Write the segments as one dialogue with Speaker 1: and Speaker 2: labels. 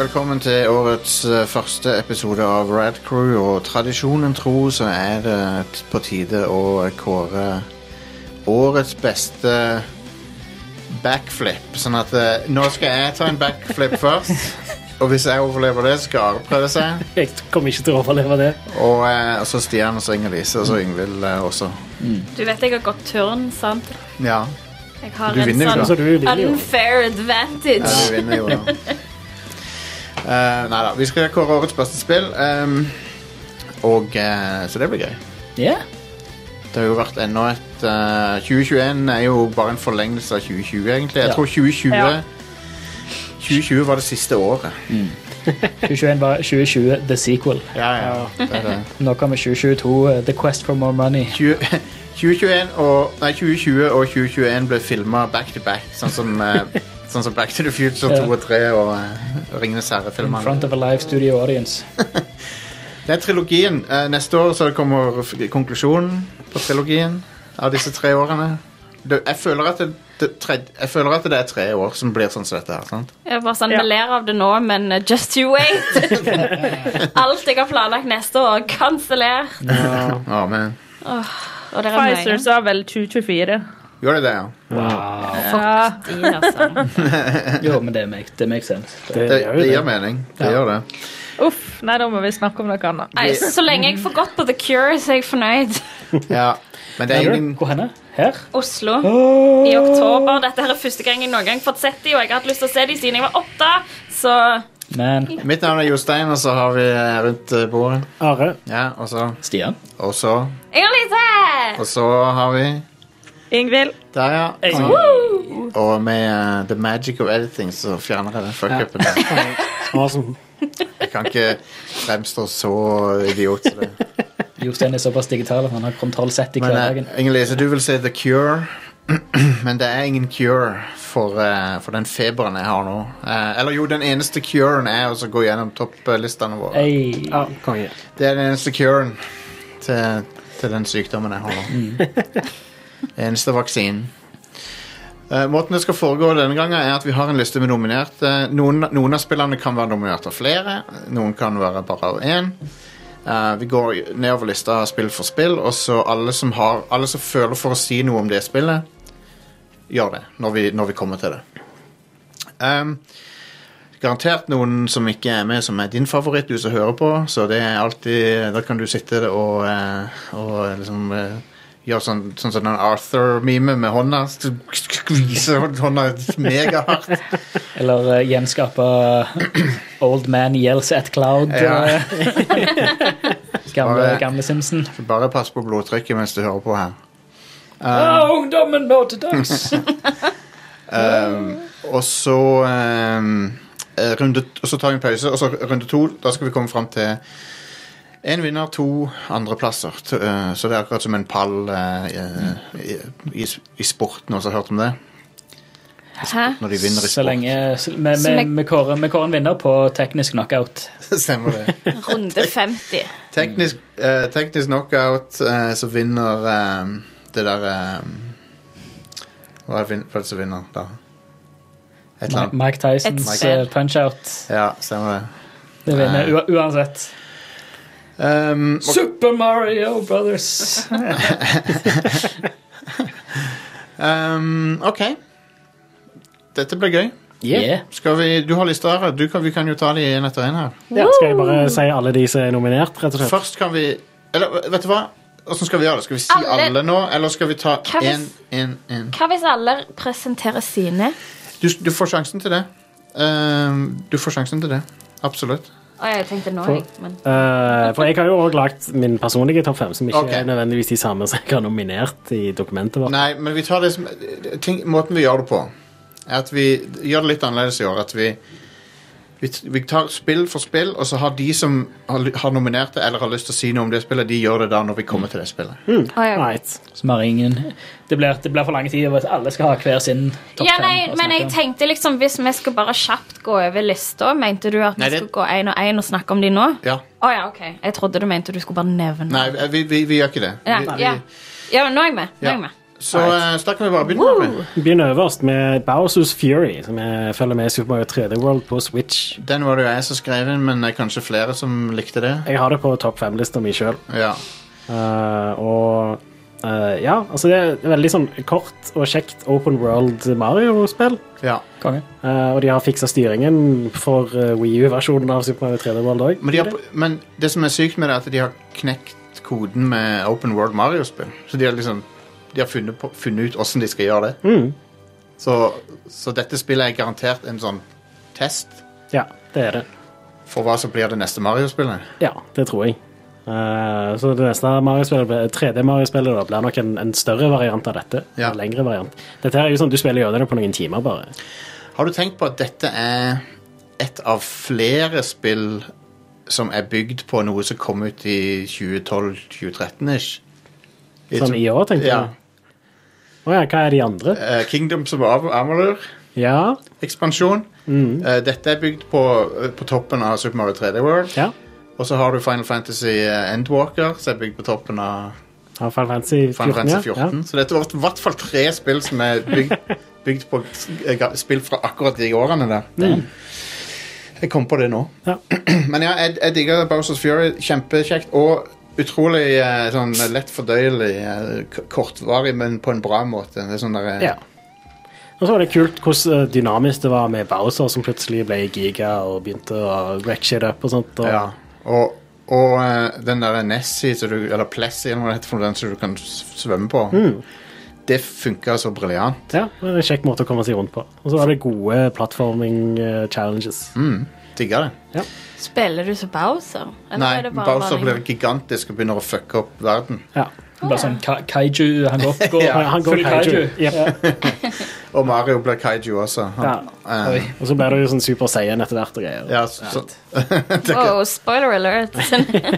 Speaker 1: velkommen til årets eh, første episode av Rad Crew. Og tradisjonen tro så er det t- på tide å kåre årets beste backflip. Sånn at eh, nå skal jeg ta en backflip først. Og hvis jeg overlever det, så skal Are prøve seg.
Speaker 2: Jeg kommer ikke til å overleve det.
Speaker 1: Og eh, og så Stian og så Inger-Lise og så Yngvild eh, også.
Speaker 3: Du vet jeg har gått turn, sant?
Speaker 1: Ja,
Speaker 3: Jeg har
Speaker 1: Du
Speaker 3: en
Speaker 1: vinner jo
Speaker 3: sånn
Speaker 1: da.
Speaker 2: Så du vinner jo.
Speaker 3: unfair advantage.
Speaker 1: Ja, vi vinner jo da. Eh, nei da, vi skal kåre årets beste spill. ehm, og eh, Så det blir gøy.
Speaker 4: Ja.
Speaker 1: Det har jo vært enda et eh, 2021 er jo bare en forlengelse av 2020, egentlig. Jeg
Speaker 4: Ja.
Speaker 1: tror 2020
Speaker 3: Ja.
Speaker 1: 2020 var det siste året.
Speaker 4: 2021 var 2020 The Sequel.
Speaker 1: Ja, ja. Det er det.
Speaker 4: Nå kommer 2022 eh, The Quest for More Money.
Speaker 1: 20, 2021 og, nei, 2020 og 2021 ble filma back to back, sånn som, eh, sånn som Back to the Future 2
Speaker 4: Ja.
Speaker 1: og 3 og eh, Ringenes
Speaker 4: In
Speaker 1: herre-filmene.
Speaker 4: front of a live studio audience.
Speaker 1: Det er trilogien. Eh, Neste år så kommer f- konklusjonen på trilogien av disse tre årene. Det, jeg, føler at det, det, tre, jeg føler at det er tre år som blir sånn som dette her. sant?
Speaker 3: Jeg bare sånn,
Speaker 2: Ja.
Speaker 3: Vi ler av det nå, men uh, just you wait. Alt jeg har planlagt neste år, kansellert.
Speaker 1: Ja, men
Speaker 3: Og dere er
Speaker 5: Pfizer sa vel 2024.
Speaker 1: Gjør det det, ja?
Speaker 5: Ja.
Speaker 3: nøye, altså.
Speaker 4: Jo, men det make, det makes sense. Det-
Speaker 2: Det
Speaker 1: Det,
Speaker 2: gjør
Speaker 1: det
Speaker 2: jo
Speaker 1: gir
Speaker 2: det.
Speaker 1: mening. Det
Speaker 4: Ja.
Speaker 1: gjør det.
Speaker 5: Uff, nei, da må vi snakke om noe annet.
Speaker 3: Nei, så så lenge jeg får gått på The Cure, så er jeg fornøyd.
Speaker 1: Ja. Men det er ingen
Speaker 4: Hvor henne? Her?
Speaker 3: Oslo i oktober. Dette her er første gang jeg noen gang fått sett dem, og jeg har hatt lyst til å se dem siden jeg var åtte. Så
Speaker 4: Men
Speaker 1: Mitt navn er Jostein, og så har vi eh, rundt eh, bordet.
Speaker 2: Are,
Speaker 1: Ja, og så
Speaker 4: Stian?
Speaker 1: Og så
Speaker 3: Inger-Lise!
Speaker 1: Og så har vi
Speaker 5: Ingvild,
Speaker 1: Der, ja.
Speaker 2: Jeg-
Speaker 1: Og, og med eh, The Magic of Editing så fjerner jeg den fuck-upen der.
Speaker 2: awesome.
Speaker 1: Jeg kan ikke fremstå så idiot som det.
Speaker 4: Jostein er såpass digital at han har kontroll sett i
Speaker 1: Men
Speaker 4: hverdagen.
Speaker 1: eh, Inger-Lise, du vil si The Cure. Men det er ingen cure for, eh, for den feberen jeg har nå. Eh, eller jo, den eneste curen er å gå gjennom topplistene våre.
Speaker 4: Ei.
Speaker 2: Ja, konge.
Speaker 1: Det er den eneste curen til, til den sykdommen jeg har nå. Eneste vaksinen. Eh, måten det skal foregå denne gangen, er at vi har en liste med nominerte. Noen, noen av spillerne kan være nominert av flere, noen kan være bare av én. Eh, vi går nedover lista spill for spill, og så alle som, har, alle som føler for å si noe om det spillet, gjør det når vi, når vi kommer til det. Ehm, garantert noen som ikke er med, som er din favoritt, du som hører på. Så det er alltid Da kan du sitte og, eh, og liksom eh, gjøre sånn, sånn som den Arthur-meme med hånda. Skvise hånda megahardt.
Speaker 4: Eller eh, gjenskape eh, Old Man Yells at Cloud.
Speaker 1: Ja.
Speaker 4: eh, gamle,
Speaker 1: Bare-
Speaker 4: gamle Simpson.
Speaker 1: Bare pass på blodtrykket mens du hører på her. Eh,
Speaker 4: Ah, ungdommen må til dags!
Speaker 1: Eh, Og så ehm, eh, runde, Og så tar vi en pause, og så runde to. Da skal vi komme fram til én vinner, to andreplasser. T- eh, Så det er akkurat som en pall eh, i, i, i sport. Noen som har hørt om det?
Speaker 3: Hæ?
Speaker 1: Når de vinner i sport.
Speaker 4: Så lenge så- Vi
Speaker 3: Så
Speaker 4: vi-
Speaker 3: lenge-
Speaker 4: vi kårer vi kårer en vinner på teknisk knockout.
Speaker 1: Stemmer det.
Speaker 3: Runde 50.
Speaker 1: Teknisk, eh, teknisk knockout eh, så vinner eh, det der eh, Hva er det vin- hva er det som vinner da? Et eller
Speaker 4: Mi-
Speaker 1: annet.
Speaker 4: Mike Tysons
Speaker 3: Et-
Speaker 4: eh, punch-out.
Speaker 1: Ja, stemmer det.
Speaker 4: Det vinner ua- uansett.
Speaker 1: Ehm, og,
Speaker 4: Super Mario Brothers.
Speaker 1: ehm, OK. Dette blir gøy.
Speaker 4: Yeah.
Speaker 1: Skal vi, du har lista her. Du kan, vi kan jo ta de én etter én her.
Speaker 2: Ja, skal jeg bare si alle de som er nominert, rett og slett?
Speaker 1: Først kan vi Eller vet du hva? Åssen skal vi gjøre det? Skal vi si alle,
Speaker 3: Alle-
Speaker 1: nå, eller skal vi ta
Speaker 3: Hva hvis-
Speaker 1: én, én, én?
Speaker 3: Hva hvis alle presenterer sine?
Speaker 1: Du, du får sjansen til det. Ehm, du får sjansen til det. Absolutt.
Speaker 3: Å, jeg tenkte nå,
Speaker 2: For-
Speaker 3: jeg. Men
Speaker 2: Eh, for jeg har jo òg lagt min personlige topp fem, som ikke
Speaker 1: Ok.
Speaker 2: er nødvendigvis de samme som jeg har nominert i dokumentet vårt.
Speaker 1: Nei, men vi tar det som ting, Måten vi gjør det på, er at vi gjør det litt annerledes i år. At vi, vi, vi tar spill for spill, og så har de som har, ly- har nominert det, eller har lyst til å si noe om det spillet, de gjør det da når vi
Speaker 3: Mm.
Speaker 1: kommer til det spillet.
Speaker 2: Right.
Speaker 4: Som har ingen Det blir, det blir for lang tid. og Alle skal ha hver sin topp
Speaker 3: Ja,
Speaker 4: fem
Speaker 3: nei,
Speaker 4: å
Speaker 3: men
Speaker 4: snakke
Speaker 3: jeg
Speaker 4: om.
Speaker 3: tenkte liksom Hvis vi skulle bare kjapt gå over lista, mente du at vi
Speaker 1: Nei, det-
Speaker 3: skulle gå én og én og snakke om de nå?
Speaker 1: Ja.
Speaker 3: Å ja, OK. Jeg trodde du mente du skulle bare nevne.
Speaker 1: Nei, vi, vi, vi gjør ikke det.
Speaker 3: ja,
Speaker 1: Vi,
Speaker 3: ja.
Speaker 1: vi,
Speaker 3: ja, men nå er jeg med. Nå er jeg med.
Speaker 1: Så eh, så da kan vi bare begynne. med det.
Speaker 2: Vi begynner øverst med Bowsers Fury, som jeg følger med i Super Mario 3D World på Switch.
Speaker 1: Den var det jo jeg som skrev inn, men det er kanskje flere som likte det.
Speaker 2: Jeg har det på topp fem-lista mi sjøl.
Speaker 1: Ja.
Speaker 2: og eh, ja, altså det er veldig sånn kort og kjekt open world Mario-spill.
Speaker 1: ja.
Speaker 4: Konge.
Speaker 2: Eh, og de har fiksa styringen for uh, U-versjonen av Super Mario 3D World òg.
Speaker 1: Men, de har, men det som er sykt med det, er at de har knekt koden med Open World Mario-spill. Så de har liksom de har funnet, på, funnet ut åssen de skal gjøre det.
Speaker 2: Mm.
Speaker 1: Så, så dette spillet er garantert en sånn test
Speaker 2: Ja, det er det.
Speaker 1: for hva som blir det neste Mario-spillet.
Speaker 2: Ja, det tror jeg. Eh, så det neste Mario-spillet, blir- 3D-Mario-spillet da, blir nok en, en større variant av dette.
Speaker 1: Ja.
Speaker 2: En lengre variant. Dette her er jo sånn, Du spiller gjennom det på noen timer, bare.
Speaker 1: Har du tenkt på at dette er ett av flere spill som er bygd på noe som kom ut i 2012-2013-ish?
Speaker 2: Sånn i år, tenkte
Speaker 1: Ja.
Speaker 2: jeg. Å ja, hva er de andre?
Speaker 1: Eh, Kingdoms of Am- Amalur.
Speaker 2: Ja,
Speaker 1: ekspansjon.
Speaker 2: Mm.
Speaker 1: Eh, dette er bygd på, eh, på toppen av Super Mario 3D World.
Speaker 2: ja.
Speaker 1: Og så har du Final Fantasy eh, Endwalker, som er bygd på toppen av
Speaker 2: Final Fantasy 14.
Speaker 1: Final Fantasy
Speaker 2: ja.
Speaker 1: 14. Så dette var i hvert fall tre spill som er bygd, bygd på eh, ga- spill fra akkurat de årene der. Jeg kom på det nå.
Speaker 2: Mm. Ja.
Speaker 1: Men ja, jeg, jeg digger Bowsers Fury. Kjempekjekt. Og utrolig eh, sånn lett fordøyelig. eh, k- kortvarig, men på en bra måte. Det er sånn der, eh,
Speaker 2: Ja. Og så var det kult hvordan eh, dynamisk det var med Bowser, som plutselig ble giga og begynte å wreck shit up og sånt. Og,
Speaker 1: Ja, og, og eh, den der Nessie, som du, eller Plessie, eller hva det heter, for noe, den som du kan s- svømme på,
Speaker 2: Mm.
Speaker 1: det funka så briljant.
Speaker 2: Ja, det var en kjekk måte å komme seg rundt på. Og så var det gode eh, plattforming-challenges.
Speaker 1: Digga det.
Speaker 6: Spiller du som Bowser? Eller
Speaker 1: Nei,
Speaker 6: er det bare
Speaker 1: Bowser
Speaker 6: vanlig?
Speaker 1: blir gigantisk og begynner å fucke opp verden.
Speaker 2: Ja.
Speaker 4: Det blir sånn ka kaiju. Han går, går
Speaker 2: Han, han går
Speaker 4: full
Speaker 2: kaiju. Jep.
Speaker 1: Og Mario blir kaiju også. Han,
Speaker 2: Ja.
Speaker 1: eh,
Speaker 4: Oi.
Speaker 2: Og så ble det jo sånn Super Saiyan etter hvert og greier.
Speaker 1: ja, så, så,
Speaker 6: Wow, spoiler alert.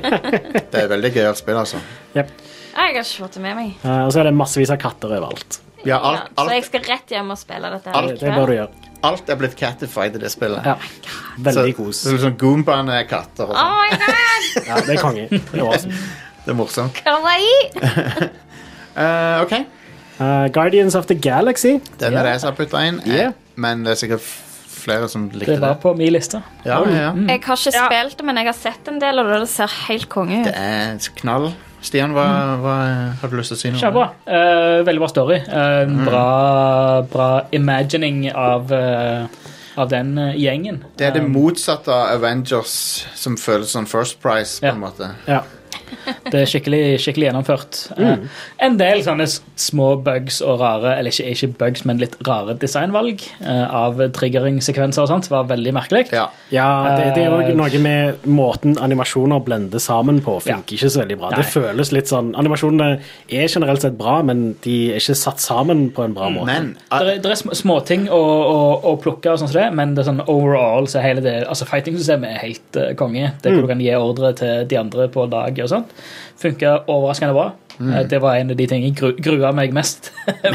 Speaker 1: det er veldig gøyalt spill, altså.
Speaker 2: Jep.
Speaker 6: Jeg har ikke fått det med meg.
Speaker 2: Eh, og så er det massevis av katter overalt.
Speaker 1: Ja,
Speaker 6: Ja,
Speaker 1: alt,
Speaker 6: så jeg
Speaker 1: alt,
Speaker 6: skal rett hjem og spille dette.
Speaker 2: Det, det bør du gjøre.
Speaker 1: alt er blitt catified i det spillet.
Speaker 2: Ja. Veldig
Speaker 1: så,
Speaker 2: kos.
Speaker 1: så liksom Goombaene er katter og
Speaker 6: Oh
Speaker 1: sånn.
Speaker 6: my god!
Speaker 2: Ja, det er konge. Det er awesome.
Speaker 6: Ah!
Speaker 1: Det er morsomt.
Speaker 6: Kawaii!
Speaker 1: Eh, OK.
Speaker 2: Eh, Guardians of the Galaxy.
Speaker 1: Den er det jeg som har putta inn, eh,
Speaker 2: Ja.
Speaker 1: men det er sikkert f- flere som likte
Speaker 4: Det
Speaker 1: det.
Speaker 4: var på min liste.
Speaker 1: Ja, ja.
Speaker 6: Jeg har ikke
Speaker 3: Ja.
Speaker 6: spilt det, men jeg har sett en del, og det ser helt konge
Speaker 1: Det
Speaker 6: ut.
Speaker 1: er knall. Stian, hva, hva har du lyst til å si nå?
Speaker 4: Kjempebra. Eh, veldig bra story. Eh, bra, bra imagining av, eh, av den eh, gjengen.
Speaker 1: Det er det motsatte av Avengers, som føles som First Price, på
Speaker 4: Ja.
Speaker 1: en måte.
Speaker 2: Ja.
Speaker 4: Det er skikkelig, skikkelig gjennomført. Eh,
Speaker 1: Mm.
Speaker 4: En del sånne s- små bugs og rare, eller ikke, ikke bugs, men litt rare designvalg eh, av triggering-sekvenser og sånt, var veldig merkelig.
Speaker 1: Ja.
Speaker 2: ja, Eh, det, det er òg noe med måten animasjoner blender sammen på. Funker ikke så veldig bra. Det
Speaker 4: Nei.
Speaker 2: føles litt sånn Animasjonene er generelt sett bra, men de er ikke satt sammen på en bra måte.
Speaker 1: Men ah,
Speaker 4: Det er, det er sm- småting å, å, å plukke, og sånn som det, men det er sånn overall så er hele det, altså fighting-systemet er helt eh, konge. Det er
Speaker 1: Mm.
Speaker 4: hvor du kan gi ordre til de andre på laget og sånt. Funker overraskende bra. Eh, Det var en av de tingene jeg gru, grua meg mest med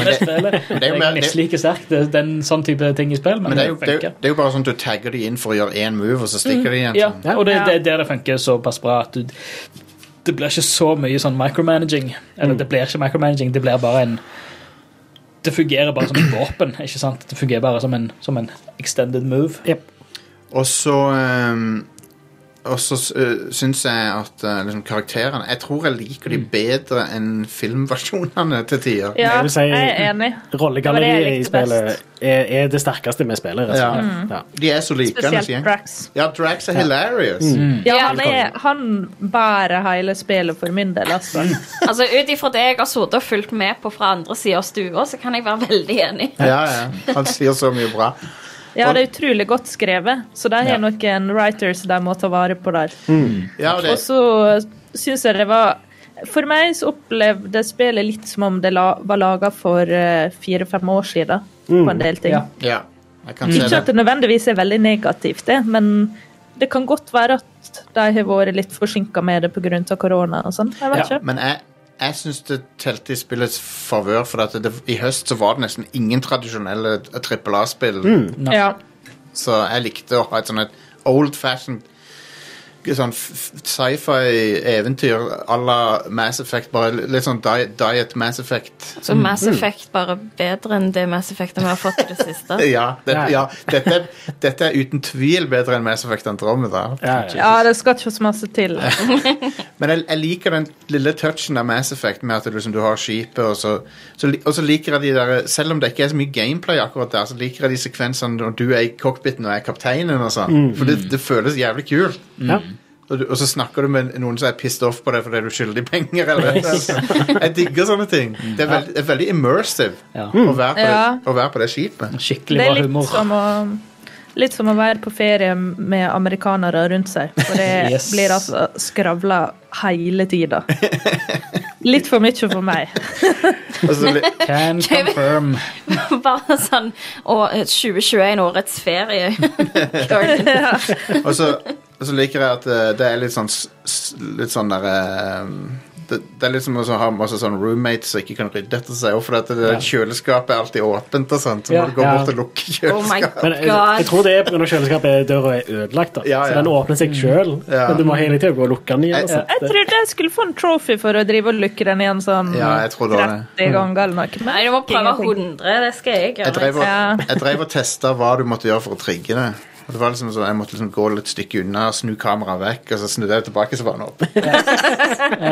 Speaker 1: Mm.
Speaker 4: spillet.
Speaker 1: det er jo
Speaker 4: Jeg
Speaker 1: mer- det-
Speaker 4: misliker sterkt det- den sånn type ting i spill, men,
Speaker 1: men det, er jo, det, er,
Speaker 4: funker.
Speaker 1: jo- det er jo bare sånn at du tagger de inn for å gjøre én move, og så stikker de igjen.
Speaker 4: Mm, Ja,
Speaker 1: sånn.
Speaker 2: Ja.
Speaker 4: og det, det er der det funker såpass bra at du Det blir ikke så mye sånn micromanaging. Eller det blir ikke micromanaging, det blir bare en Det fungerer bare som et våpen, ikke sant? Det fungerer bare som en, som en extended move.
Speaker 1: Og så ehm, Og så uh, syns jeg at eh, liksom, karakterene Jeg tror jeg liker
Speaker 4: Mm.
Speaker 1: de bedre enn filmversjonene til tider.
Speaker 5: Ja,
Speaker 2: Jeg vil si-
Speaker 5: jeg er enig.
Speaker 2: Rollegalleriet
Speaker 5: Det var det jeg
Speaker 2: i
Speaker 5: likte
Speaker 2: spillet er, er det sterkeste med spillet. Rett og
Speaker 1: Ja.
Speaker 2: slett. Ja.
Speaker 1: De er så likende. sier
Speaker 5: Spesielt
Speaker 1: jeg.
Speaker 5: Brax.
Speaker 1: Ja, Drax er hilarious.
Speaker 4: Mm.
Speaker 5: Ja, han, er, han bærer hele spillet for min del, altså.
Speaker 3: Mm.
Speaker 6: Altså, Ut ifra det jeg har sittet og fulgt med på fra andre sida av stua, så kan jeg være veldig enig.
Speaker 1: Ja, ja. Han sier så mye bra.
Speaker 5: Ja, det er utrolig godt skrevet, så der er noen writers de må ta vare på der.
Speaker 1: Ja, det,
Speaker 5: Og så syns jeg det var For meg så opplevde spillet litt som om det la, var laga for eh, fire-fem år siden. På en del ting.
Speaker 4: Ja.
Speaker 1: ja. Jeg
Speaker 4: Mm.
Speaker 1: kan se
Speaker 5: Ikke at
Speaker 1: det.
Speaker 5: det nødvendigvis er veldig negativt, det, men det kan godt være at de har vært litt forsinka med det pga. korona og sånn. Jeg vet
Speaker 4: Ja.
Speaker 5: ikke.
Speaker 1: Men jeg, jeg syns det telte i spillets favør, for at det, i høst så var det nesten ingen tradisjonelle trippel
Speaker 5: Mm.
Speaker 1: A-spill.
Speaker 4: Ja.
Speaker 5: Ja.
Speaker 1: Så jeg likte å ha et sånn et old fashioned sånn f- f- sci-fi-eventyr à la Mass Effect. Bare li- litt sånn di Diet Mass Effect.
Speaker 6: Så Mass Effect bare bedre enn det Mass Effect vi har fått i det siste.
Speaker 1: Ja, det,
Speaker 2: Ja.
Speaker 1: ja dette, dette er uten tvil bedre enn Mass Effect Andromeda.
Speaker 2: Ja, ja.
Speaker 5: Ja, det skal ikke så masse til.
Speaker 1: Men jeg, jeg liker den lille touchen av Mass Effect med at du, liksom, du har skipet, og så, så, li- og så liker jeg de der Selv om det ikke er så mye gameplay akkurat der, så liker jeg de sekvensene når du er i cockpiten og jeg er kapteinen og sånn. For det, det føles jævlig kult.
Speaker 2: Ja.
Speaker 1: Og, du, og så snakker du med noen som er pissed off på deg fordi du skylder de penger. Eller, noe. Altså, jeg digger sånne ting. Det er, veld, det er veldig immersive
Speaker 4: Ja.
Speaker 1: å, være på
Speaker 5: Ja.
Speaker 1: det, å være på det skipet.
Speaker 4: Skikkelig
Speaker 5: Det
Speaker 4: bra
Speaker 5: er litt sånn-
Speaker 4: humor.
Speaker 5: som å Litt som å være på ferie med amerikanere rundt seg. For det
Speaker 4: Yes.
Speaker 5: blir altså skravla hele tida. Litt for mye for meg.
Speaker 1: Og så li-
Speaker 4: Can confirm.
Speaker 6: Bare sånn Og eh, 2021, årets ferie. Kongen.
Speaker 1: Og så, og så liker jeg at eh, det er litt sånn s- s- Litt sånn der eh, det, det er litt som å så ha masse sånn roommates som ikke kan rydde etter seg. For at det,
Speaker 4: Ja.
Speaker 1: kjøleskapet er alltid åpent, og sånt, så må
Speaker 4: Ja.
Speaker 1: du gå
Speaker 2: Ja.
Speaker 1: bort og lukke
Speaker 6: Oh my
Speaker 1: kjøleskapet.
Speaker 2: Men eh, jeg,
Speaker 6: god.
Speaker 2: jeg tror det er pga. kjøleskapet døra er ødelagt. da
Speaker 1: Ja, ja. Mm.
Speaker 2: Så den åpner seg sjøl.
Speaker 1: Ja.
Speaker 2: Men du må hele tida gå og lukke den igjen. altså.
Speaker 1: Jeg-
Speaker 2: Og sånt.
Speaker 5: Jeg trodde jeg skulle få en trophy for å drive og lukke den igjen sånn
Speaker 1: Ja, jeg tror det var det.
Speaker 5: 30 ganger eller noe.
Speaker 6: Nei, du må prøve 100. Det skal jeg
Speaker 1: Jeg
Speaker 6: gjøre.
Speaker 1: drev,
Speaker 5: Ja.
Speaker 1: og, jeg drev og testa hva du måtte gjøre for å trigge det. Og det var liksom sånn, Jeg måtte liksom gå litt stykke unna, snu kameraet vekk, og så snudde jeg tilbake, så var den oppe.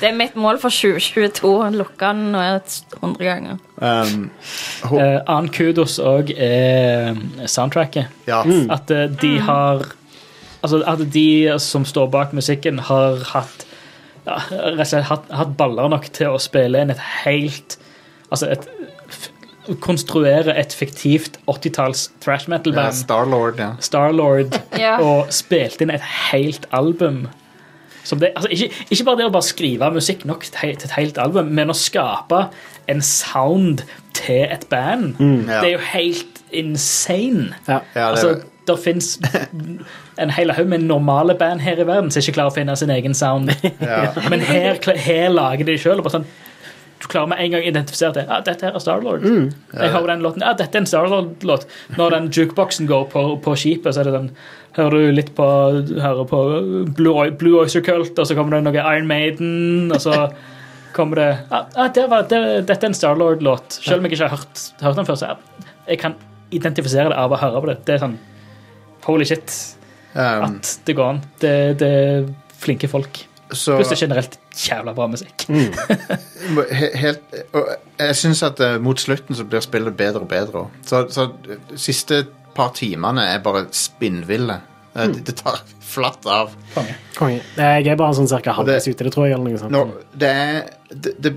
Speaker 6: Det er mitt mål for 2022. Lukke den nå er det 100 ganger.
Speaker 1: Um, ho-
Speaker 4: Eh, annen kudos òg er soundtracket.
Speaker 1: ja.
Speaker 4: At eh, de har Altså at de som står bak musikken, har hatt ja, rett og slett hatt, hatt baller nok til å spille inn et helt Altså et f- Konstruere et fiktivt 80-talls thrash
Speaker 1: ja
Speaker 4: metal-band,
Speaker 1: Starlord, ja.
Speaker 4: Starlord,
Speaker 6: Ja.
Speaker 4: og spilte inn et helt album. Som det, altså ikke, ikke bare det å bare skrive musikk nok til et he- til et helt album, men å skape en sound til et band.
Speaker 1: Mm. Ja.
Speaker 4: Det er jo helt insane.
Speaker 2: Ja.
Speaker 1: Ja, det,
Speaker 4: altså, der fins en hel haug med normale band her i verden som ikke klarer å finne sin egen sound.
Speaker 1: ja.
Speaker 4: Men her, kla- her lager de det sjøl. Sånn, du klarer med en gang å identifisere det. Ah, dette her er Starlord. Jeg hører den låten. Ah, dette er en Starlord-låt. Når den jukeboxen går på, på skipet, så er det den Hører du litt på, hører på øh, Blue, Oy- Blue Oyster Cult, og så kommer det noe Iron Maiden, og så kommer det ah, ah, det var, det, Dette er en Starlord-låt. Selv om jeg ikke har hørt, hørt den før, så jeg, jeg kan identifisere det av å høre på det. Det er sånn Holy shit,
Speaker 1: Um,
Speaker 4: at det går an. Det, det er flinke folk.
Speaker 1: så,
Speaker 4: Pluss det er generelt jævla bra musikk.
Speaker 2: Mm.
Speaker 1: Må- he- helt, og jeg syns at eh, mot slutten så blir spillet bedre og bedre. også. Så, så de siste par timene er bare spinnville. Eh, Det, det tar flatt av.
Speaker 4: Konge.
Speaker 2: Konge. Jeg er bare sånn cirka halvveis ute, det tror jeg. eller noe sånt.
Speaker 1: Nå, det er det, det,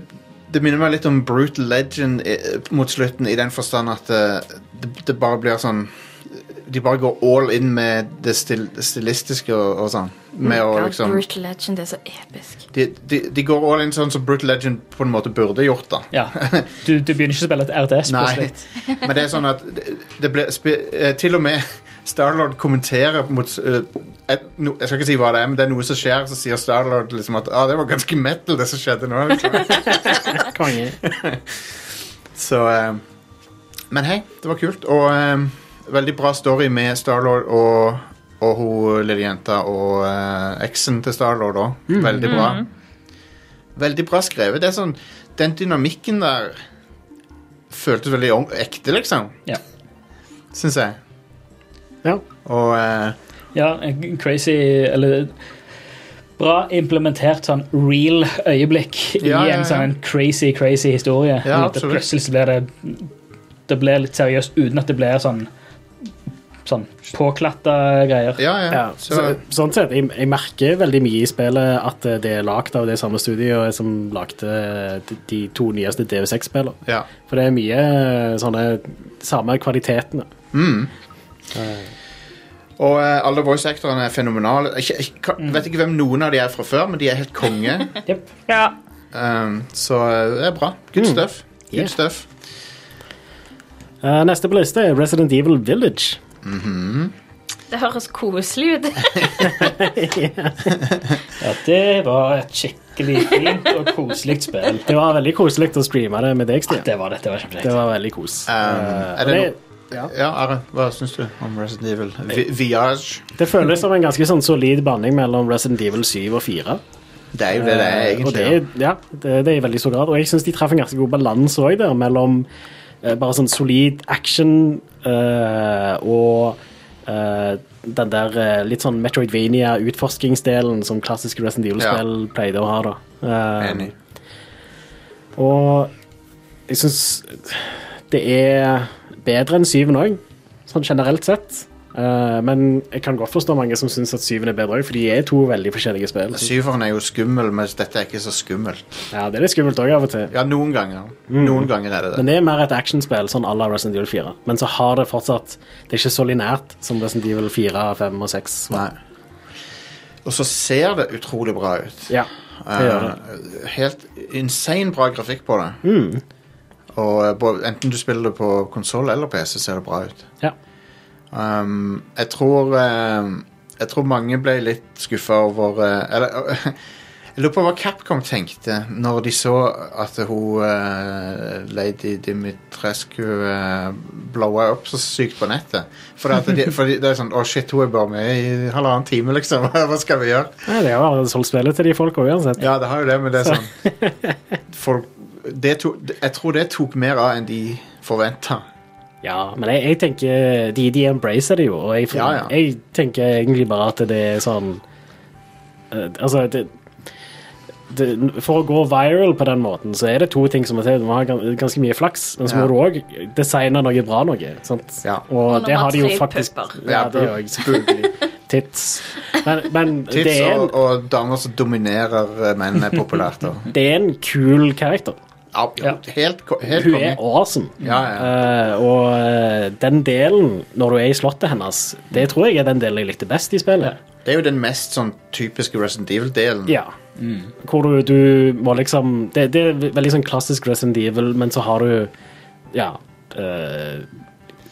Speaker 1: det minner meg litt om Brutal Legend eh, mot slutten i den forstand at eh, det, det bare blir sånn De bare går all in med det stil, stilistiske og, og sånn. Med
Speaker 3: Mm,
Speaker 1: å
Speaker 6: God,
Speaker 1: liksom
Speaker 6: Brutal Legend det er så episk.
Speaker 1: de, de, de går all in sånn som Brutal Legend på en måte burde gjort, da.
Speaker 4: Ja. Du, du begynner ikke å spille et RTS
Speaker 1: Nei,
Speaker 4: plutselig.
Speaker 1: men det er sånn at det, det ble, spe, eh, Til og med Starlord kommenterer mot eh, et, no, Jeg skal ikke si hva det er, men det er noe som skjer, så sier Starlord liksom at ah, det var ganske metal, det som skjedde nå. Liksom.
Speaker 2: Konge.
Speaker 1: Så eh, Men hei, det var kult. Og eh, veldig bra story med Starlord og, og hun lille jenta og eh, eksen til Starlord òg. Veldig bra. Veldig bra skrevet. Det er sånn, Den dynamikken der føltes veldig ong- ekte, liksom.
Speaker 4: Ja.
Speaker 1: Syns jeg.
Speaker 2: Ja.
Speaker 1: Og eh,
Speaker 4: Ja, en crazy Eller bra implementert sånn real øyeblikk
Speaker 1: Ja,
Speaker 4: i
Speaker 1: ja, ja.
Speaker 4: en sånn crazy, crazy historie.
Speaker 1: Ja,
Speaker 4: At det
Speaker 1: absolutt.
Speaker 4: plutselig så blir det Det blir litt seriøst uten at det blir sånn Sånn påklatta greier.
Speaker 1: ja, ja.
Speaker 2: Ja. Så,
Speaker 1: Så,
Speaker 2: sånn sett, jeg, jeg merker veldig mye i spillet at eh, det er lagd av det samme studioet som lagde eh, de- de to nyeste DV6-spillene.
Speaker 1: ja.
Speaker 2: For det er mye eh, sånne samme kvalitetene.
Speaker 1: Mm. Og eh, alle voice actorene er fenomenale. Jeg, jeg, kan- vet ikke hvem noen av de er fra før, men de er helt konge.
Speaker 4: Jep.
Speaker 5: Ja.
Speaker 1: Um, så eh, det er bra. Good stuff. Good
Speaker 2: Mm. Yeah.
Speaker 1: stuff.
Speaker 2: Eh, neste på lista er Resident Evil Village.
Speaker 6: Det høres koselig ut.
Speaker 4: Ja, det var et skikkelig fint og koselig spill.
Speaker 2: Det var veldig koselig å streame det med deg, Stian.
Speaker 4: Det var det. Det var kjempefint.
Speaker 2: Det var veldig kos.
Speaker 1: Um,
Speaker 2: Eh,
Speaker 1: er
Speaker 2: og
Speaker 1: det
Speaker 2: det,
Speaker 1: no-
Speaker 2: Ja.
Speaker 1: Ja, Are, hva syns du om Resident Evil? Vi Viage?
Speaker 2: Det føles som en ganske sånn solid blanding mellom Resident Evil 7 og 4.
Speaker 1: Det er jo det det er,
Speaker 2: Eh,
Speaker 1: egentlig.
Speaker 2: Og det, er- ja, det, det er i veldig stor grad. Og jeg syns de traff en ganske god balanse òg der, mellom eh, bare sånn solid action eh, og eh, den der eh, litt sånn Metroidvania-utforskingsdelen som klassiske Resident Evil-spill pleide å ha, da. Eh,
Speaker 1: Enig.
Speaker 2: og jeg syns det er bedre enn syven òg, sånn generelt sett. Eh, men jeg kan godt forstå mange som syns at syven er bedre òg, for de er to veldig forskjellige spill.
Speaker 1: Syveren er jo skummel, mens dette er ikke så skummelt.
Speaker 2: Ja, det er litt skummelt òg av og til.
Speaker 1: Ja, noen ganger. Noen ganger er det det.
Speaker 2: Mm. Men det er mer et actionspill, sånn à la Resident Evil 4. Men så har det fortsatt Det er ikke så linært som Resident Evil 4, 5 og 6. var.
Speaker 1: Nei. Og så ser det utrolig bra ut.
Speaker 2: Ja, det gjør det.
Speaker 1: Eh, helt insane bra grafikk på det.
Speaker 2: Mm.
Speaker 1: Og eh, både- enten du spiller det på konsoll eller PC, ser det bra ut.
Speaker 2: Ja.
Speaker 1: Um, jeg tror um, Jeg tror mange ble litt skuffa over uh, Eller uh, Jeg lurer på hva Capcom tenkte når de så at hun uh, lady Dimitrescu uh, blowa opp så sykt på nettet. For, at de, for de, det er sånn Å, shit, hun er bare med i halvannen time, liksom. Hva skal vi gjøre?
Speaker 2: Nei, det er jo alle solgt spillet til de folka uansett.
Speaker 1: Ja, det har jo det, men det er sånn Folk det tok- Jeg tror det tok mer av enn de forventa.
Speaker 2: Ja, men jeg, jeg tenker De, de embracer det jo, og jeg,
Speaker 1: Ja, ja.
Speaker 2: jeg tenker egentlig bare at det er sånn eh, Altså, det, det, for å gå viral på den måten, så er det to ting som må til. Du må ha gan- ganske mye flaks, men så må
Speaker 1: Ja.
Speaker 2: du òg designe noe bra noe. Sant?
Speaker 1: Ja.
Speaker 2: Og
Speaker 6: nummer
Speaker 2: det har de jo
Speaker 6: tre,
Speaker 2: faktisk
Speaker 6: pupper.
Speaker 2: Ja, det òg, selvfølgelig. Tits. Men, men det,
Speaker 1: Tids
Speaker 2: er en,
Speaker 1: og, og damer som dominerer eh, menn, er populært. Og.
Speaker 2: det er en kul karakter.
Speaker 1: Ja, ja. Helt, ko- helt
Speaker 2: Hun
Speaker 1: konge.
Speaker 2: er awesome.
Speaker 1: Ja, ja.
Speaker 2: Eh, og eh, den delen, når du er i slottet hennes, det tror jeg er den delen jeg likte best i spillet.
Speaker 1: Det er jo den mest sånn typiske Resident Evil-delen.
Speaker 2: Ja. Hvor du, du må liksom det, det er veldig sånn klassisk Resident Evil, men så har du ja eh,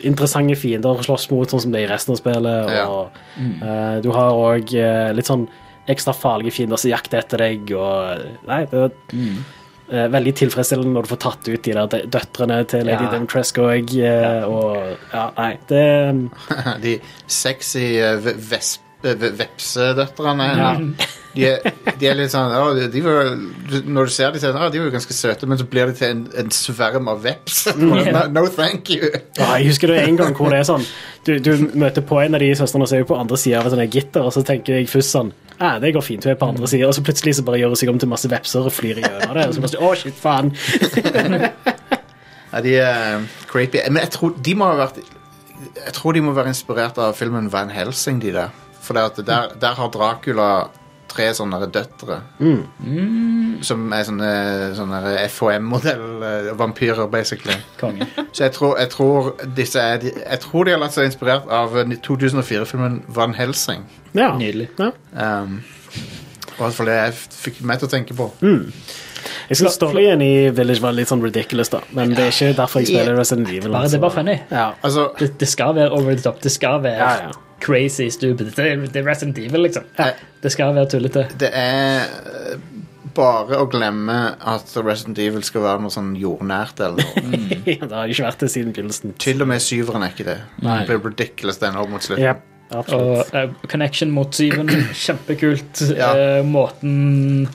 Speaker 2: interessante fiender å slåss mot, sånn som det er i resten av spillet.
Speaker 1: Ja.
Speaker 2: Og eh, du har òg eh, litt sånn ekstra farlige fiender som jakter etter deg, og Nei, det er eh, veldig tilfredsstillende når du får tatt ut de der dø- døtrene til Lady
Speaker 4: Ja.
Speaker 2: Dimitrescu òg, eh, og Ja, nei, det eh,
Speaker 1: De sexy eh, ve- vesp- eh, ve- vepsedøtrene. eller? De, er- de er litt sånn «Å, de- de var, du- Når du ser dem, så er det, sånn, «Å, de var jo ganske søte, men så blir de til en, en sverm av veps. no, no thank you!
Speaker 2: Ja, jeg husker det en gang hvor det er sånn Du, du møter på en av de søstrene og så er hun på andre sida av et sånt gitter, og så tenker jeg først sånn Ja, det går fint, hun er på andre sida, og så plutselig så bare gjør hun seg om til masse vepser og flyr gjennom det, og så plutselig Å, shit, faen.
Speaker 1: Ja, de er creepy. Men jeg tror de må ha vært Jeg tror de må være inspirert av filmen Van Helsing, de der. For det at der, der har Dracula tre sånne døtre. Som er sånne, sånne FHM-modell-vampyrer, eh, basically.
Speaker 4: Konge.
Speaker 1: Så jeg tror, jeg tror disse er de, Jeg tror de har latt seg inspirert av eh, 2004-filmen Van Helsing.
Speaker 2: Ja.
Speaker 4: Nydelig.
Speaker 2: Ja.
Speaker 1: Um, og i hvert fall det jeg fikk meg til å tenke på.
Speaker 2: Jeg syns storyen i Village var litt sånn ridiculous, da, men det er ikke derfor jeg spiller Resident Evil.
Speaker 4: Bare, det er bare funny.
Speaker 2: Ja.
Speaker 1: Altså,
Speaker 4: Det, det skal være over the top. Det skal være
Speaker 2: Ja, ja.
Speaker 4: crazy, stupid. Det, er- det er Resident Evil, liksom.
Speaker 1: Ja.
Speaker 4: Det skal være tullete.
Speaker 1: Det er eh, bare å glemme at Resident Evil skal være noe sånn jordnært eller noe.
Speaker 2: det har ikke vært det siden begynnelsen.
Speaker 1: Til og med syveren er ikke det. Det blir ridiculous den over mot slutten.
Speaker 2: Yep. Absolutt.
Speaker 4: Og eh, connection mot syven, kjempekult.
Speaker 1: Ja.
Speaker 4: Eh, måten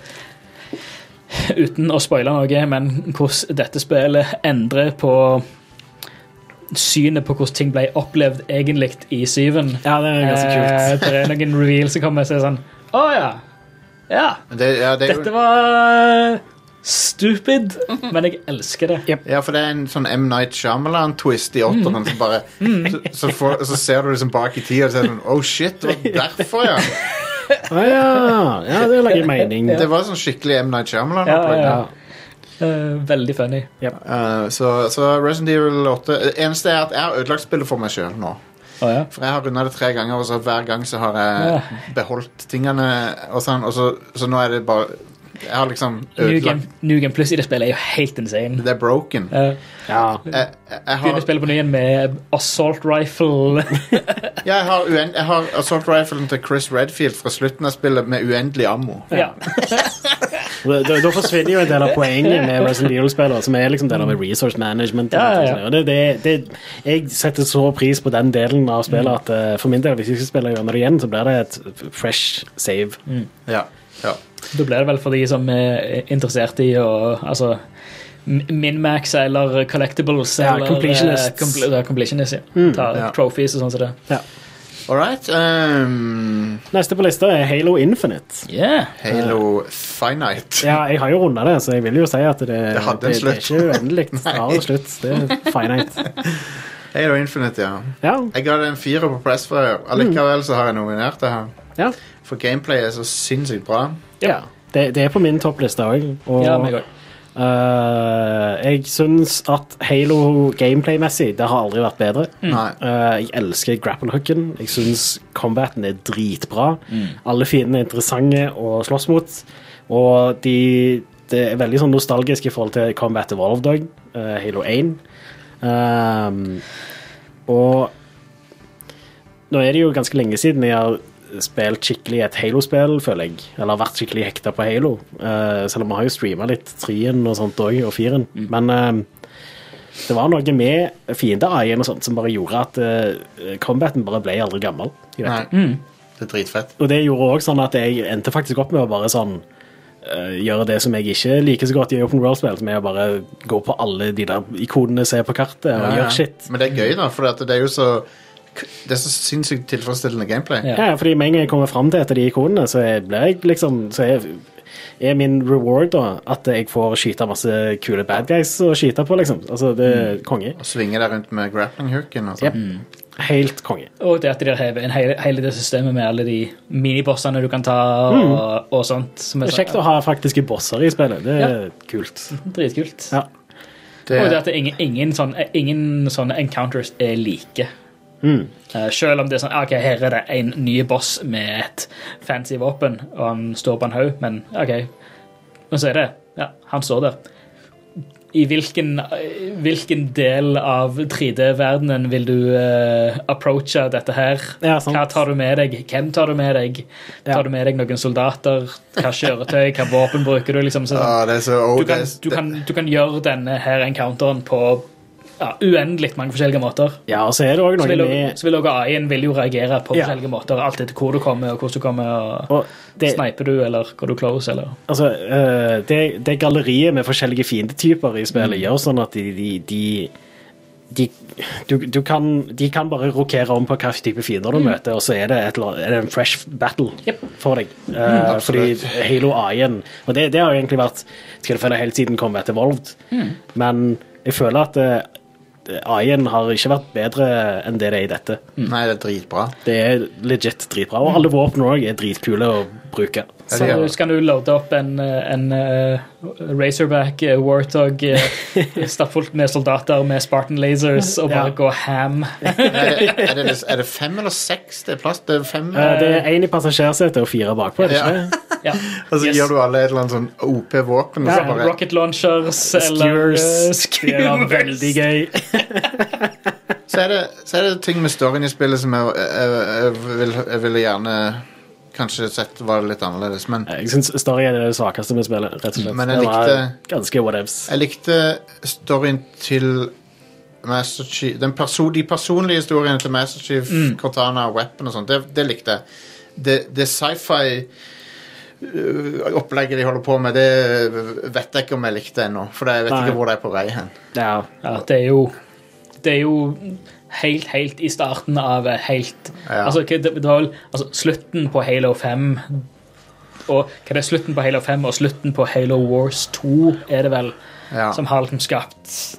Speaker 4: Uten å spoile noe, men hvordan dette spillet endrer på synet på hvordan ting ble opplevd egentlig i syven.
Speaker 2: Ja, det er ganske kult.
Speaker 4: Eh, det er noen reveals som kommer og sier sånn Å ja. Ja,
Speaker 1: Men Det, ja, det er
Speaker 4: dette
Speaker 1: jo,
Speaker 4: var eh, stupid, men jeg elsker det.
Speaker 1: ja, for det er en sånn M. Night Shyamalan-twist i
Speaker 4: Mm.
Speaker 1: åtteren som bare så, så, får- så ser du liksom bak i tida og sier sånn Oh shit, det var derfor, ja.
Speaker 2: Å ja. ja, det lager mening.
Speaker 1: Det var sånn skikkelig M. Night
Speaker 4: Ja,
Speaker 1: Shyamalan-opplegg.
Speaker 4: ja, ja. Eh, veldig funny.
Speaker 1: Eh, så, så Resident Evil 8 Det eneste er at jeg har ødelagt spillet for meg sjøl nå.
Speaker 4: Å ja.
Speaker 1: For jeg har runda det tre ganger, og så hver gang så har jeg beholdt tingene. Og sånn, og så, så nå er det bare Jeg har liksom
Speaker 4: Nugen,
Speaker 1: ødelagt
Speaker 4: Nugen pluss i det spillet er jo helt insane.
Speaker 1: Det er broken.
Speaker 4: Eh,
Speaker 2: Ja.
Speaker 1: Jeg, jeg, jeg har,
Speaker 4: Begynner å spille på ny igjen med assault rifle.
Speaker 1: ja, jeg, har uend, jeg har assault riflen til Chris Redfield fra slutten av spillet med uendelig ammo.
Speaker 4: ja.
Speaker 2: Og Da, da- da forsvinner jo en del av poenget med Resident Evil-spillere, som er liksom del av resource management. og
Speaker 4: Ja, ja,
Speaker 2: sånt
Speaker 4: ja.
Speaker 2: og sånt. Og Det, det, det, jeg setter så pris på den delen av spillet at eh, for min del, hvis jeg skal spille gjennom det igjen, så blir det et fresh save.
Speaker 1: Ja. ja.
Speaker 4: Da blir det vel for de som er interessert i å altså, Minmax eller collectibles
Speaker 2: Ja, Mm.
Speaker 4: eller
Speaker 2: completionists.
Speaker 4: eh, compl- ja, completionists, ja. Ta
Speaker 1: Ja.
Speaker 4: trophies og sånn som det.
Speaker 1: All right. ehm,
Speaker 2: Neste på lista er Halo Infinite.
Speaker 4: Yeah.
Speaker 1: Halo Finite.
Speaker 2: Ja, jeg har jo runda det, så jeg vil jo si at det,
Speaker 1: Det hadde en
Speaker 2: det, det er
Speaker 1: slutt.
Speaker 2: ikke uendelig. Det har en slutt. Det er finite.
Speaker 1: Halo Infinite, ja.
Speaker 2: Ja,
Speaker 1: Jeg ga det en firer på Pressfire. Allikevel så har jeg nominert det her.
Speaker 2: ja.
Speaker 1: For gameplay er så sinnssykt bra.
Speaker 2: ja. Det, det er på min toppliste òg. Og
Speaker 4: Ja, meg òg.
Speaker 2: eh, jeg syns at Halo gameplay-messig, det har aldri vært bedre.
Speaker 4: Mm.
Speaker 1: Nei.
Speaker 2: Eh, jeg elsker grapplehooken. Jeg syns combaten er dritbra. Alle fiendene er interessante å slåss mot. Og de, det er veldig sånn nostalgisk i forhold til Combat Evolved òg, Halo 1. Ehm, og nå er det jo ganske lenge siden jeg har spilt skikkelig et Halo-spill, føler jeg. Eller vært skikkelig hekta på Halo. Eh, selv om vi har jo streama litt trien og sånt òg, og firen.
Speaker 1: Mm.
Speaker 2: Men eh, det var noe med fiende-AI-en og sånt som bare gjorde at eh, combaten bare ble aldri gammel. Jeg vet
Speaker 1: Nei.
Speaker 2: ikke.
Speaker 1: Det er dritfett.
Speaker 2: Og det gjorde også sånn at jeg endte faktisk opp med å bare sånn eh, gjøre det som jeg ikke liker så godt i open world-spill, som er å bare gå på alle de der ikonene, se på kartet og
Speaker 1: Ja, ja.
Speaker 2: gjøre shit.
Speaker 1: Men det er gøy, da, for at det er jo så Det er så sinnssykt tilfredsstillende gameplay.
Speaker 4: Ja.
Speaker 2: Ja, fordi med en gang jeg kommer fram til et av de ikonene, så er- blir jeg liksom Så er, er min reward da at jeg får skyte masse kule bad guys å skyte på, liksom. Altså, det er
Speaker 4: Mm.
Speaker 2: konge.
Speaker 1: Å svinge deg rundt med grappling hooken og
Speaker 2: Jep.
Speaker 1: sånn.
Speaker 2: Helt konge.
Speaker 4: Og det at de har hevet inn hele, hele det systemet med alle de minibossene du kan ta og, og sånt. Som
Speaker 2: Mm. Det er kjekt å ha faktiske bosser i spillet. Det er kult.
Speaker 4: Dritkult.
Speaker 2: Ja.
Speaker 1: Det,
Speaker 4: Og det at det ingen, ingen, sånn, ingen sånne encounters er like. Eh, selv om det er sånn OK, her er det en ny boss med et fancy våpen, og han står på en haug, men OK. Men så er det Ja, han står der. I hvilken, eh, hvilken del av 3D-verdenen vil du eh, approache dette her?
Speaker 2: Ja, sant.
Speaker 4: Hva tar du med deg? Hvem tar du med deg?
Speaker 2: Ja.
Speaker 4: Tar du med deg noen soldater? Hva kjøretøy? Hva våpen bruker du? Liksom, så, sånn,
Speaker 1: ah, det er så
Speaker 4: du kan,
Speaker 1: det-
Speaker 4: du, kan, du kan gjøre denne her encounteren på ja, uendelig mange forskjellige måter.
Speaker 2: ja, og så er det òg
Speaker 4: Så vil,
Speaker 2: noe
Speaker 4: også-
Speaker 2: med
Speaker 4: så vil også AI-en vil jo reagere på
Speaker 2: Ja.
Speaker 4: forskjellige måter, alt etter hvor du kommer, og hvordan du kommer, og
Speaker 2: og det,
Speaker 4: sniper du, eller går du close, eller
Speaker 2: altså, eh, det, det galleriet med forskjellige fiendetyper i spillet gjør sånn at de, de, de, de du, du kan, de kan bare rokere om på hvilken type fiender du møter, og så er det, et, eller annet- er det en fresh battle for deg. Eh, fordi Halo AI-en Og det, det har jo egentlig vært skal jeg føle, helt siden kom etter Volvd, men jeg føler at eh, AI-en har ikke vært bedre enn det det er i dette.
Speaker 1: Nei, det er dritbra.
Speaker 2: Det er legit dritbra, og alle våpen òg er dritkule å bruke.
Speaker 1: Ja,
Speaker 4: Så
Speaker 1: det gjør det.
Speaker 4: kan du loade opp en, en eh, Razorback eh, Warthog, eh, stappfullt med soldater med Spartan lasers, og bare
Speaker 2: Ja.
Speaker 4: gå ham.
Speaker 1: er, det, er, det, er det fem eller seks det er plass? Det er fem,
Speaker 2: Eh, Det er én i passasjersetet og fire bakpå. er det ikke det?
Speaker 4: Ja.
Speaker 1: og så
Speaker 4: yes.
Speaker 1: Altså, gjør du alle et eller annet sånn OP-våpen. og
Speaker 4: Ja,
Speaker 1: så bare-
Speaker 4: rocket launchers, eller
Speaker 2: Skewers.
Speaker 4: eh,
Speaker 2: Det er veldig
Speaker 4: skewers.
Speaker 2: gøy.
Speaker 1: så, er det, så er det ting med storyen i spillet som jeg, jeg, jeg, vil, jeg ville gjerne kanskje sett var litt annerledes, men
Speaker 2: Eh, Jeg syns storyen er det svakeste med spillet. rett og slett.
Speaker 1: Men jeg
Speaker 2: Det var
Speaker 1: likte-
Speaker 2: Ganske whatevs.
Speaker 1: jeg likte storyen til Master Chief den perso De personlige historiene til Master Chief,
Speaker 2: Mm.
Speaker 1: Cortana og Weapon og sånt, det, det likte jeg. Det, det sci-fi-opplegget de holder på med, det vet jeg ikke om jeg likte ennå. For jeg vet
Speaker 2: Nei.
Speaker 1: ikke hvor det er på vei hen.
Speaker 2: Ja.
Speaker 4: Ja, det er jo Det er jo helt, helt i starten av et helt
Speaker 1: Ja.
Speaker 4: altså, hva- det, det var vel altså, slutten på Halo 5 og hva det er slutten på Halo 5 og slutten på Halo Wars 2, er det vel,
Speaker 1: Ja.
Speaker 4: som har liksom skapt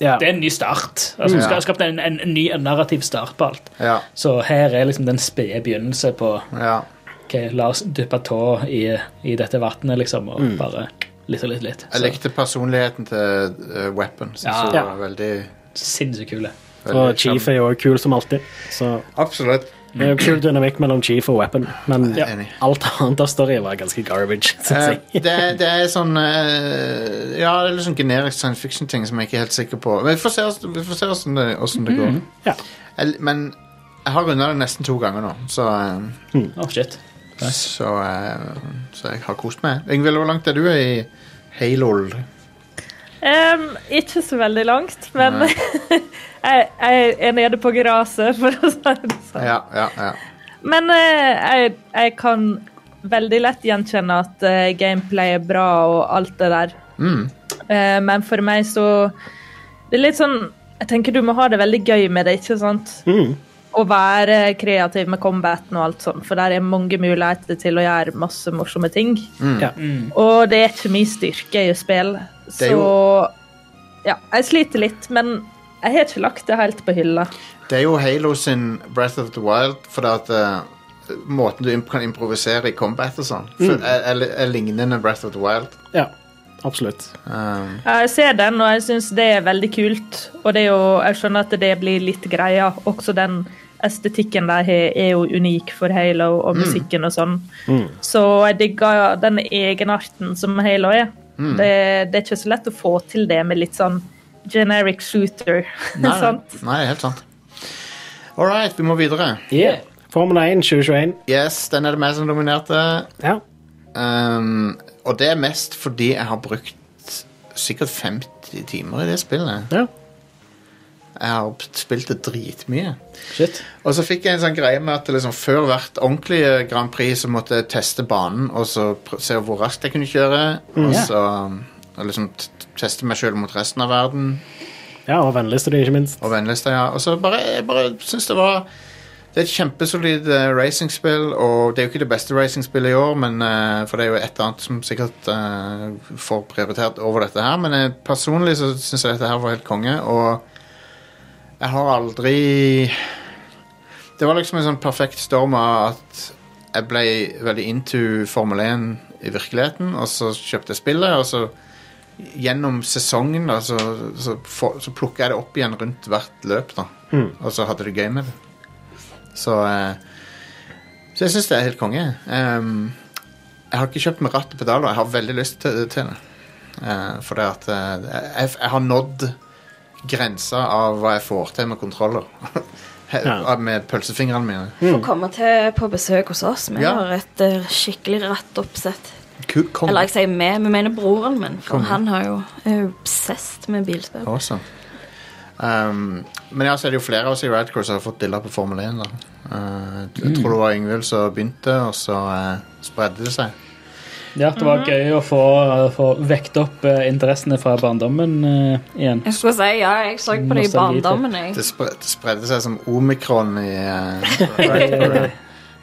Speaker 2: Ja.
Speaker 4: Det er en ny start. Altså,
Speaker 1: Ja.
Speaker 4: ja. Skapt en, en, en ny narrativ start på alt.
Speaker 1: Ja,
Speaker 4: Så her er liksom den spede begynnelse på
Speaker 1: ja.
Speaker 4: ok, La oss dyppe tå i, i dette vannet, liksom, og bare litt og litt, litt.
Speaker 1: Mm. Jeg likte personligheten til eh, Weapon. Synes
Speaker 4: Ja.
Speaker 1: jeg
Speaker 2: Ja.
Speaker 1: var veldig,
Speaker 4: Sinnssykt kule.
Speaker 1: veldig
Speaker 2: Og Chief er jo kul som alltid. Så
Speaker 1: sjarm- Absolutt.
Speaker 2: det er jo kul dynamikk mellom Chief og Weapon, men
Speaker 1: Jeg er enig.
Speaker 2: alt annet av storyen var ganske garbage. Synes jeg.
Speaker 1: Eh, det, er- det er sånn eh, Ja, det er litt sånn generisk science fiction-ting som jeg ikke er helt sikker på. Men Vi får se, oss- vi får se hvordan, det, hvordan det går.
Speaker 2: Ja.
Speaker 1: Jeg, men jeg har runda det nesten to ganger nå, så eh,
Speaker 4: Å, shit.
Speaker 1: Så, eh, så jeg har kost meg. Yngvild, hvor langt er du i Halo?
Speaker 5: Ehm, ikke så veldig langt, men
Speaker 1: Nei.
Speaker 5: jeg, jeg er nede på gresset, for å si det sånn.
Speaker 1: Ja, ja, ja.
Speaker 5: Men eh, jeg, jeg kan veldig lett gjenkjenne at eh, gameplay er bra og alt det der.
Speaker 1: Mm.
Speaker 5: Eh, men for meg så Det er litt sånn Jeg tenker du må ha det veldig gøy med det, ikke sant?
Speaker 2: Mm.
Speaker 5: Å være kreativ med combaten og alt sånt, for der er mange muligheter til å gjøre masse morsomme ting.
Speaker 1: mm.
Speaker 2: Ja.
Speaker 5: Og det er ikke min styrke i spill,
Speaker 1: er
Speaker 5: så
Speaker 1: jo-
Speaker 5: Ja, jeg sliter litt, men jeg har ikke lagt det helt på hylla.
Speaker 1: Det er jo Halo sin Breath of the Wild, for at eh, måten du imp kan improvisere i combat og sånn, for- er, er, li- er lignende Breath of the Wild.
Speaker 2: ja. Absolutt.
Speaker 1: Um,
Speaker 5: Ja, Jeg ser den, og jeg syns det er veldig kult. Og det er jo, jeg skjønner at det blir litt greia. Også den estetikken de har, er jo unik for Halo
Speaker 1: Mm.
Speaker 5: og musikken og sånn. Så jeg digger den egenarten som Halo er.
Speaker 1: Mm.
Speaker 5: Det, det er ikke så lett å få til det med litt sånn generic shooter. sånn.
Speaker 1: nei,
Speaker 5: sant?
Speaker 1: nei, helt sant. All right, vi må videre.
Speaker 2: Yeah. Formel 1 2021.
Speaker 1: Yes, den er det meg som dominerte.
Speaker 2: Ja.
Speaker 1: Um, og det er mest fordi jeg har brukt sikkert 50 timer i det spillet.
Speaker 2: ja.
Speaker 1: Jeg har spilt det dritmye.
Speaker 4: Shit.
Speaker 1: Og så fikk jeg en sånn greie med at liksom, før hvert ordentlig eh, Grand Prix så måtte jeg teste banen og så pr- se hvor raskt jeg kunne kjøre. Og
Speaker 4: Ja.
Speaker 1: så um, og liksom t- t- teste meg sjøl mot resten av verden
Speaker 2: ja, og vennligste de, ikke minst.
Speaker 1: og vennlista. Ja. Og så bare, jeg bare syns det var Det er et kjempesolid eh, racingspill, og det er jo ikke det beste racingspillet i år, men, eh, for det er jo et annet som sikkert eh, får prioritert over dette her, men eh, personlig så syns jeg dette her var helt konge, og jeg har aldri Det var liksom en sånn perfekt storm av at jeg ble veldig into Formel 1 i virkeligheten, og så kjøpte jeg spillet, og så gjennom sesongen da, så, så, få- så plukka jeg det opp igjen rundt hvert løp, da. Og så hadde det gøy med det. Så eh, Så jeg syns det er helt konge. Ehm, jeg har ikke kjøpt med ratt og pedaler. Jeg har veldig lyst til, til det. Eh, for det at eh, jeg, jeg har nådd grensa av hva jeg får til med kontroller.
Speaker 2: Ja.
Speaker 1: med pølsefingrene mine.
Speaker 6: Få komme til på besøk hos oss. Vi
Speaker 1: Ja.
Speaker 6: har et eh, skikkelig rattoppsett.
Speaker 1: Ku- Konge.
Speaker 6: Eller jeg sier med, vi mener broren min. For han har jo, er jo obsessed med bilspill.
Speaker 1: Awesome. Um, men ja, så er det jo flere av oss i Radcross som har fått dilla på Formel 1. Da. Uh, jeg tror det var Yngvild som begynte, og så eh, spredde det seg.
Speaker 4: Ja, det
Speaker 5: Mhm.
Speaker 4: var gøy å få, få vekt opp eh, interessene fra barndommen eh, igjen.
Speaker 6: Jeg skulle si ja, jeg så på det i
Speaker 4: Nostalgi, typ.
Speaker 6: barndommen. Jeg.
Speaker 1: Det, spre det spredde seg som omikron i eh,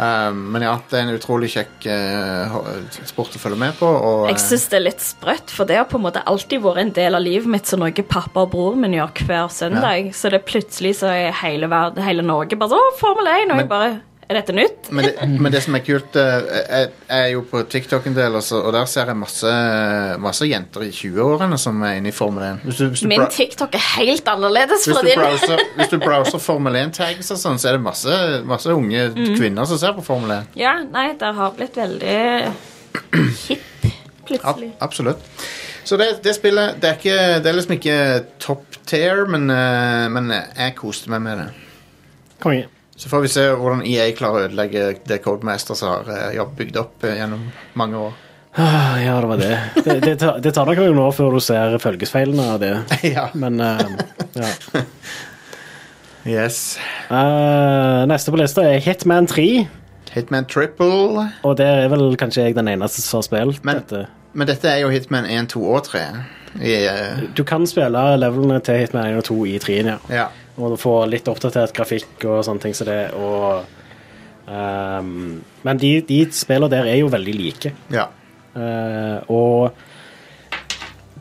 Speaker 1: um, Men ja, det er en utrolig kjekk eh, ho- sport å følge med på. Og, eh,
Speaker 6: Jeg syns det er litt sprøtt, for det har på en måte alltid vært en del av livet mitt, så noe pappa og broren min gjør hver søndag. Så det er plutselig så er hele, verden, hele Norge bare sånn Å, Formel 1! Og
Speaker 1: Men-
Speaker 6: jeg bare Er dette nytt?
Speaker 1: men, det, men det som er kult eh, Jeg, jeg er jo på TikTok en del, og, så, og der ser jeg masse, uh, masse jenter i 20-årene som er inne i Formel 1. Hvis du, hvis du
Speaker 6: Min
Speaker 1: bra-
Speaker 6: TikTok er helt annerledes
Speaker 1: Hvis
Speaker 6: fra
Speaker 1: du,
Speaker 6: din.
Speaker 1: browser, hvis du browser Formel 1-tags og sånn, så er det masse, masse unge
Speaker 6: Mm.
Speaker 1: kvinner som ser på Formel 1.
Speaker 6: Ja, nei, det har blitt veldig hip
Speaker 1: Ab
Speaker 6: plutselig.
Speaker 1: absolutt. Så det, det spillet det er, ikke, det er liksom ikke top tier, men, eh, men jeg koste meg med det.
Speaker 2: Konge.
Speaker 1: Så får vi se hvordan EA klarer å ødelegge det Codemasters har eh, jobb- bygd opp eh, gjennom mange år.
Speaker 2: Ah, ja, det var det. Det, det, tar, det tar nok noen år før du ser følgesfeilene av det,
Speaker 1: ja.
Speaker 2: men eh, ja.
Speaker 1: Yes.
Speaker 2: Eh, neste på lista er Hitman 3,
Speaker 1: Hitman Triple.
Speaker 2: og der er vel kanskje jeg den eneste som har spilt
Speaker 1: Men-
Speaker 2: dette.
Speaker 1: Men dette er jo Hitman 1, 2 og 3. I, eh,
Speaker 2: Du kan spille levelene til Hitman 1 og 2 i 3-en, ja.
Speaker 1: ja.
Speaker 2: Og du får litt oppdatert grafikk og sånne ting som det, og ehm, Men de, de spillene der er jo veldig like.
Speaker 1: ja.
Speaker 2: Eh, og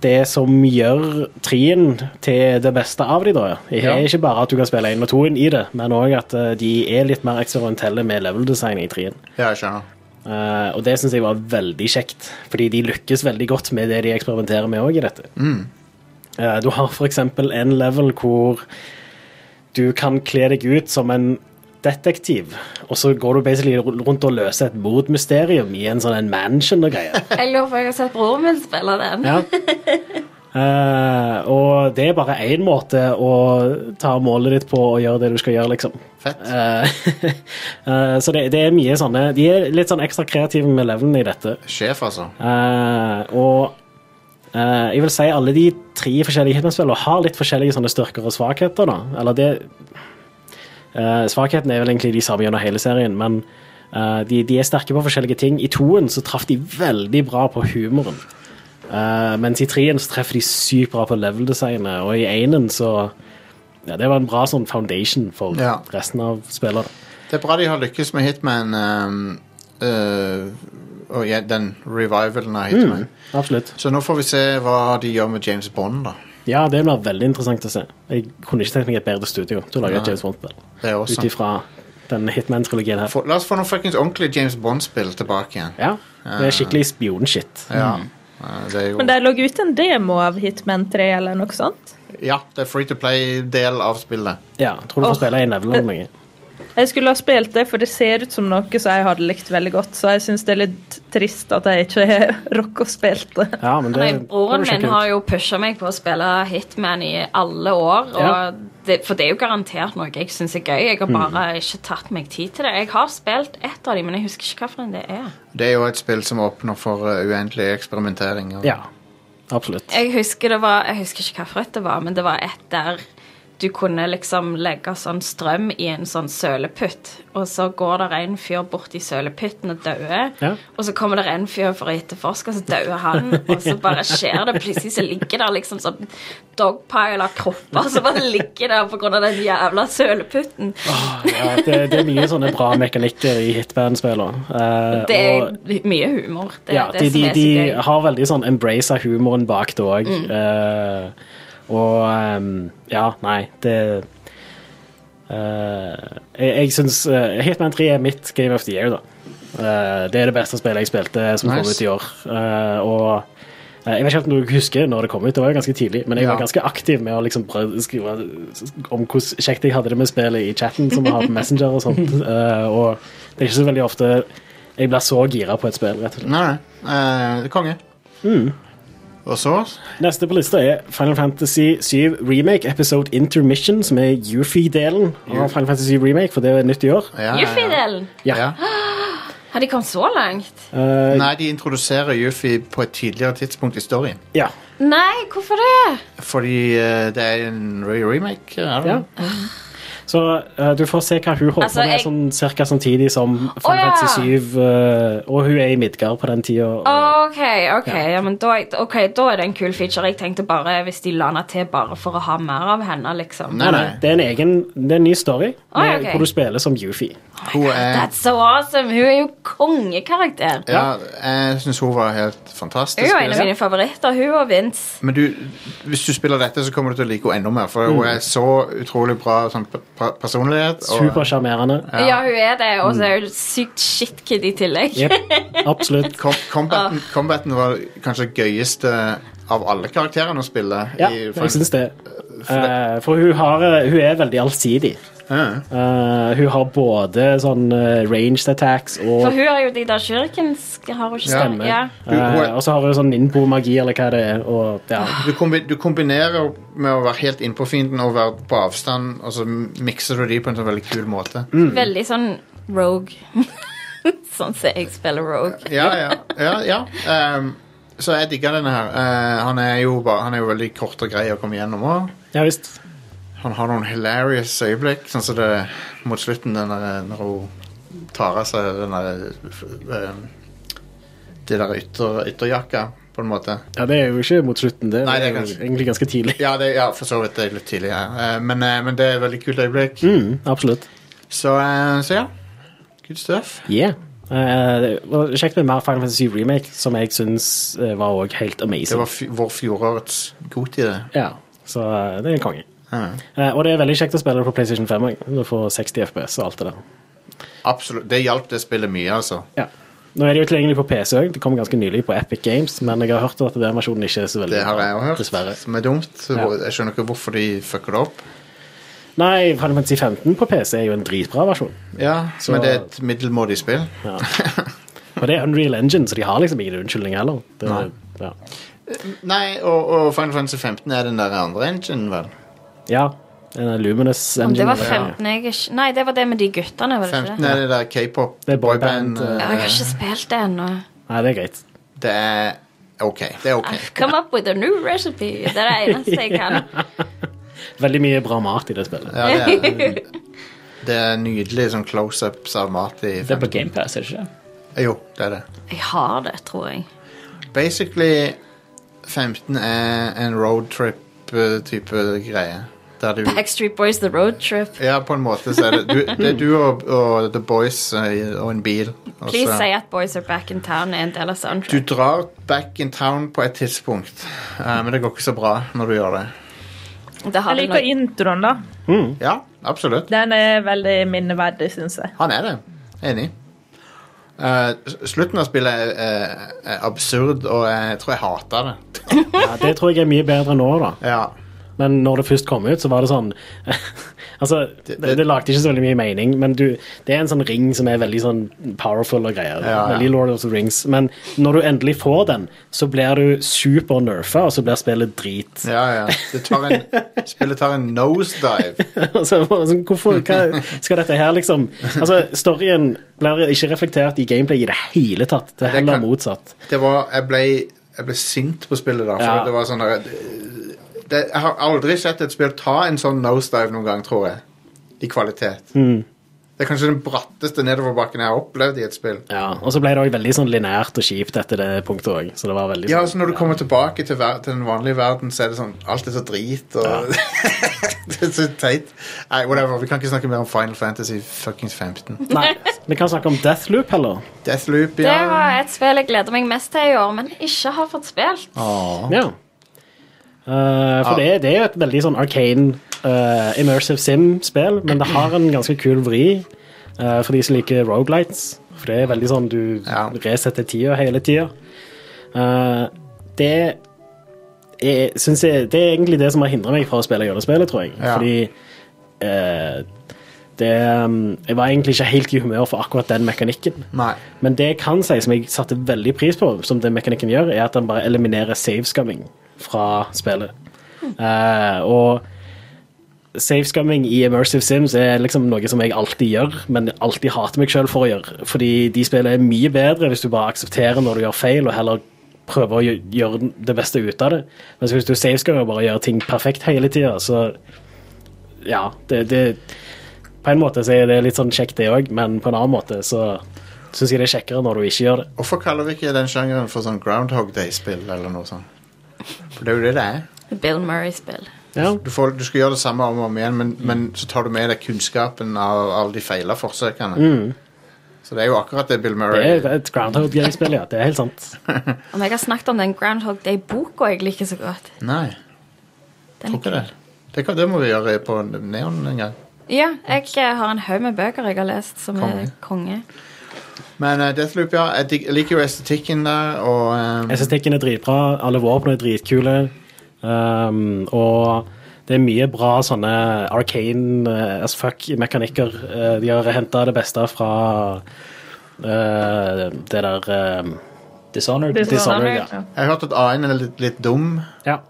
Speaker 2: det som gjør trien til det beste av de, da, er
Speaker 1: Ja.
Speaker 2: ikke bare at du kan spille én og toen i det, men òg at eh, de er litt mer eksperimentelle med leveldesign i trien.
Speaker 1: Ja, jeg skjønner.
Speaker 2: Eh, og det syns jeg var veldig kjekt, fordi de lykkes veldig godt med det de eksperimenterer med òg i dette. Eh, du har f.eks. en level hvor du kan kle deg ut som en detektiv, og så går du basically rundt og løser et mordmysterium i en sånn en mansion og greier.
Speaker 6: Jeg lurer på om jeg har sett broren min spille den.
Speaker 2: Ja. Eh, og det er bare én måte å ta målet ditt på og gjøre det du skal gjøre, liksom.
Speaker 1: Fett.
Speaker 2: Eh, eh, så det, det er mye sånne De er litt sånn ekstra kreative med levelene i dette.
Speaker 1: Sjef, altså.
Speaker 2: Eh, og eh, jeg vil si alle de tre forskjellige hitmanspillene har litt forskjellige sånne styrker og svakheter. da. Eller det eh, Svakheten er vel egentlig de samme gjennom hele serien, men eh, de, de er sterke på forskjellige ting. I toen så traff de veldig bra på humoren. Eh, mens i treen så treffer de sykt bra på level-designet, og i enen så ja, Det var en bra sånn foundation for
Speaker 1: Ja.
Speaker 2: resten av spillere.
Speaker 1: Det er bra de har lykkes med Hitman ehm, øh, og ja, den revivalen av Hitman.
Speaker 2: Mm. Absolutt.
Speaker 1: Så nå får vi se hva de gjør med James Bond, da.
Speaker 2: Ja, det blir veldig interessant å se. Jeg kunne ikke tenkt meg et bedre studio til å lage et
Speaker 1: Nei.
Speaker 2: James Bond-spill.
Speaker 1: Det er
Speaker 2: Ut
Speaker 1: også.
Speaker 2: ifra den Hitman-trilogien her.
Speaker 1: Få- la oss få noen fuckings ordentlige James Bond-spill tilbake igjen.
Speaker 2: Ja, Det er skikkelig spionshit.
Speaker 1: Ja. Eh, Det er jo,
Speaker 5: Men de lå ut en demo av Hitman 3 eller noe sånt.
Speaker 1: ja, det er free to play-del av spillet.
Speaker 2: Ja, tror du får
Speaker 5: Åh.
Speaker 2: spille i level eller noe.
Speaker 5: Jeg skulle ha spilt det, for det ser ut som noe som jeg hadde likt veldig godt, så jeg syns det er litt trist at jeg ikke rakk å spille det.
Speaker 2: Ja, men det
Speaker 3: Nei, eh, broren
Speaker 2: det var
Speaker 3: min
Speaker 2: skikkelig.
Speaker 3: har jo pusha meg på å spille Hitman i alle år. Og
Speaker 2: Ja.
Speaker 3: det, for det er jo garantert noe jeg syns er gøy. Jeg har
Speaker 2: Mm.
Speaker 3: bare ikke tatt meg tid til det. Jeg har spilt ett av dem, men jeg husker ikke hvilken det er.
Speaker 1: Det er jo et spill som åpner for eh, uendelig eksperimentering. Og,
Speaker 2: Ja, absolutt.
Speaker 3: Jeg husker, det var, jeg husker ikke hvilket det var, men det var et der du kunne liksom legge sånn strøm i en sånn søleputt, og så går der en fyr bort i søleputten og dauer.
Speaker 2: Ja.
Speaker 3: Og så kommer det en fyr for å etterforske, og så dauer han. Og så bare skjer det. Plutselig så ligger der liksom sånn dogpile av kropper som bare ligger der pga. den jævla søleputten.
Speaker 2: Ja, det, det er mye sånne bra mekanikker i Hitman-spillene. Eh,
Speaker 3: Det
Speaker 2: og-
Speaker 3: er litt mye humor. Det er
Speaker 2: ja,
Speaker 3: det
Speaker 2: de,
Speaker 3: som
Speaker 2: de,
Speaker 3: er
Speaker 2: de
Speaker 3: så gøy. Mm.
Speaker 2: har veldig sånn embrace av humoren bak det òg. og ehm, ja, nei, det eh, Jeg, jeg syns eh, Hitman 3 er mitt Game of the Year, da. Eh, det er det beste spillet jeg spilte som kom
Speaker 1: Nice.
Speaker 2: ut i år. Eh, og eh, jeg vet ikke helt om du husker når det kom ut, det var jo ganske tidlig, men jeg
Speaker 1: Ja.
Speaker 2: var ganske aktiv med å liksom prøve å skrive om hvor kjekt jeg hadde det med spillet i chatten, som vi har på Messenger og sånt. Eh, og det er ikke så veldig ofte jeg blir så gira på et spill, rett og slett.
Speaker 1: Nei, nei. eh, konge. Og så
Speaker 2: Neste på lista er Final Fantasy 7 Remake Episode Intermission, som er Yuffie-delen av Final Fantasy 7 Remake, for det er nytt i år.
Speaker 1: ja,
Speaker 3: Yuffie-delen.
Speaker 1: Ja. Ja.
Speaker 3: Har de kommet så langt?
Speaker 2: Eh,
Speaker 1: Nei, de introduserer Yuffie på et tidligere tidspunkt i storyen.
Speaker 2: ja.
Speaker 3: Nei, hvorfor det?
Speaker 1: Fordi eh, det er en re remake. Er det?
Speaker 2: Ja. Så eh, du får se hva hun holder
Speaker 3: Altså,
Speaker 2: på med
Speaker 3: jeg-
Speaker 2: sånn, cirka samtidig som Final
Speaker 3: Å, ja.
Speaker 2: Fantasy 7, eh, og hun er i Midgard på den tida. og-
Speaker 3: OK, ok, ja, men da, ok, da er det en kul feature. Jeg tenkte bare hvis de la henne til bare for å ha mer av henne, liksom.
Speaker 1: Nei, nei.
Speaker 2: Det er en egen, det er en ny story,
Speaker 3: Å, ja,
Speaker 2: med-
Speaker 3: ok.
Speaker 2: hvor du spiller som Yuffie.
Speaker 1: Hun er
Speaker 3: That's so awesome! Hun er jo kongekarakter.
Speaker 1: ja, jeg syns hun var helt fantastisk.
Speaker 3: Hun er jo en av mine favoritter, hun og Vince.
Speaker 1: Men du, hvis du spiller dette, så kommer du til å like henne enda mer. For
Speaker 2: Mm.
Speaker 1: hun er så utrolig bra sånn, pe- pe- personlighet. og-
Speaker 2: Supersjarmerende.
Speaker 3: Ja, Mm. hun er det, og så er hun sykt shitkid i tillegg.
Speaker 2: Jep, absolutt.
Speaker 1: Com
Speaker 3: Ah.
Speaker 1: combaten, combaten var kanskje gøyeste av alle karakterene å spille.
Speaker 2: Ja,
Speaker 1: i
Speaker 2: jeg
Speaker 1: Final-
Speaker 2: syns det. Eh, for hun, har, eh, hun er veldig allsidig.
Speaker 1: Ja.
Speaker 2: Eh, hun har både sånn eh, ranged attacks og
Speaker 3: For hun har jo de der shurikens, har hun ikke
Speaker 1: Ja.
Speaker 3: stemme? Ja.
Speaker 1: Hun- hun er-
Speaker 2: Eh, og så har hun sånn ninbo-magi, eller hva det er. Og, ja.
Speaker 1: Du, kombi du kombinerer med å være helt innpå fienden og være på avstand, og så mikser du de på en sånn veldig kul måte.
Speaker 3: Veldig sånn rogue. sånn som jeg spiller rogue.
Speaker 1: Ja, ja, ja, ja. Ehm, så jeg digger denne her. Eh, han, er jo bare, han er jo veldig kort og grei å komme gjennom òg.
Speaker 2: ja visst.
Speaker 1: Han har noen hilarious øyeblikk, sånn som det mot slutten den der, når hun tar av seg den der eh, Det der ytter, ytterjakka, på en måte.
Speaker 2: Ja, det er jo ikke mot slutten, det,
Speaker 1: Nei, det er
Speaker 2: er jo
Speaker 1: kanskje-
Speaker 2: egentlig ganske tidlig.
Speaker 1: Ja, det, ja, for så vidt. Det er litt tidlig. Ja. Eh, Men, eh, men det er et veldig kult øyeblikk.
Speaker 2: Mm, absolutt.
Speaker 1: Så, eh, så ja. Good stuff.
Speaker 2: Yeah. Eh, det var kjekt med mer Final Fantasy 7 Remake, som jeg syns eh, var òg helt
Speaker 1: Det
Speaker 2: amazing.
Speaker 1: var fj vår fjorårets god i det.
Speaker 2: Ja, Så eh, det er en konge.
Speaker 1: Ja.
Speaker 2: Eh, og det er veldig kjekt å spille det på PlayStation 5 òg. Du får 60 FPS og alt det der.
Speaker 1: Absolutt. Det hjalp det spillet mye, altså.
Speaker 2: Ja. Nå er det jo tilgjengelig på PC òg. Det kom ganske nylig på Epic Games, men jeg har hørt at den versjonen ikke er så veldig
Speaker 1: Det har jeg også hørt,
Speaker 2: Dessverre.
Speaker 1: som er dumt. Så
Speaker 2: Ja.
Speaker 1: Jeg skjønner ikke hvorfor de fucker det opp.
Speaker 2: Nei, Final Fantasy 15 på PC er jo en dritbra versjon.
Speaker 1: Ja,
Speaker 2: Så-
Speaker 1: Men det er et middelmådig spill.
Speaker 2: Og det er Unreal Engine, så de har liksom ingen unnskyldning heller. Det,
Speaker 1: Nei.
Speaker 2: ja.
Speaker 1: Nei, og, og Final Fantasy 15 er den der andre engine, vel?
Speaker 2: Ja. denne Luminous
Speaker 3: Om det var
Speaker 2: Engine.
Speaker 3: 15 jeg ikke Nei, det var det med de guttene, var det ikke
Speaker 1: 15
Speaker 3: det?
Speaker 1: er det der k-pop.
Speaker 2: Det er boyband,
Speaker 1: boyband,
Speaker 3: Ja, jeg har
Speaker 1: eh,
Speaker 3: ikke spilt det ennå.
Speaker 2: Nei, det er greit.
Speaker 1: Det er OK. Det er OK.
Speaker 3: I've come up with a new recipe. Det er det eneste jeg kan.
Speaker 2: Veldig mye bra mat i det spillet.
Speaker 1: Ja, det, er, det er nydelig sånn close-ups av mat i
Speaker 4: Det er på
Speaker 1: 15.
Speaker 4: GamePass, er det ikke? det?
Speaker 1: Jo, det er det.
Speaker 3: Jeg har det, tror jeg.
Speaker 1: Basically 15 er en roadtrip-type greie. Der du
Speaker 3: Backstreet Boys The Road Trip.
Speaker 1: Ja, på en måte så er det du, det er du og, og The Boys eh, og en bil. og
Speaker 3: Please
Speaker 1: så-
Speaker 3: say at Boys Are Back in Town er en del av
Speaker 1: Du
Speaker 3: soundtrack.
Speaker 1: drar back in town på et tidspunkt, eh, men det går ikke så bra når du gjør det.
Speaker 3: Det har
Speaker 5: Jeg
Speaker 3: det
Speaker 5: liker
Speaker 3: noe
Speaker 5: introen, da.
Speaker 1: Ja, absolutt.
Speaker 5: Den er veldig minneverdig, syns jeg.
Speaker 1: Han er det. Enig. Eh, s- slutten av spillet er, er, er absurd, og jeg tror jeg hater det.
Speaker 2: Ja, det tror jeg er mye bedre nå, da.
Speaker 1: Ja,
Speaker 2: Men når det først kom ut, så var det sånn Altså, det, det lagde ikke så veldig mye mening, men du, det er en sånn ring som er veldig sånn powerful og greier.
Speaker 1: Ja, ja.
Speaker 2: Veldig Lord of the Rings. Men når du endelig får den, så blir du super-nerfa, og så blir spillet drit.
Speaker 1: ja, ja. Det tar en, spillet tar en nosedive.
Speaker 2: altså, bare sånn, hvorfor hva, skal dette her, liksom? Altså, storyen blir ikke reflektert i gameplay i det hele tatt. Det er heller
Speaker 1: kan-
Speaker 2: motsatt.
Speaker 1: Det var, jeg ble, jeg ble sint på spillet da, for
Speaker 2: Ja.
Speaker 1: det var sånn der, det, Jeg har aldri sett et spill ta en sånn nosedive noen gang, tror jeg. I kvalitet.
Speaker 2: Mm.
Speaker 1: Det er kanskje den bratteste nedoverbakken jeg har opplevd i et spill.
Speaker 2: Ja, og så ble det òg veldig sånn lineært og kjipt etter det punktet òg. Så det var veldig
Speaker 1: Ja,
Speaker 2: sånn-
Speaker 1: altså når du kommer tilbake til, ver til den vanlige verden, så er det sånn Alt er så drit, og Det er så teit. Nei, whatever. Vi kan ikke snakke mer om Final Fantasy fuckings 15.
Speaker 2: Nei, vi kan snakke om Deathloop heller.
Speaker 1: Deathloop,
Speaker 3: Det
Speaker 1: ja.
Speaker 3: var et spill jeg gleder meg mest til i år, men ikke har fått spilt.
Speaker 1: Åh.
Speaker 2: Ja. Eh, for det, det er jo et veldig sånn arcane eh, immersive sim-spill, men det har en ganske kul vri eh, for de som liker rogelights. For det er veldig sånn du
Speaker 1: Ja.
Speaker 2: resetter tida hele tida. Eh, det er, synes jeg, det er egentlig det som har hindra meg fra å spille gjennom spillet, tror jeg.
Speaker 1: Ja.
Speaker 2: Fordi eh, det um, Jeg var egentlig ikke helt i humør for akkurat den mekanikken.
Speaker 1: Nei.
Speaker 2: Men det jeg kan si, som jeg satte veldig pris på, som den mekanikken gjør, er at den bare eliminerer savescumming fra spillet. Eh, og savescumming i Immersive Sims er liksom noe som jeg alltid gjør, men alltid hater meg sjøl for å gjøre. Fordi de spillene er mye bedre hvis du bare aksepterer når du gjør feil, og heller prøver å gjø- gjøre det beste ut av det. Mens hvis du savescummer og bare gjør ting perfekt hele tida, så Ja, det, det På en måte så er det litt sånn kjekt, det òg, men på en annen måte så syns jeg det er kjekkere når du ikke gjør det.
Speaker 1: Hvorfor kaller vi ikke den sjangeren for sånn Groundhog Day-spill eller noe sånt? For det er jo det det er.
Speaker 3: Bill Murray-spill.
Speaker 2: Ja.
Speaker 1: Du, får, du skal gjøre det samme om og om igjen, men, men så tar du med deg kunnskapen av alle de feila forsøkene. Så det er jo akkurat det Bill
Speaker 2: Det
Speaker 1: Murray
Speaker 2: er et Groundhog Game-spill, ja. Det er helt sant.
Speaker 3: Om jeg har snakket om den Groundhog Day-boka jeg liker så godt.
Speaker 1: Nei, tror
Speaker 3: Den er
Speaker 1: ikke
Speaker 3: kul.
Speaker 1: det. Det, kan, det må vi gjøre på Neon en gang.
Speaker 3: Ja, jeg eh, har en haug med bøker jeg har lest som er konge.
Speaker 1: Men eh, Deathloop, ja. Jeg, dik- jeg liker jo estetikken der, og eh,
Speaker 2: Estetikken er dritbra, alle våpnene er dritkule. Um, og det er mye bra sånne arcane eh, as fuck-mekanikker. Eh, de har henta det beste fra eh, det der eh,
Speaker 4: Dishonored.
Speaker 5: Det er sånn.
Speaker 2: Dishonored, ja.
Speaker 1: jeg har hørt at A1 er litt, litt dum.
Speaker 2: ja.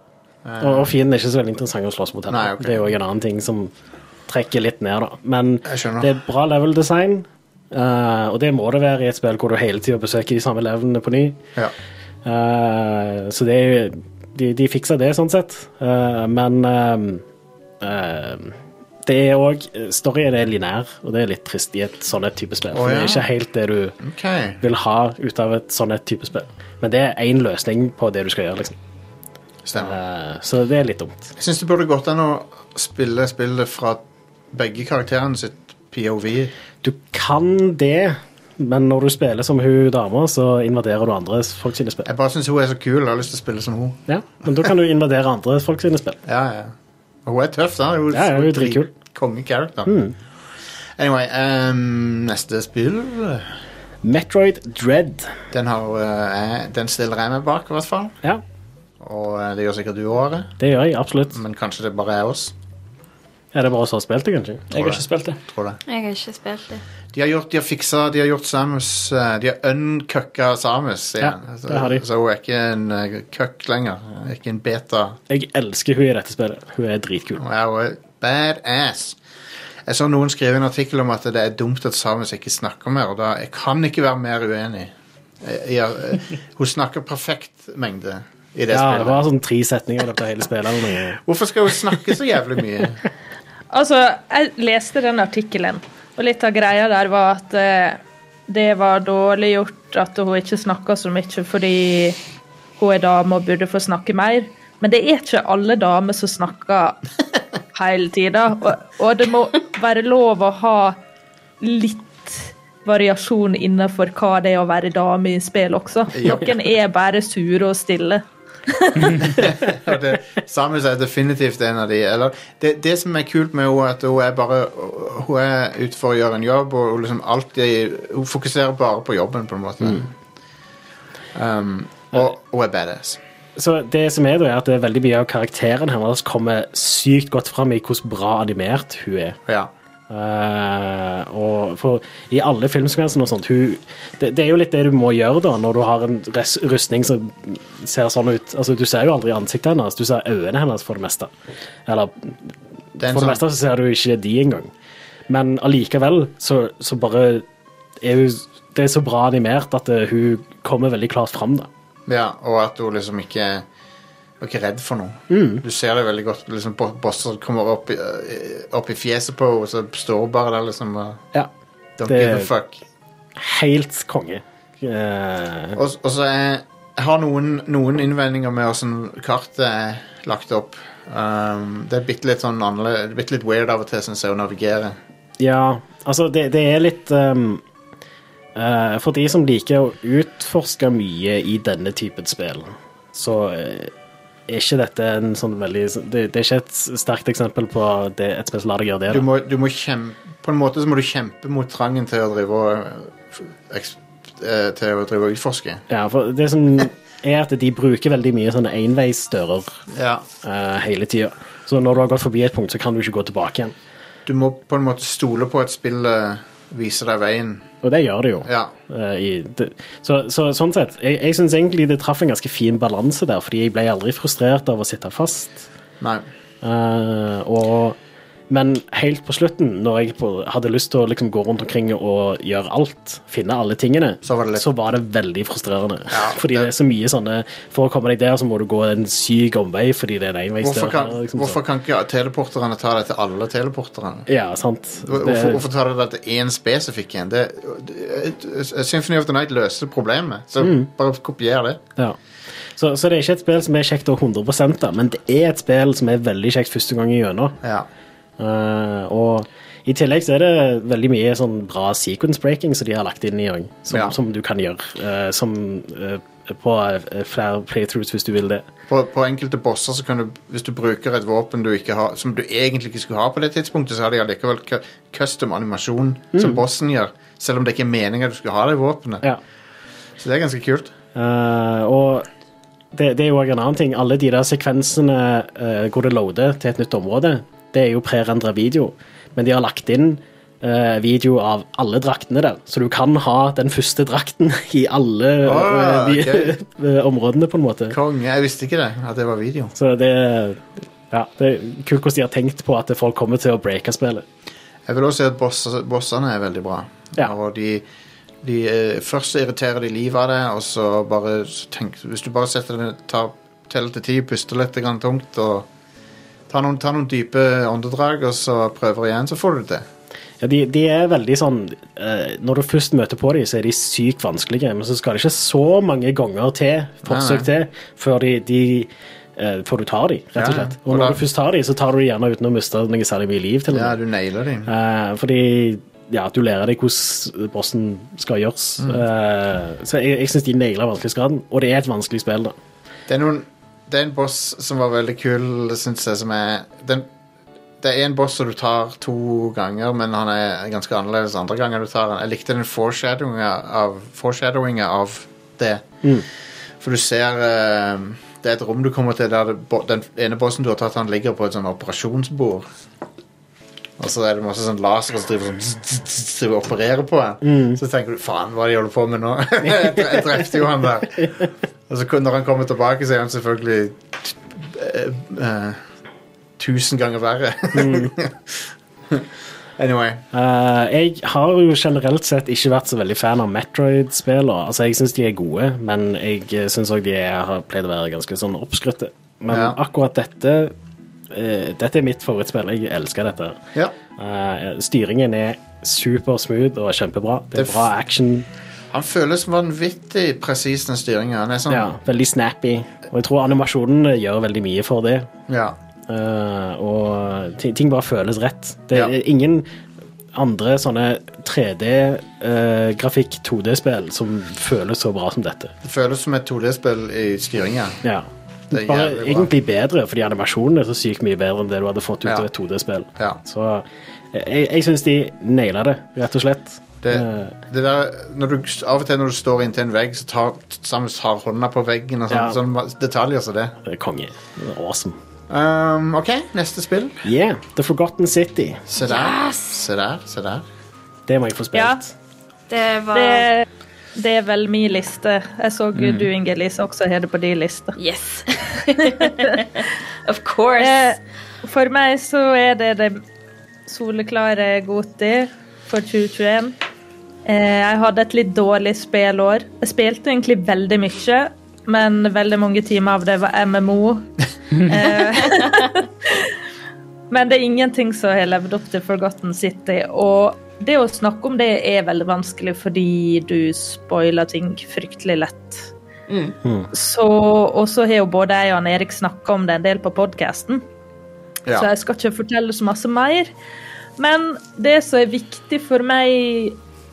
Speaker 2: Og, og fienden er ikke så veldig interessant å slåss mot
Speaker 1: Eh. Nei,
Speaker 2: heller.
Speaker 1: ok.
Speaker 2: Det er jo en annen ting som trekker litt ned, da. Men
Speaker 1: Jeg skjønner.
Speaker 2: det er bra level design, eh, og det må det være i et spill hvor du hele tida besøker de samme levelene på ny.
Speaker 1: Ja.
Speaker 2: Eh, så det er jo de, de fikser det, sånn sett. Eh, men eh, eh, det er òg Storyen er lineær, og det er litt trist i et sånn et type spill.
Speaker 1: Å,
Speaker 2: For Det
Speaker 1: ja.
Speaker 2: er ikke helt det du
Speaker 1: OK.
Speaker 2: vil ha ut av et sånn et type spill. Men det er én løsning på det du skal gjøre, liksom.
Speaker 1: Stemmer.
Speaker 2: Eh, så det er litt dumt.
Speaker 1: Jeg syns det burde gått an å spille spillet fra begge karakterene sitt POV.
Speaker 2: Du kan det, men når du spiller som hun dama, så invaderer du andre folk sine spill.
Speaker 1: Jeg bare syns hun er så kul, og jeg har lyst til å spille som hun.
Speaker 2: Ja, men da kan du invadere andre folk sine spill.
Speaker 1: Ja, ja. Og Hun er tøff, da. Hun,
Speaker 2: Ja, ja, hun er
Speaker 1: drit-
Speaker 2: dritkul. Mm.
Speaker 1: Kongecharacter. Anyway, ehm, neste spill
Speaker 2: Metroid Dread.
Speaker 1: Den, har, eh, jeg- den stiller jeg meg bak, i hvert fall.
Speaker 2: Ja,
Speaker 1: Og eh, det gjør sikkert du òg,
Speaker 2: det gjør jeg absolutt.
Speaker 1: men kanskje det bare er oss.
Speaker 2: Er det bare oss som har spilt det, kanskje?
Speaker 4: Jeg har ikke spilt det.
Speaker 1: tror det.
Speaker 3: Jeg har ikke spilt det.
Speaker 1: De har gjort, de har fiksa, de har gjort Samus eh, De har uncucka Samus igjen.
Speaker 2: Ja, det har de.
Speaker 1: Så, så hun er ikke en eh, cuck lenger. Hun er Ikke en beta.
Speaker 2: Jeg elsker hun i dette spillet. Hun er dritkul.
Speaker 1: Hun er jo badass. Jeg så noen skrive en artikkel om at det er dumt at Samus ikke snakker mer, og da jeg kan ikke være mer uenig. Jeg, jeg, hun snakker perfekt mengde i det
Speaker 2: Ja, det
Speaker 1: spillet.
Speaker 2: var sånn tre setninger i løpet av hele spillet. eller noe.
Speaker 1: Hvorfor skal hun snakke så jævlig mye?
Speaker 5: Altså, jeg leste den artikkelen, og litt av greia der var at eh, det var dårlig gjort at hun ikke snakka så mye fordi hun er dame og burde få snakke mer. Men det er ikke alle damer som snakker hele tida, og, og det må være lov å ha litt variasjon innenfor hva det er å være dame i spill også.
Speaker 1: Ja.
Speaker 5: Noen er bare sure og stille.
Speaker 1: Og det, Samus er definitivt en av de. Eller, det, det som er kult med henne, er at hun er bare Hun er ute for å gjøre en jobb, og hun liksom alltid Hun fokuserer bare på jobben, på en måte.
Speaker 2: Mm.
Speaker 1: Um, og hun er badass.
Speaker 2: Så det som er da, er at det er veldig mye av karakteren hennes kommer sykt godt fram i hvordan bra animert hun er.
Speaker 1: Ja.
Speaker 2: Eh, og for, I alle filmsekvenser og sånt hun, det, det er jo litt det du må gjøre da når du har en res, rustning som ser sånn ut. Altså, du ser jo aldri ansiktet hennes, du ser øynene hennes for det meste. Eller
Speaker 1: Det er en
Speaker 2: for det
Speaker 1: sånn,
Speaker 2: meste så ser du ikke de engang. Men allikevel så, så bare er hun Det er så bra animert at eh, hun kommer veldig klart fram, da.
Speaker 1: ja, og at hun liksom ikke hun er ikke redd for noe. Du ser det veldig godt. liksom bo- Bosser kommer opp i, eh, opp i fjeset på henne, og så står hun bare der liksom og
Speaker 2: Ja.
Speaker 1: Don't
Speaker 2: Det-
Speaker 1: give a fuck.
Speaker 2: Helt konge. Eh,
Speaker 1: Og, og så er, jeg har noen, noen innvendinger med hvordan kartet er lagt opp. Um, det er bitte litt sånn annerledes, det er bitte litt weird av og til, syns jeg, å navigere.
Speaker 2: ja, altså, det, det er litt ehm, eh, For de som liker å utforske mye i denne typen spill, så eh, er ikke dette en sånn veldig Det, det er ikke et sterkt eksempel på det, et spill som lar deg gjøre det.
Speaker 1: Du
Speaker 2: da.
Speaker 1: må, du må kjempe, på en måte så må du kjempe mot trangen til å drive og, eh, eks- eh, til å drive og utforske.
Speaker 2: Ja, for det som er at de bruker veldig mye sånne enveisdører
Speaker 1: Ja.
Speaker 2: eh, hele tida. Så når du har gått forbi et punkt, så kan du ikke gå tilbake igjen.
Speaker 1: Du må på en måte stole på at spillet viser deg veien.
Speaker 2: Og det gjør det jo.
Speaker 1: Ja.
Speaker 2: Eh, i, det, så, så sånn sett, jeg, jeg syns egentlig det traff en ganske fin balanse der, fordi jeg ble aldri frustrert av å sitte fast.
Speaker 1: Nei.
Speaker 2: Eh, og, men helt på slutten, når jeg på, hadde lyst til å liksom gå rundt omkring og gjøre alt, finne alle tingene,
Speaker 1: Så var det litt-
Speaker 2: var det veldig frustrerende.
Speaker 1: Ja,
Speaker 2: fordi det er så mye sånne For å komme deg der, så må du gå en syk omvei fordi det er en enveisdør.
Speaker 1: Hvorfor kan,
Speaker 2: her, liksom, så-
Speaker 1: hvorfor kan ikke teleporterne ta deg til alle teleporterne?
Speaker 2: Ja, sant.
Speaker 1: Hvor-
Speaker 2: Det-
Speaker 1: Hvorfor, hvorfor tar du det til én spesifikk en? Det, det- Symphony of the Night løser problemet, så
Speaker 2: Mm.
Speaker 1: bare kopier det.
Speaker 2: Ja. Så, så det er ikke et spill som er kjekt å 100 da, men det er et spill som er veldig kjekt første gang igjennom.
Speaker 1: Ja.
Speaker 2: Eh, og i tillegg så er det veldig mye sånn bra sequence breaking som de har lagt inn i gang, som,
Speaker 1: Ja.
Speaker 2: som du kan gjøre. eh, som eh, på eh, flere playthroughs, hvis du vil det.
Speaker 1: På, på enkelte bosser så kan du, hvis du bruker et våpen du ikke har, som du egentlig ikke skulle ha på det tidspunktet, så har de allikevel cu- custom animasjon som bossen gjør, selv om det ikke er meningen du skulle ha det våpenet.
Speaker 2: Mm. Ja.
Speaker 1: Så det er ganske kult.
Speaker 2: Eh, og det, det er jo også en annen ting. Alle de der sekvensene eh, hvor det loader til et nytt område, det er jo prerendra video. Men de har lagt inn eh, video av alle draktene der, så du kan ha den første drakten i alle
Speaker 1: Ah,
Speaker 2: eh, de, eh, områdene, på en måte.
Speaker 1: Konge. Jeg visste ikke det, at det var video.
Speaker 2: Så det er- ja, det er kult hvordan de har tenkt på at folk kommer til å breake spillet.
Speaker 1: Jeg vil også si at boss, bossene er veldig bra.
Speaker 2: Ja.
Speaker 1: Og de, de eh, Først så irriterer de livet av deg, og så bare så tenk, Hvis du bare setter deg ned, tar- teller til ti, puster litt grann tungt og tar noen, tar noen dype åndedrag, og så prøver igjen, så får du det til.
Speaker 2: Ja, de, de er veldig sånn eh, Når du først møter på dem, så er de sykt vanskelige, men så skal det ikke så mange ganger til, forsøk
Speaker 1: Nei,
Speaker 2: til, før, de, de, eh, før du tar dem, rett
Speaker 1: Ja,
Speaker 2: og slett.
Speaker 1: og
Speaker 2: Og
Speaker 1: da-
Speaker 2: når du først tar dem, så tar du dem gjerne uten å miste noe særlig mye liv. til og
Speaker 1: Ja,
Speaker 2: med.
Speaker 1: du nailer dem.
Speaker 2: Eh, fordi ja, du lærer deg hvordan bossen skal gjøres.
Speaker 1: Mm.
Speaker 2: Eh, så jeg, jeg syns de nailer vanskelighetsgraden, og det er et vanskelig spill, da.
Speaker 1: Det er noen Det er en boss som var veldig kul, syns jeg, som er den, Det er en boss som du tar to ganger, men han er ganske annerledes andre ganger du tar den. Jeg likte den foreshadowinga av, foreshadowinga av det. For du ser eh, Det er et rom du kommer til der det, bo- den ene bossen du har tatt, han ligger på et sånn operasjonsbord. Og så er det masse sånn laser som driver, sånn, driver og opererer på en. Så tenker du 'faen, hva de holder på med nå?' jeg tre- jeg drepte jo han der. Og så Altså, kun- når han kommer tilbake, så er han selvfølgelig eh, eh, tusen ganger verre.
Speaker 2: Mm.
Speaker 1: anyway.
Speaker 2: Eh, jeg har jo generelt sett ikke vært så veldig fan av Metroid-spillere. Altså, jeg syns de er gode, men jeg syns òg de er, har pleid å være ganske sånn oppskrytte. Men
Speaker 1: Ja.
Speaker 2: akkurat dette eh, Dette er mitt favorittspill. Jeg elsker dette.
Speaker 1: Ja.
Speaker 2: Eh, styringen er supersmooth og kjempebra. Det
Speaker 1: Det
Speaker 2: er
Speaker 1: f-
Speaker 2: bra action.
Speaker 1: Han føles vanvittig presis, den styringa. Han er sånn
Speaker 2: Ja, veldig snappy. Og jeg tror animasjonen gjør veldig mye for det.
Speaker 1: ja.
Speaker 2: Eh, og ting, ting bare føles rett. Det er
Speaker 1: Ja.
Speaker 2: ingen andre sånne eh, 3D-grafikk, 2D-spill, som føles så bra som dette.
Speaker 1: Det føles som et 2D-spill i styringa.
Speaker 2: Ja.
Speaker 1: Det er
Speaker 2: Bare
Speaker 1: jævlig bra.
Speaker 2: egentlig bedre, fordi animasjonen er så sykt mye bedre enn det du hadde fått ut
Speaker 1: Ja.
Speaker 2: av et 2D-spill.
Speaker 1: Ja.
Speaker 2: Så eh, jeg, jeg syns de naila det, rett og slett.
Speaker 1: Det,
Speaker 2: Eh,
Speaker 1: det der, når du, av og til når du står inntil en vegg, så tar, sammen tar hånda på veggen og sånn.
Speaker 2: Ja.
Speaker 1: Sånne detaljer som det.
Speaker 2: det er Eh, konge. Det er Awesome.
Speaker 1: Um, OK, neste spill.
Speaker 2: Yeah, The Forgotten City.
Speaker 1: Se
Speaker 3: Ah,
Speaker 1: der. Se der, se der.
Speaker 2: Det må jeg få
Speaker 5: Ja.
Speaker 2: spilt.
Speaker 3: Det var
Speaker 5: Det, det er vel min liste. Jeg så du, Inger-Lise, også har det på din liste.
Speaker 3: Yes. of course.
Speaker 5: Eh, For meg så er det det soleklare Goti for 2021. Eh, Jeg hadde et litt dårlig spillår. Jeg spilte egentlig veldig mye, men veldig mange timer av det var MMO. Eh, men det er ingenting som har levd opp til Forgotten City. Og det å snakke om det er veldig vanskelig fordi du spoiler ting fryktelig lett. Så, og så har jo både jeg og han Erik snakka om det en del på podkasten.
Speaker 1: Ja.
Speaker 5: Så jeg skal ikke fortelle så masse mer. Men det som er viktig for meg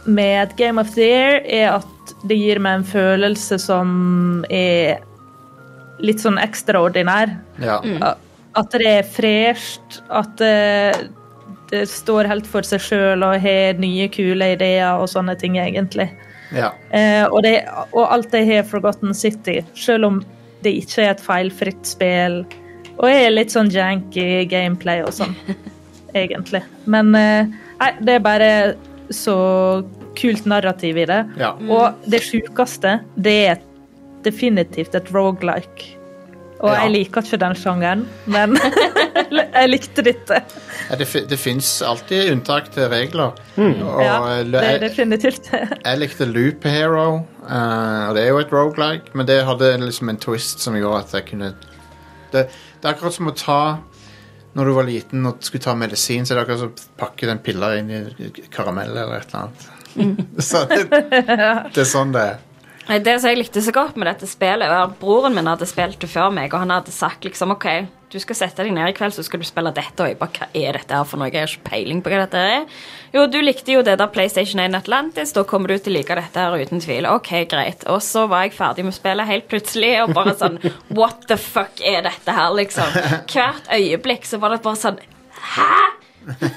Speaker 5: med et Game of the Year, er at det gir meg en følelse som er litt sånn ekstraordinær.
Speaker 1: Ja.
Speaker 5: Mm. At det er fresht, at det, det står helt for seg sjøl og har nye, kule ideer og sånne ting, egentlig.
Speaker 1: ja.
Speaker 5: Eh, og, det, og alt jeg har Forgotten City, selv om det ikke er et feilfritt spill. Og jeg er litt sånn janky gameplay og sånn, egentlig. Men eh, nei, det er bare så kult narrativ i det.
Speaker 1: Ja.
Speaker 5: Og det sjukeste, det er definitivt et rogelike. Og
Speaker 1: Ja.
Speaker 5: jeg liker ikke den sjangeren, men jeg likte dette.
Speaker 1: Ja, Det, fi- det fins alltid unntak til regler. Og
Speaker 5: Ja,
Speaker 1: eh,
Speaker 5: det er
Speaker 1: jeg,
Speaker 5: definitivt det.
Speaker 1: jeg likte Loop Hero, eh, og det er jo et roguelike men det hadde liksom en twist som gjorde at jeg kunne Det, det er akkurat som å ta Når du var liten og skulle ta medisin, så er det akkurat som å pakke den pilla inn i karamell eller et eller annet.
Speaker 5: Mm.
Speaker 1: så det, det er sånn det er.
Speaker 3: Nei, Det som jeg likte så godt med dette spillet, var at broren min hadde spilt det før meg, og han hadde sagt liksom OK, du skal sette deg ned i kveld, så skal du spille dette, og jeg bare Hva er dette her for noe? Jeg har ikke peiling på hva dette er. Jo, du likte jo det der PlayStation 1 Atlantis, da kommer du til å like dette her uten tvil. OK, greit. Og så var jeg ferdig med spillet helt plutselig, og bare sånn What the fuck er dette her, liksom? Hvert øyeblikk så var det bare sånn Hæ?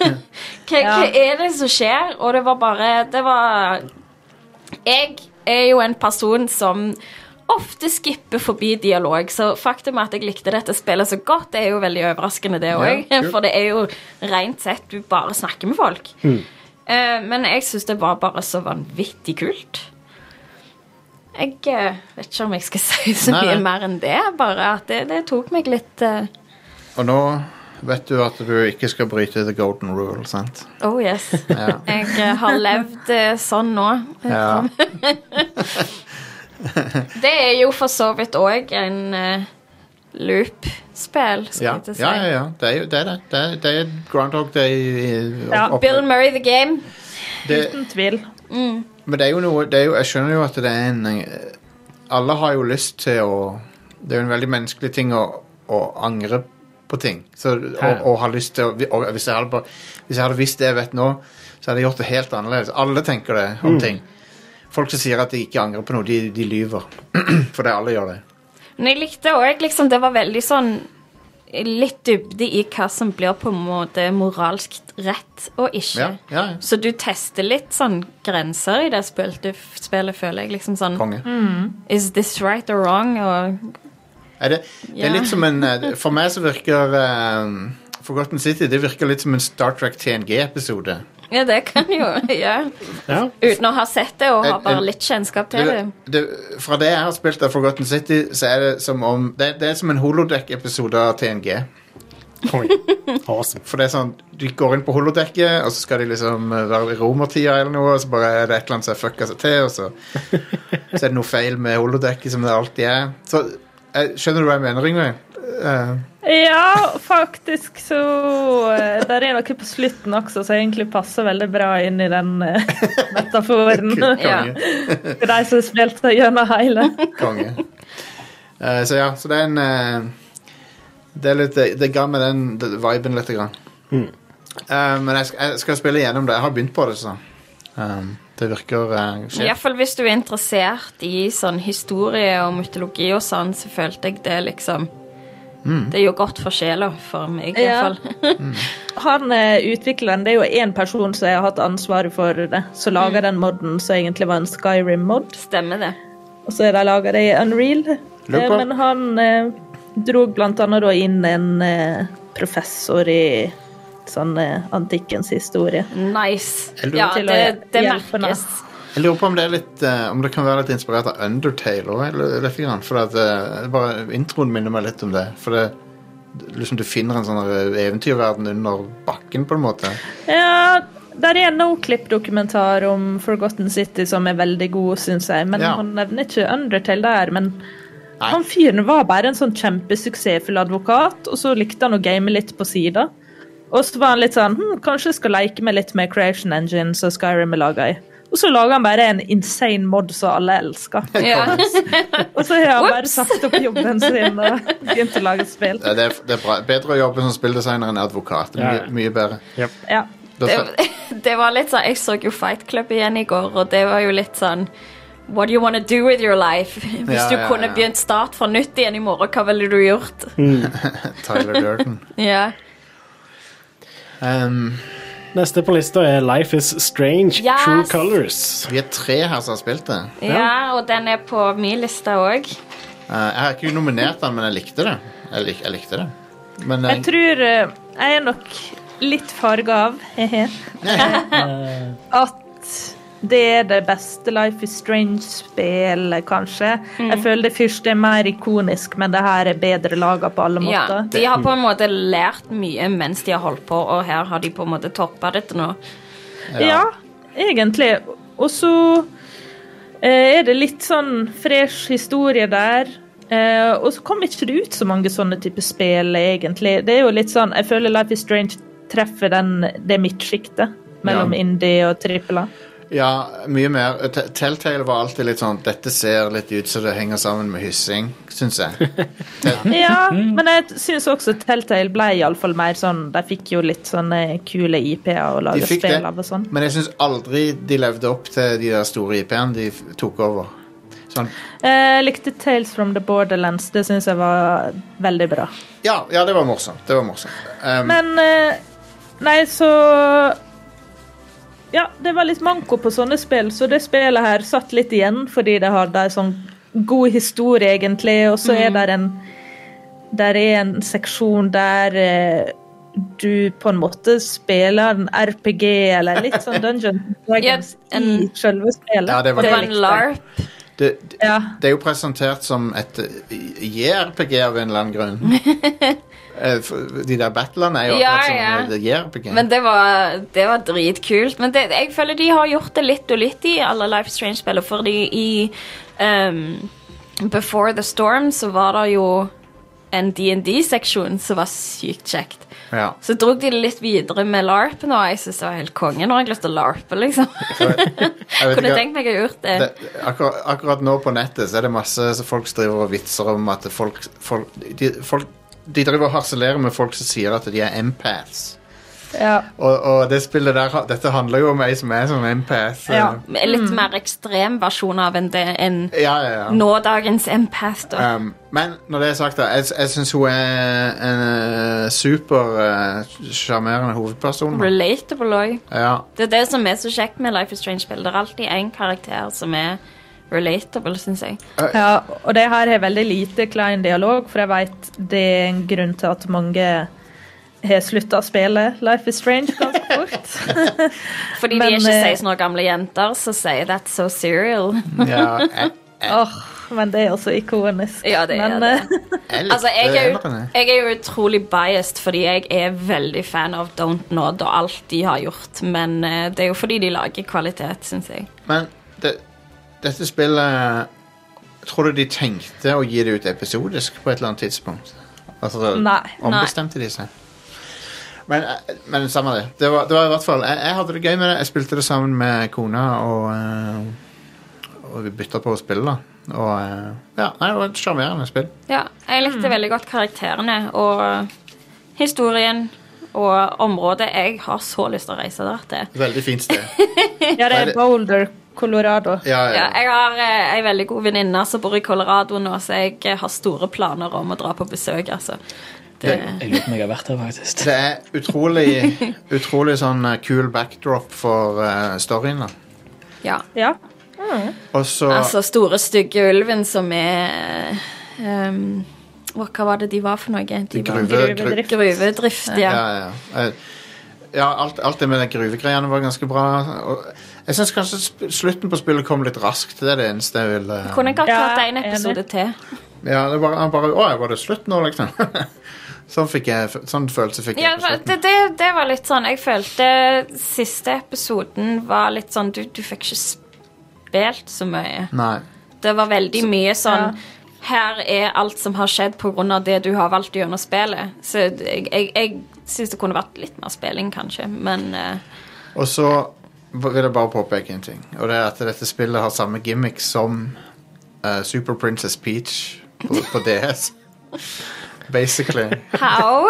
Speaker 3: Hva, hva er det som skjer? Og det var bare Det var Jeg er jo en person som ofte skipper forbi dialog, så faktum at jeg likte dette spillet så godt, det er jo veldig overraskende, det òg.
Speaker 1: Ja, kult.
Speaker 3: For det er jo rent sett du bare snakker med folk.
Speaker 1: Mm.
Speaker 3: Eh, men jeg syns det var bare så vanvittig kult. Jeg eh, vet ikke om jeg skal si så
Speaker 1: Nei,
Speaker 3: mye
Speaker 1: nei.
Speaker 3: mer enn det, bare at det, det tok meg litt eh,
Speaker 1: Og nå vet du at du ikke skal bryte the golden rule, sant?
Speaker 3: Oh yes.
Speaker 1: Ja.
Speaker 3: Jeg eh, har levd eh, sånn nå.
Speaker 1: Ja.
Speaker 3: Det er jo for så vidt òg en eh, loop-spill, skal
Speaker 1: Ja,
Speaker 3: jeg til å si.
Speaker 1: ja, ja, ja. Det er jo det. Er det. Det, er, det er Groundhog Day. i- i-
Speaker 5: Ja.
Speaker 1: opp-
Speaker 3: Bill Murray the Game.
Speaker 1: Det,
Speaker 5: Uten tvil.
Speaker 1: men det er jo noe det er jo, Jeg skjønner jo at det er en eh, Alle har jo lyst til å Det er jo en veldig menneskelig ting å, å angre på ting. Så, og, og har lyst til å vi- og hvis, jeg hadde bare, hvis jeg hadde visst det jeg vet nå, så hadde jeg gjort det helt annerledes. Alle tenker det om ting. Folk som sier at de ikke angrer på noe, de, de lyver. For det alle gjør det.
Speaker 3: Men jeg likte òg liksom Det var veldig sånn Litt dybde i hva som blir på en måte moralsk rett og ikke.
Speaker 1: Ja, ja, ja.
Speaker 3: Så du tester litt sånn grenser i det spilt- du f- spillet, føler jeg. Liksom sånn
Speaker 1: Konge.
Speaker 3: Is this right or wrong? Og
Speaker 1: Er det, det er
Speaker 3: Ja.
Speaker 1: litt som en eh, For meg så virker eh, Forgotten City det virker litt som en Star Trek TNG-episode.
Speaker 3: Ja, det kan jo ja.
Speaker 2: Ja.
Speaker 3: Uten å ha sett det og ha
Speaker 1: Jeg-
Speaker 3: bare
Speaker 1: jeg-
Speaker 3: litt kjennskap til det.
Speaker 1: Det, det, fra det jeg har spilt av Forgotten City, så er det som om Det, det er som en holodeck-episode av TNG.
Speaker 2: Konge. Awesome.
Speaker 1: For det er sånn, De går inn på holodekket, og så skal de liksom eh, være i romertida, eller noe, og så bare er det et eller annet som har fucka seg til, og så, så er det noe feil med holodekket, som det alltid er. Så eh, Skjønner du hva jeg mener, Yngve? Eh,
Speaker 5: Ja, faktisk så eh, Der er noe på slutten også som egentlig passer veldig bra inn i den eh, metaforen.
Speaker 1: Konge.
Speaker 3: Ja.
Speaker 5: For de som spilte gjennom hele.
Speaker 1: Konge. Eh, så ja, så det er en eh, Det er litt Det ga meg den det- viben litt. Grann. Eh, men jeg, sk- jeg skal spille gjennom det. Jeg har begynt på det, så. Um, det virker uh,
Speaker 3: I hvert fall hvis du er interessert i sånn historie og mytologi og sånn, så følte jeg det liksom Det er jo godt for sjela, for meg i
Speaker 5: Ja.
Speaker 3: hvert fall.
Speaker 5: Han eh, utvikleren, det er jo én person som har hatt ansvaret for det, som lager den moden som egentlig var en Skyrim-mod.
Speaker 3: Stemmer det.
Speaker 5: Og så er de laga det i Unreal. Eh,
Speaker 1: på-
Speaker 5: men han eh, dro blant annet da inn en eh, professor i sånn eh, antikkens historie.
Speaker 3: Nice.
Speaker 1: Jeg lurer
Speaker 3: Ja,
Speaker 5: til å
Speaker 3: det, det
Speaker 5: hjelpe nå.
Speaker 3: merkes.
Speaker 1: Jeg lurer på om det, er litt, eh, om det kan være litt inspirert av Undertale også, eller- litt grann, for at, eh, bare Introen minner meg litt om det. For det, liksom, du finner en sånn eh, eventyrverden under bakken, på en måte.
Speaker 5: Ja, der er en Noclip-dokumentar om Forgotten City som er veldig god, syns jeg. Men
Speaker 1: Ja.
Speaker 5: han nevner ikke Undertale der. Men han fyren var bare en sånn kjempesuksessfull advokat, og så likte han å game litt på sida. Og så var han litt sånn hm, Kanskje jeg skal leke meg litt med Creation Engine som Skyrim er laga i. Og så lager han bare en insane mod som alle elsker.
Speaker 3: Ja.
Speaker 5: Og så har han bare
Speaker 3: Whoops!
Speaker 5: sagt opp jobben sin og begynt å lage spill.
Speaker 1: Ja, Eh, Det er, det er bra. bedre å jobbe som spilldesigner enn advokat. Mye,
Speaker 2: Ja.
Speaker 1: mye bedre.
Speaker 5: Ja.
Speaker 1: Da, skal-
Speaker 3: det, det var litt sånn Jeg så jo Fight Club igjen i går, og det var jo litt sånn What do you wanna do with your life? Hvis
Speaker 1: Ja,
Speaker 3: du
Speaker 1: ja,
Speaker 3: kunne
Speaker 1: ja.
Speaker 3: begynt start fra nytt igjen i morgen, hva ville du gjort?
Speaker 1: Tyler Durden.
Speaker 3: Ja,
Speaker 1: Um,
Speaker 2: Neste på lista er Life Is Strange
Speaker 3: Yes!
Speaker 2: True Colors.
Speaker 1: vi er tre her som har spilt det.
Speaker 3: ja og den er på min liste òg.
Speaker 1: Eh, jeg har ikke nominert den, men jeg likte det. Jeg, lik, jeg likte det. Men
Speaker 5: Jeg
Speaker 1: jeg,
Speaker 5: tror eh, jeg er nok litt farga av he-he, at det er det beste Life is Strange-spillet, kanskje. Jeg føler det første er mer ikonisk, men det her er bedre laga på alle
Speaker 3: Ja,
Speaker 5: måter.
Speaker 3: de har på en måte lært mye mens de har holdt på, og her har de på en måte toppa det til nå.
Speaker 5: Ja, egentlig. Og så eh, er det litt sånn fresh historie der. Eh, og så kommer ikke det ut så mange sånne type spill, egentlig. Det er jo litt sånn, Jeg føler Life is Strange treffer den, det midtsjiktet mellom
Speaker 1: Ja.
Speaker 5: indie og trippel A.
Speaker 1: ja, mye mer. T- Telltale var alltid litt sånn Dette ser litt ut som det henger sammen med hyssing, syns jeg.
Speaker 5: Ja,
Speaker 1: Mm.
Speaker 5: men jeg syns også Telltale ble iallfall mer sånn De fikk jo litt sånne kule IP-er å
Speaker 1: De
Speaker 5: lage
Speaker 1: fikk det,
Speaker 5: spill av og sånn.
Speaker 1: men jeg syns aldri de levde opp til de der store IP-ene de f- tok over. Sånn,
Speaker 5: Eh, Jeg likte Tales from the Borderlands. Det syns jeg var veldig bra.
Speaker 1: ja, ja, det var morsomt. Det var morsomt. Um,
Speaker 5: Men eh, Nei, så Ja, det var litt manko på sånne spill, så det spillet her satt litt igjen fordi det hadde en sånn god historie, egentlig, og så
Speaker 3: Mm.
Speaker 5: er det en Der er en seksjon der eh, du på en måte spiller en RPG, eller litt sånn Dungeon Dragons
Speaker 3: Ja, en-
Speaker 5: i selve spillet.
Speaker 1: Ja, det var
Speaker 3: Det var
Speaker 1: likte
Speaker 3: en
Speaker 1: jeg.
Speaker 3: LARP.
Speaker 1: det, det,
Speaker 5: Ja.
Speaker 1: det er jo presentert som et eh, JRPG av en eller annen grunn. Eh, for de der battlene er jo
Speaker 3: Ja,
Speaker 1: akkurat som
Speaker 3: ja.
Speaker 1: eh, det JRPG.
Speaker 3: Men det var, det var dritkult. Men det, jeg føler de har gjort det litt og litt i alle Life is Strange-spillene, fordi i ehm, Before the Storm så var det jo en D&D-seksjon som var sykt kjekt.
Speaker 1: ja.
Speaker 3: Så drog de det litt videre med LARP nå, og jeg synes det var helt konge. Nå har jeg lyst til å LARPe, liksom.
Speaker 1: Jeg vet
Speaker 3: Kunne
Speaker 1: ikke-
Speaker 3: tenkt meg å ha gjort det.
Speaker 1: det, akkurat, akkurat nå på nettet så er det masse så folk som driver og vitser om at folk, folk, de, folk de driver og harselerer med folk som sier at de er empaths.
Speaker 5: ja.
Speaker 1: Og, og det spillet der, ha- dette handler jo om ei som er som empath. så-
Speaker 5: Ja.
Speaker 3: En Litt mer ekstrem versjon av en, det- en
Speaker 1: ja, ja. ja.
Speaker 3: nådagens empath. Da.
Speaker 1: Um, men når det er sagt, da, jeg, jeg syns hun er en eh, super eh, sjarmerende hovedperson. da.
Speaker 3: Relatable òg.
Speaker 1: Ja.
Speaker 3: Det er det som er så kjekt med Life is Strange-spill. Det er alltid en karakter som er relatable, syns jeg.
Speaker 5: Ja, og det her har veldig lite klein dialog, for jeg vet det er en grunn til at mange har slutta å spille Life is Strange ganske fort.
Speaker 3: Fordi de
Speaker 5: Men,
Speaker 3: er
Speaker 5: eh,
Speaker 3: ikke 16 år gamle jenter som sier 'that's so serial'.
Speaker 1: Ja, jeg,
Speaker 5: Åh, men det er også ikonisk.
Speaker 3: Ja, det er
Speaker 5: men,
Speaker 3: det.
Speaker 5: eh,
Speaker 1: jeg
Speaker 3: Altså,
Speaker 1: likte
Speaker 3: jeg er, jo,
Speaker 1: eneren, jeg.
Speaker 3: jeg er jo utrolig biased, fordi jeg er veldig fan av Don't Nod og alt de har gjort. Men eh, det er jo fordi de lager kvalitet, syns jeg.
Speaker 1: Men det, dette spillet Tror du de tenkte å gi det ut episodisk på et eller annet tidspunkt? Altså,
Speaker 5: Nei,
Speaker 1: ombestemte de seg? Men, eh, men samme det. Det var, det var i hvert fall jeg, jeg hadde det gøy med det. Jeg spilte det sammen med kona, og, eh, og vi bytta på å spille, da. Og eh, ja, nei, det var et sjarmerende spill.
Speaker 3: Ja, jeg likte veldig godt karakterene og historien og området. Jeg har så lyst til å reise der til.
Speaker 1: Veldig fint sted.
Speaker 5: ja, det
Speaker 1: Nei, det-
Speaker 5: er Boulder, Colorado.
Speaker 1: Ja,
Speaker 3: Ja, jeg har eh, ei veldig god venninne som bor i Colorado nå, så jeg eh, har store planer om å dra på besøk, altså. Det,
Speaker 4: Jeg lurer på om jeg har vært her, faktisk.
Speaker 1: Det er utrolig, utrolig sånn eh, cool backdrop for eh, storyen, da.
Speaker 3: ja.
Speaker 5: Ja.
Speaker 1: Og så
Speaker 3: Altså, store, stygge ulven som er eh, um, hva, hva var det de var for noe? De var
Speaker 1: gruve, gru,
Speaker 5: gruvedrift.
Speaker 3: Gruvedrift, ja.
Speaker 1: Ja, ja, ja. Eh, ja alt, alt det med den gruvegreiene var ganske bra. Og jeg syns kanskje sp- slutten på spillet kom litt raskt. Det er det eneste jeg ville
Speaker 3: Kunne ikke
Speaker 5: Ja,
Speaker 3: hatt en
Speaker 5: enig.
Speaker 3: episode til.
Speaker 1: ja, det var, han bare, Å, var det slutt nå, liksom? sånn, fikk jeg, f- sånn følelse fikk
Speaker 3: Ja,
Speaker 1: jeg på slutten.
Speaker 3: det, det, det var litt sånn Jeg følte siste episoden var litt sånn Du, du fikk ikke spilt så mye.
Speaker 1: Nei.
Speaker 3: Det var veldig mye sånn Her er alt som har skjedd pga. det du har valgt gjennom spillet. Så jeg, jeg, jeg syns det kunne vært litt mer spilling, kanskje, men eh,
Speaker 1: Og så b- vil jeg bare påpeke en ting, og det er at dette spillet har samme gimmick som eh, Super Princess Peach på, på DS. Basically.
Speaker 3: How?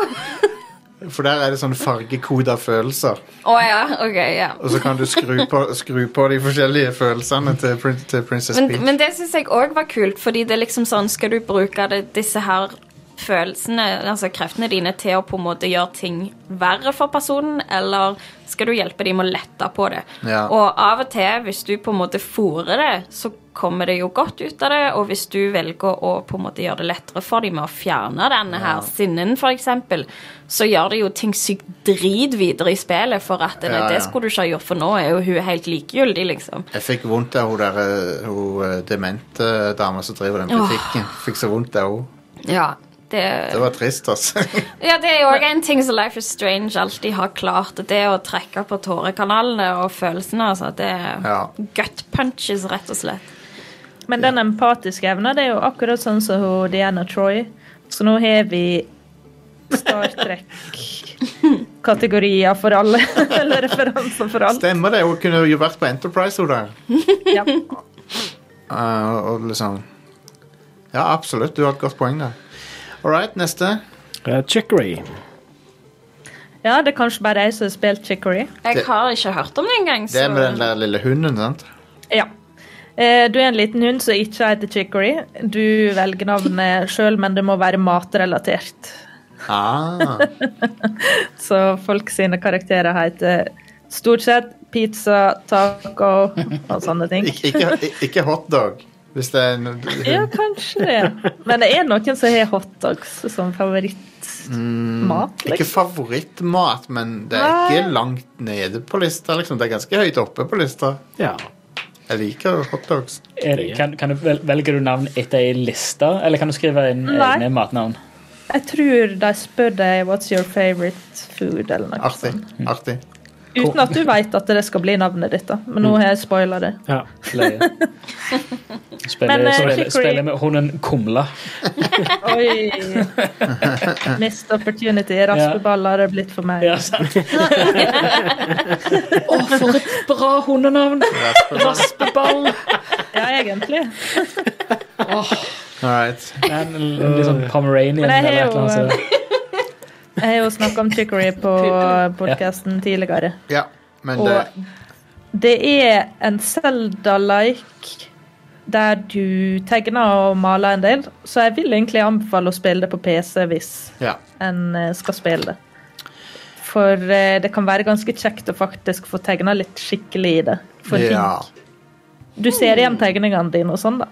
Speaker 1: For der er det sånn fargekoda følelser.
Speaker 3: Å ja, OK, ja.
Speaker 1: Og så kan du skru på, skru på de forskjellige følelsene til, prin til Princess
Speaker 3: Men,
Speaker 1: Peach.
Speaker 3: men det syns jeg òg var kult, fordi det er liksom sånn Skal du bruke det, disse her følelsene, altså kreftene dine, til å på en måte gjøre ting verre for personen, eller skal du hjelpe dem med å lette på det?
Speaker 1: Ja.
Speaker 3: Og av og til, hvis du på en måte fôrer det, så kommer det jo godt ut av det, og hvis du velger å på en måte gjøre det lettere for dem med å fjerne denne her sinnen, for eksempel, så gjør det jo ting sykt drit videre i spillet, for at det,
Speaker 1: Ja, ja.
Speaker 3: det skulle du ikke ha gjort, for nå er jo hun helt likegyldig, liksom.
Speaker 1: Jeg fikk vondt av hun der eh, hun eh, demente dama som driver den butikken. Fikk så vondt av henne.
Speaker 3: Ja, det,
Speaker 1: Det var trist, altså.
Speaker 3: Ja, det er jo også en ting som Life is Strange alltid har klart. og Det er å trekke på tårekanalene og følelsene. altså. Det er
Speaker 1: Ja.
Speaker 3: gut punches, rett og slett.
Speaker 5: Men den empatiske evna, det er jo akkurat sånn som hun Diana Troy. Så nå har vi Star Trek-kategorier for alle. Eller referanser for alle.
Speaker 1: Stemmer det, hun kunne jo vært på Enterprise, hun der.
Speaker 5: Ja.
Speaker 1: Eh, og liksom Ja, absolutt, du har et godt poeng der. All right, neste.
Speaker 2: Eh, Chicory.
Speaker 5: ja, det er kanskje bare jeg som har spilt Chicory.
Speaker 3: Jeg
Speaker 1: Det-
Speaker 3: har ikke hørt om det engang.
Speaker 1: Det
Speaker 3: Så...
Speaker 1: er med den der lille hunden, sant?
Speaker 5: Ja. Eh, Du er en liten hund som ikke heter Chicory. Du velger navnet sjøl, men det må være matrelatert.
Speaker 1: Ah,
Speaker 5: Så folk sine karakterer heter stort sett pizza, taco og sånne ting.
Speaker 1: ikke, ikke, ikke hotdog, hvis det er en hund.
Speaker 5: Ja, kanskje det. Men det er noen som har hotdogs som liksom. favorittmat.
Speaker 1: Mm, Ikke favorittmat, men det er ikke langt nede på lista. liksom. Det er ganske høyt oppe på lista.
Speaker 2: Ja.
Speaker 1: Jeg liker hotdogs.
Speaker 4: Er det, kan, kan du vel, velger du navn etter ei liste, eller kan du skrive inn
Speaker 5: Nei.
Speaker 4: egne matnavn?
Speaker 5: Jeg tror de spør deg 'What's your favorite food?' eller noe
Speaker 1: Artig.
Speaker 5: sånt.
Speaker 1: artig.
Speaker 5: Uten at du vet at det skal bli navnet ditt, da. Men nå
Speaker 1: Mm.
Speaker 5: har jeg spoila det.
Speaker 2: ja.
Speaker 4: Løye. Spiller,
Speaker 5: Men, eh,
Speaker 4: spiller,
Speaker 5: Chicory-
Speaker 4: spiller med hunden Kumla.
Speaker 5: Oi! Missed opportunity. Raspeballer er blitt for meg.
Speaker 4: Ja, sant? Å, for et bra hundenavn! Raspeball.
Speaker 5: Ja, egentlig.
Speaker 1: All right.
Speaker 4: En, en litt sånn Pomeranian
Speaker 5: Men jeg
Speaker 4: eller et
Speaker 5: har
Speaker 4: eller
Speaker 5: jo- eh,
Speaker 4: annet.
Speaker 5: Jeg har jo snakka om chicory på podkasten tidligere.
Speaker 1: Ja, men det,
Speaker 5: Og det er en Zelda-like der du tegner og maler en del, så jeg vil egentlig anbefale å spille det på PC hvis
Speaker 1: ja.
Speaker 5: en eh, skal spille det. For eh, det kan være ganske kjekt å faktisk få tegna litt skikkelig i det. For
Speaker 1: ja.
Speaker 5: ting. Du ser igjen tegningene dine og sånn, da.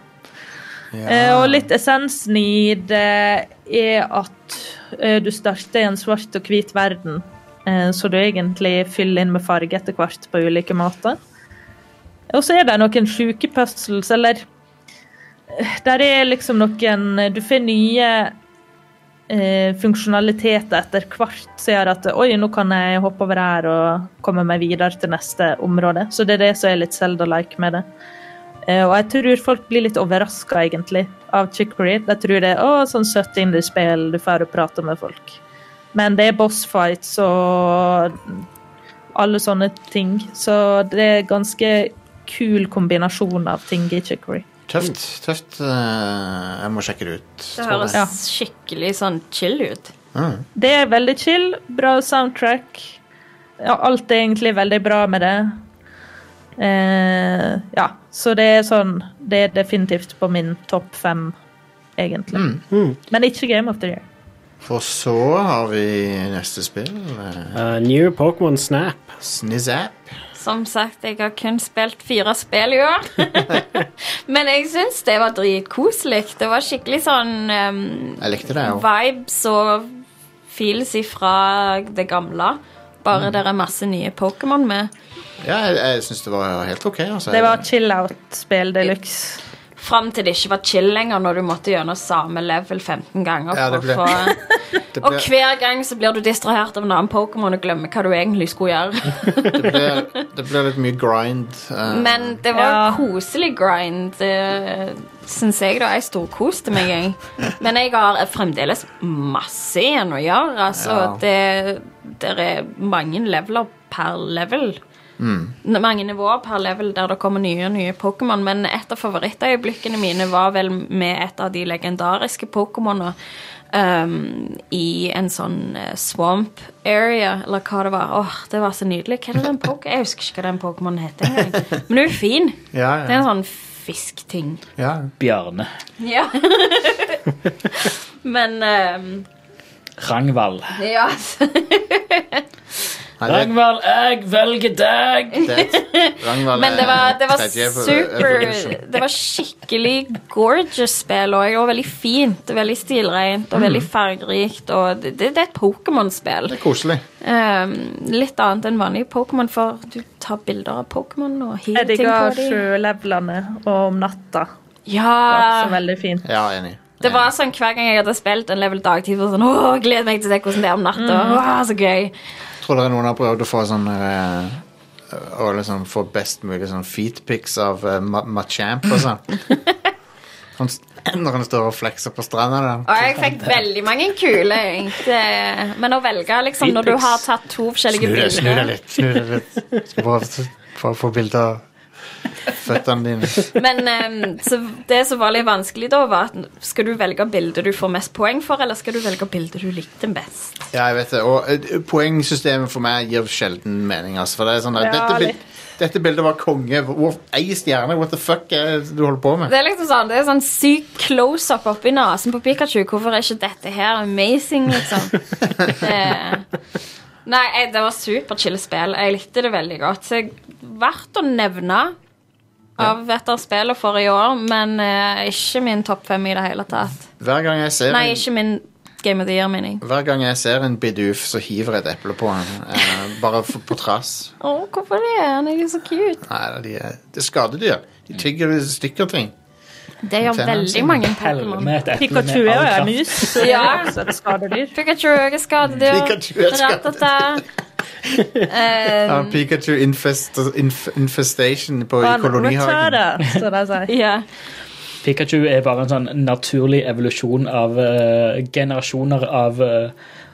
Speaker 5: Eh,
Speaker 1: ja.
Speaker 5: Og litt essensen i det eh, er at Eh, Du starter i en svart og hvit verden, eh, så du egentlig fyller inn med farge etter hvert på ulike måter. Og så er det noen sjuke puzzles, eller eh, Der er liksom noen Du får nye eh, funksjonaliteter etter hvert som gjør at oi, nå kan jeg hoppe over her og komme meg videre til neste område. Så det er det som er litt Zelda-like med det. Eh, og jeg tror folk blir litt overraska, egentlig, av Chicory. Jeg tror det er å, sånn søtt indiespill, du får prate med folk. Men det er boss fights og alle sånne ting, så det er ganske kul kombinasjon av ting i Chicory.
Speaker 1: Tøft. tøft eh, jeg må sjekke det ut.
Speaker 3: Det høres
Speaker 5: Ja.
Speaker 3: skikkelig sånn chill ut.
Speaker 1: Mm.
Speaker 5: Det er veldig chill, bra soundtrack. Ja, alt er egentlig veldig bra med det. Eh, ja, så det er sånn Det er definitivt på min topp fem, egentlig. Men ikke Game of the Year.
Speaker 1: For så har vi neste spill. eh,
Speaker 2: Eh, new Pokémon Snap.
Speaker 1: Snizzap.
Speaker 3: Som sagt, jeg har kun spilt fire spill i år. Men jeg syns det var dritkoselig. Det var skikkelig sånn ehm,
Speaker 1: Jeg likte det òg.
Speaker 3: vibes og feels ifra det gamle.
Speaker 1: Mm.
Speaker 3: Bare det er masse nye Pokémon med.
Speaker 1: Ja, jeg, jeg syns det var helt OK. Altså.
Speaker 5: Det var chill-out-spill de luxe.
Speaker 3: Fram til det ikke var chill lenger, når du måtte gjennom samme level 15 ganger.
Speaker 1: Ja, det
Speaker 3: for å
Speaker 1: ble-
Speaker 3: få-
Speaker 1: det,
Speaker 3: Og
Speaker 1: ble,
Speaker 3: hver gang så blir du distrahert av en annen Pokémon og glemmer hva du egentlig skulle gjøre.
Speaker 1: det, ble, det ble litt mye grind. eh,
Speaker 3: Men det var
Speaker 5: Ja.
Speaker 3: koselig grind, det syns jeg. da Jeg storkoste meg. Jeg. Men jeg har fremdeles masse igjen å gjøre. Altså,
Speaker 1: Ja.
Speaker 3: det, der er mange leveler per level. N- Mange nivåer per level der det kommer nye og nye Pokémon. Men et av favorittøyeblikkene mine var vel med et av de legendariske Pokémonene. Um, I en sånn eh, swamp area, eller hva det var. Åh, Det var så nydelig. Hva er det den Poké- Jeg husker ikke hva den Pokémonen heter. engang. Men hun er fin.
Speaker 1: ja,
Speaker 3: Det er
Speaker 1: ja,
Speaker 3: en sånn fiskting.
Speaker 1: ja.
Speaker 4: Bjarne.
Speaker 3: Ja. Men ehm,
Speaker 4: Rangvald.
Speaker 3: Ja.
Speaker 1: Nei, det,
Speaker 4: Rangvald, jeg velger deg!
Speaker 1: det, Ragnvald
Speaker 3: Men det var, det var
Speaker 1: er tredje for- evolution.
Speaker 3: super Det var skikkelig gorgeous spill òg. Og veldig fint, og veldig stilrent og
Speaker 1: Mm.
Speaker 3: veldig fargerikt. Og det, det er et Pokémon-spill.
Speaker 1: Det er koselig.
Speaker 3: Ehm, litt annet enn vanlig Pokémon, for du tar bilder av Pokémon og hiver
Speaker 5: Jeg
Speaker 3: ting på
Speaker 5: digger
Speaker 3: dem.
Speaker 5: sjølevlene og om natta. Det er
Speaker 3: Ja.
Speaker 5: Også veldig fint.
Speaker 1: Ja, enig.
Speaker 3: Det var sånn Hver gang jeg hadde spilt en level dagtid, var det sånn Åh, gleder meg til å se hvordan det er om natta.
Speaker 5: Mm.
Speaker 3: Åh, så gøy.
Speaker 1: Tror dere noen har prøvd å få sånn eh, Å liksom få best mulig sånn feetpics av eh, Ma- Machamp og sånn? Han s- Når han står og flekser på stranda der.
Speaker 3: Og jeg fikk veldig mange kule. jeg. Det- Men å velge liksom, når du har tatt to
Speaker 1: Snu
Speaker 3: forskjellige
Speaker 1: deg, snu deg
Speaker 3: bilder
Speaker 1: litt. Snu deg litt. Skal bare s- bare få bilde av føttene dine.
Speaker 3: Men ehm, så det som var litt vanskelig da, var at skal du velge bildet du får mest poeng for, eller skal du velge bildet du likte best?
Speaker 1: Ja, jeg vet det. Og eh, poengsystemet for meg gir sjelden mening. Altså, for det er sånn der,
Speaker 5: Ja,
Speaker 1: dette,
Speaker 5: litt.
Speaker 1: bild, dette bildet var konge. Hvor- Ei stjerne? What the fuck er det du holder på med?
Speaker 3: Det er liksom sånn, det er sånn syk close-up oppi nasen på Pikachu. Hvorfor er ikke dette her amazing, liksom? det, nei, jeg- det var superchill spill. Jeg likte det veldig godt. Så jeg verdt å nevne av et av spillene for i år, men eh, ikke min topp fem i det hele tatt.
Speaker 1: Hver gang jeg ser
Speaker 3: Nei,
Speaker 1: en,
Speaker 3: ikke min Game of the Year-mening.
Speaker 1: hver gang jeg ser en bidoof, så hiver jeg et eple på han. eh, bare for, på trass.
Speaker 3: Å, hvorfor det? Han er jo så cute.
Speaker 1: Nei, da, de er, det er skadedyr. De tygger og stykker ting.
Speaker 3: Det gjør
Speaker 1: Tjener han
Speaker 3: veldig
Speaker 1: seg?
Speaker 3: mange
Speaker 4: Pelle
Speaker 3: Pokémon.
Speaker 4: med et eple med
Speaker 5: Pikachu er jo
Speaker 4: all
Speaker 5: en
Speaker 4: kraft.
Speaker 5: mus, så det
Speaker 3: Ja.
Speaker 5: er også et skadedyr.
Speaker 3: Pikachu er skadedyr.
Speaker 1: Pikachu er skadedyr.
Speaker 3: Ratata. Eh,
Speaker 1: Ja, Pikachu infest, inf, infestation på, i
Speaker 5: Han
Speaker 1: kolonihagen.
Speaker 5: returner, så det sånn. sier.
Speaker 3: ja.
Speaker 4: Pikachu er bare en sånn naturlig evolusjon av eh, generasjoner av eh,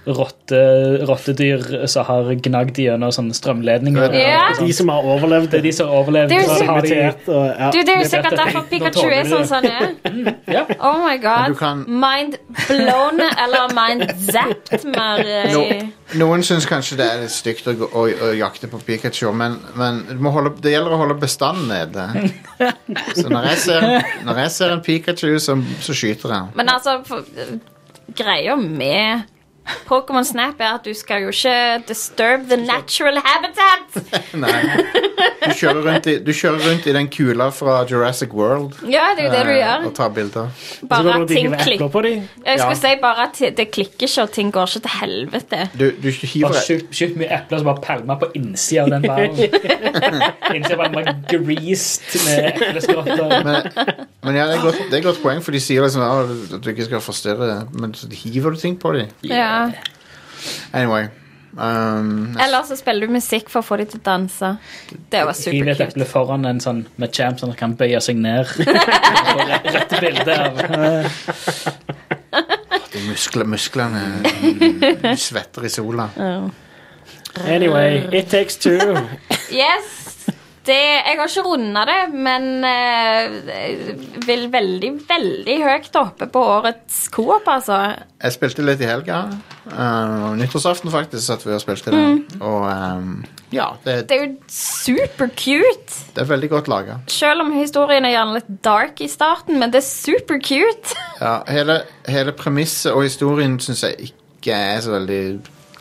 Speaker 4: rotte, rottedyr som har gnagd gjennom sånne strømledninger.
Speaker 3: Ja.
Speaker 2: De
Speaker 4: og sånt.
Speaker 2: som har overlevd,
Speaker 4: Det er de som overlevde.
Speaker 3: Det er jo
Speaker 4: så
Speaker 3: som-
Speaker 4: har de,
Speaker 2: mutert. Og, ja.
Speaker 3: Du, det er jo
Speaker 4: Det er
Speaker 3: sikkert
Speaker 4: dette.
Speaker 3: derfor
Speaker 4: Nå
Speaker 3: Pikachu
Speaker 4: tåler
Speaker 3: er
Speaker 4: vi
Speaker 3: sånn
Speaker 4: det.
Speaker 3: som han er.
Speaker 4: ja.
Speaker 3: Oh my
Speaker 1: Men
Speaker 3: god.
Speaker 1: du kan-
Speaker 3: Mind blown eller mind zapped mer eh,
Speaker 1: No,
Speaker 3: i-
Speaker 1: noen syns kanskje det er litt stygt å, gå- å, å jakte på Pikachu, men, men du må holde, det gjelder å holde bestanden nede. Så når jeg ser, når jeg ser en Pikachu, så, så skyter jeg.
Speaker 3: Men altså, for, greia eh, med Pokémon Snap er at du skal jo ikke disturb the natural habitat.
Speaker 1: Nei. Du kjører rundt i, du kjører rundt i den kula fra Jurassic World
Speaker 3: Ja, det er jo det du
Speaker 1: eh,
Speaker 3: gjør.
Speaker 1: og tar bilder.
Speaker 2: Så
Speaker 3: Bare
Speaker 2: går du
Speaker 3: at
Speaker 2: og digger
Speaker 3: ting
Speaker 2: med epler
Speaker 3: klikker.
Speaker 2: på dem.
Speaker 3: Jeg skulle
Speaker 1: Ja.
Speaker 3: si bare at det klikker ikke, og ting går ikke til helvete.
Speaker 1: Du, du hiver
Speaker 4: Bare sjukt sjukt mye epler som bare pælma på innsida av den ballen. Innsida var bare greased med epleskrotter.
Speaker 1: men, men ja, det er, godt, det er et godt poeng, for de sier liksom ah, at du ikke skal forstyrre, men så hiver du ting på dem.
Speaker 3: Ja.
Speaker 1: Anyway. Um,
Speaker 3: Eller så spiller du musikk for å få dem til å danse. Det var
Speaker 4: Hiv et
Speaker 3: superkult.
Speaker 4: eple foran en sånn med champ, sånn at han kan bøye seg ned. Og så Rett rett bilde av eh,
Speaker 1: de muskler, musklene mm, svetter i sola.
Speaker 2: Anyway, it takes two.
Speaker 3: Yes! Det, jeg har ikke runda det, men eh, vil veldig, veldig høyt oppe på årets coop, altså.
Speaker 1: Jeg spilte litt i helga. Um, nyttårsaften, faktisk, satt vi og spilte det. Og um, ja, det,
Speaker 3: Mm. Det er jo supercute.
Speaker 1: det er veldig godt laga.
Speaker 3: Selv om historien er gjerne litt dark i starten, men det er supercute.
Speaker 1: Ja, hele, hele premisset og historien syns jeg ikke er så veldig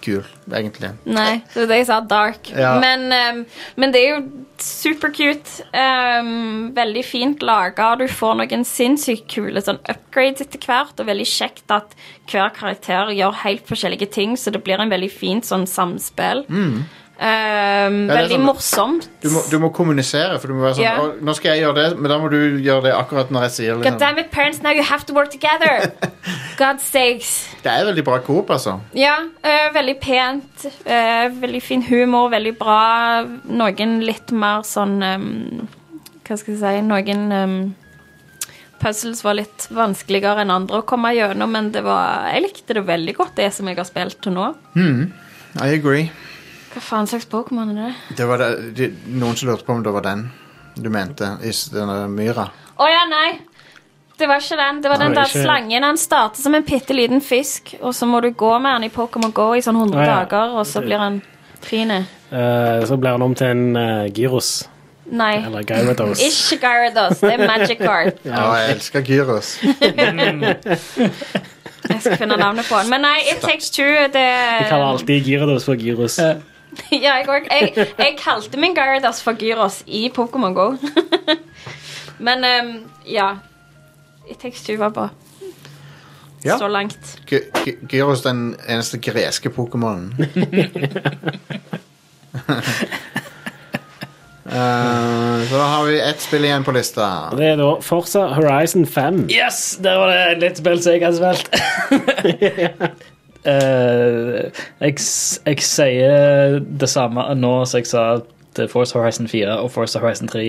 Speaker 1: kul, egentlig.
Speaker 3: Nei, det var det jeg sa, dark.
Speaker 1: Ja.
Speaker 3: Men, ehm, men det er jo supercute. Um, veldig fint laga, og du får noen sinnssykt kule sånn upgrades etter hvert. Og veldig kjekt at hver karakter gjør helt forskjellige ting, så det blir en veldig fint sånn samspill. Ehm,
Speaker 1: Mm. Ja, det er
Speaker 3: veldig
Speaker 1: sånn-
Speaker 3: morsomt.
Speaker 1: Du må, du må kommunisere, for du må være sånn
Speaker 3: Ja.
Speaker 1: «Å, Nå skal jeg gjøre det, men da må du gjøre det akkurat når jeg sier
Speaker 3: God
Speaker 1: liksom.
Speaker 3: damn it, parents, now you have to work together! God sakes.
Speaker 1: Det er veldig bra coop, altså.
Speaker 3: Ja, øh, veldig pent. øh, veldig fin humor, veldig bra. Noen litt mer sånn øhm, Hva skal jeg si Noen øhm, puzzles var litt vanskeligere enn andre å komme gjennom, men det var, jeg likte det veldig godt, det som jeg har spilt til nå.
Speaker 1: I agree.
Speaker 3: Hva faen slags Pokémon er det?
Speaker 1: Det var det, de, noen som lurte på om det var den du mente, i s- denne myra.
Speaker 3: Å ja, nei! Det var ikke den. Det var den
Speaker 2: Nei,
Speaker 3: der
Speaker 2: ikke-
Speaker 3: slangen. Han starter som en bitte liten fisk, og så må du gå med han i Pokémon Go i sånn 100
Speaker 2: Å, ja.
Speaker 3: dager, og så blir han fin.
Speaker 2: Eh, så blir han om til en eh, gyros.
Speaker 3: Nei.
Speaker 2: Eller gyrodos.
Speaker 3: Eh. Ikke Gyarados, det er Magic Card.
Speaker 1: Ja, jeg elsker Gyros.
Speaker 3: Jeg skal finne navnet på den. Men nei, It Takes Two det...
Speaker 2: Vi kaller
Speaker 3: eh,
Speaker 2: alltid gyrodos for gyros.
Speaker 4: Ja.
Speaker 3: ja, jeg, går- jeg, jeg kalte min Gyarados for Gyros i Pokémon GO. Men ehm, ja. It Takes Two var bra.
Speaker 1: Ja.
Speaker 3: Så langt.
Speaker 1: Gy- Gy- Gyros den eneste greske Pokémonen. Eh, så da har vi ett spill igjen på lista.
Speaker 2: Det er da Forza Horizon 5.
Speaker 4: Yes! Der var det endelig et spill som jeg hadde spilt. Eh, jeg, s- jeg sier det samme nå som jeg sa til Force Horizon 4 og Force Horizon 3.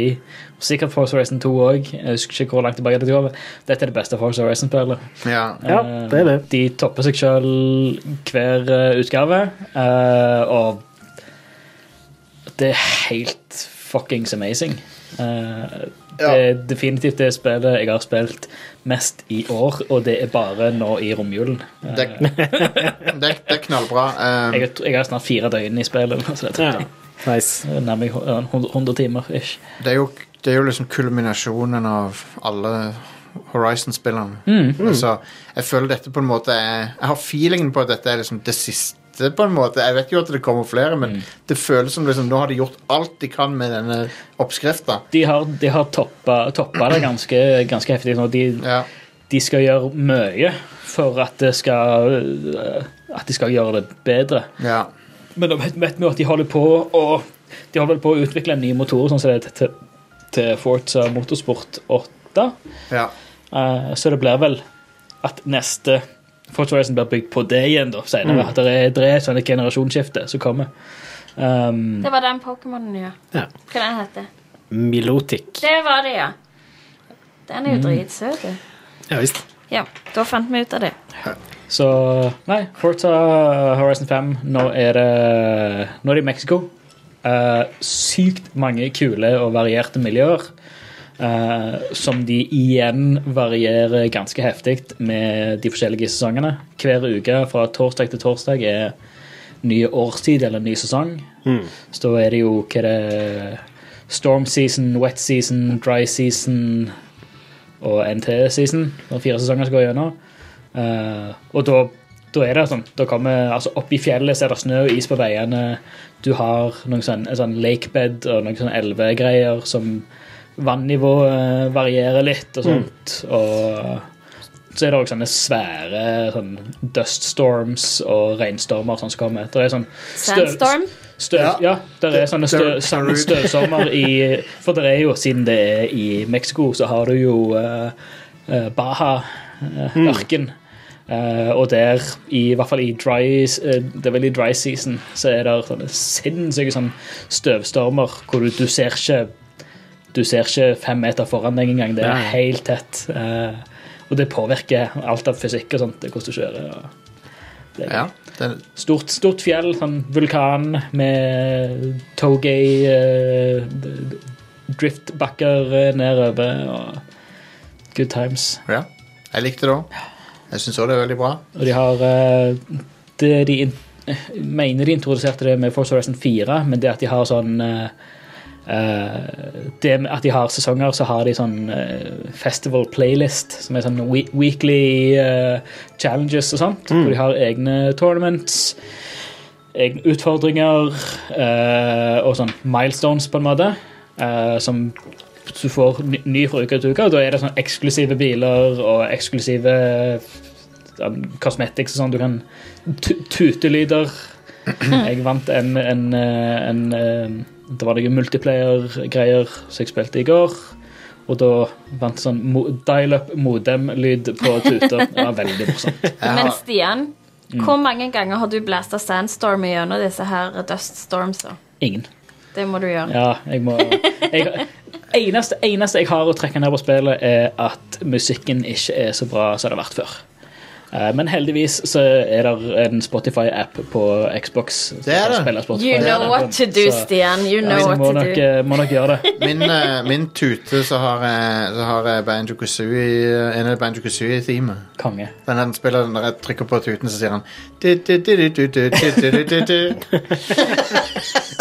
Speaker 4: Og sikkert Force Horizon 2 òg. Jeg husker ikke hvor langt tilbake det går. men Dette er det beste Force Horizon-spillet.
Speaker 1: Ja.
Speaker 2: Ja, det er det.
Speaker 4: Eh, De topper seg sjøl hver eh, utgave, eh, og det er helt fuckings amazing. Eh, det er definitivt det spillet jeg har spilt mest i år, og det er bare nå i romjulen. Eh,
Speaker 1: Det, det, det er knallbra. Eh,
Speaker 4: jeg, jeg har snart fire døgn i spillet. nå, Så det
Speaker 2: Ja.
Speaker 4: er
Speaker 2: Nice.
Speaker 4: nærmere eh, 100 timer. ish.
Speaker 1: det, er jo, det er jo liksom kulminasjonen av alle Horizon-spillene. Altså, jeg føler dette på en måte er, Jeg har feelingen på at dette er liksom det siste, på en måte. Jeg vet jo at det kommer flere, men det føles som liksom, nå har de gjort alt de kan med denne oppskrifta.
Speaker 4: De har, de har toppa, toppa det ganske, ganske heftig. nå. De,
Speaker 1: Ja.
Speaker 4: de skal gjøre mye for at, det skal, eh, at de skal gjøre det bedre.
Speaker 1: ja.
Speaker 4: Men da vet, vet vi jo at de holder på å De holder vel på å utvikle en ny motor sånn som det er til, til Forza Motorsport 8.
Speaker 1: ja.
Speaker 4: Eh, så det blir vel at neste Forza Horizon blir bygd på det igjen da, senere. At det er, det er et sånt generasjonsskifte som kommer. Um,
Speaker 3: Det var den Pokémonen, ja.
Speaker 2: Ja.
Speaker 3: Hva den heter
Speaker 2: Milotic.
Speaker 3: Det var det, ja. Den
Speaker 2: Mm.
Speaker 3: er jo dritsøt. du.
Speaker 2: Ja visst.
Speaker 3: Ja, da fant vi ut av det.
Speaker 4: så nei, Forza Horizon 5, nå er det Nå er det i Mexico. Eh, sykt mange kule og varierte miljøer. eh, som de igjen varierer ganske heftig med de forskjellige sesongene. Hver uke fra torsdag til torsdag er ny årstid eller ny sesong. Så da er det jo hva er det Storm season, wet season, dry season og NT season. Det er fire sesonger som går gjennom. Eh, og da da er det sånn, da kommer altså Oppe i fjellet så er det snø og is på veiene. Du har noen sånn, en sånn lakebed og noen sånn elvegreier som Vannivået varierer litt og sånt. Og så er det òg sånne svære sånn dust storms og regnstormer og sånt som kommer. Det er sånn støv-
Speaker 3: Sandstorm.
Speaker 4: Støv,
Speaker 1: Ja.
Speaker 4: ja. der er sånne støv,
Speaker 1: Der-
Speaker 4: sånne støvsommer i For det er jo, siden det er i Mexico, så har du jo eh, eh,
Speaker 1: Mm.
Speaker 4: Baja-ørken. Eh, og der, i, hvert fall i dry, eh, det er vel i dry season, så er det sånne sinnssyke sånn støvstormer hvor du, du ser ikke Du ser ikke fem meter foran deg engang. Det er
Speaker 1: Nei.
Speaker 4: helt tett. eh, og det påvirker alt av fysikk og sånt, hvordan du kjører. og Det er
Speaker 1: Ja, det,
Speaker 4: Stort, stort fjell, sånn vulkan med togay eh, d- d- driftbakker eh, nedover. Og good times.
Speaker 1: ja. Jeg likte det òg. Jeg syns òg det er veldig bra.
Speaker 4: Og de har eh, det de in eh, mener de introduserte det med Force Horizon 4, men det at de har sånn eh, eh, det med at de har sesonger, så har de sånn eh, festival playlist, som er sånn we weekly eh, challenges og sånt. Hvor de har egne tournaments, egne utfordringer eh, og sånn milestones, på en måte. eh, som du får ny- ny fra uke til uke. Og da er det sånn eksklusive biler og eksklusive um, cosmetics og sånn. Du kan tu- tutelyder. Jeg vant en, en, eh, en, eh, Det var noen multiplayer-greier som jeg spilte i går. Og da vant jeg sånn mo- dial-up modem-lyd på tuter. Det var veldig morsomt.
Speaker 1: Jeg
Speaker 3: Men
Speaker 1: har,
Speaker 3: Stian,
Speaker 2: Mm.
Speaker 3: hvor mange ganger har du blasta sandstorm gjennom disse her dust storms? da?
Speaker 4: Ingen.
Speaker 3: Det må du gjøre.
Speaker 4: Ja, jeg må jeg, eneste, eneste jeg har å trekke ned på spillet, er at musikken ikke er så bra som det har vært før. Eh, Men heldigvis så er det en Spotify-app på Xbox.
Speaker 1: Det er det.
Speaker 4: Spiller Spotify.
Speaker 3: You know what to do,
Speaker 4: Så-
Speaker 3: Stian. You know
Speaker 4: Ja, vi
Speaker 3: what
Speaker 4: må
Speaker 3: to
Speaker 4: nok,
Speaker 3: do.
Speaker 4: eh, må nok gjøre det.
Speaker 1: min, eh, min tute, så har jeg, så har jeg Banjo Kazooie eh, En av Banjo Kazooie-teamet.
Speaker 4: Konge.
Speaker 1: Den her spilleren, når jeg trykker på tuten, så sier han du, du, du, du, du, du, du, du, du, du.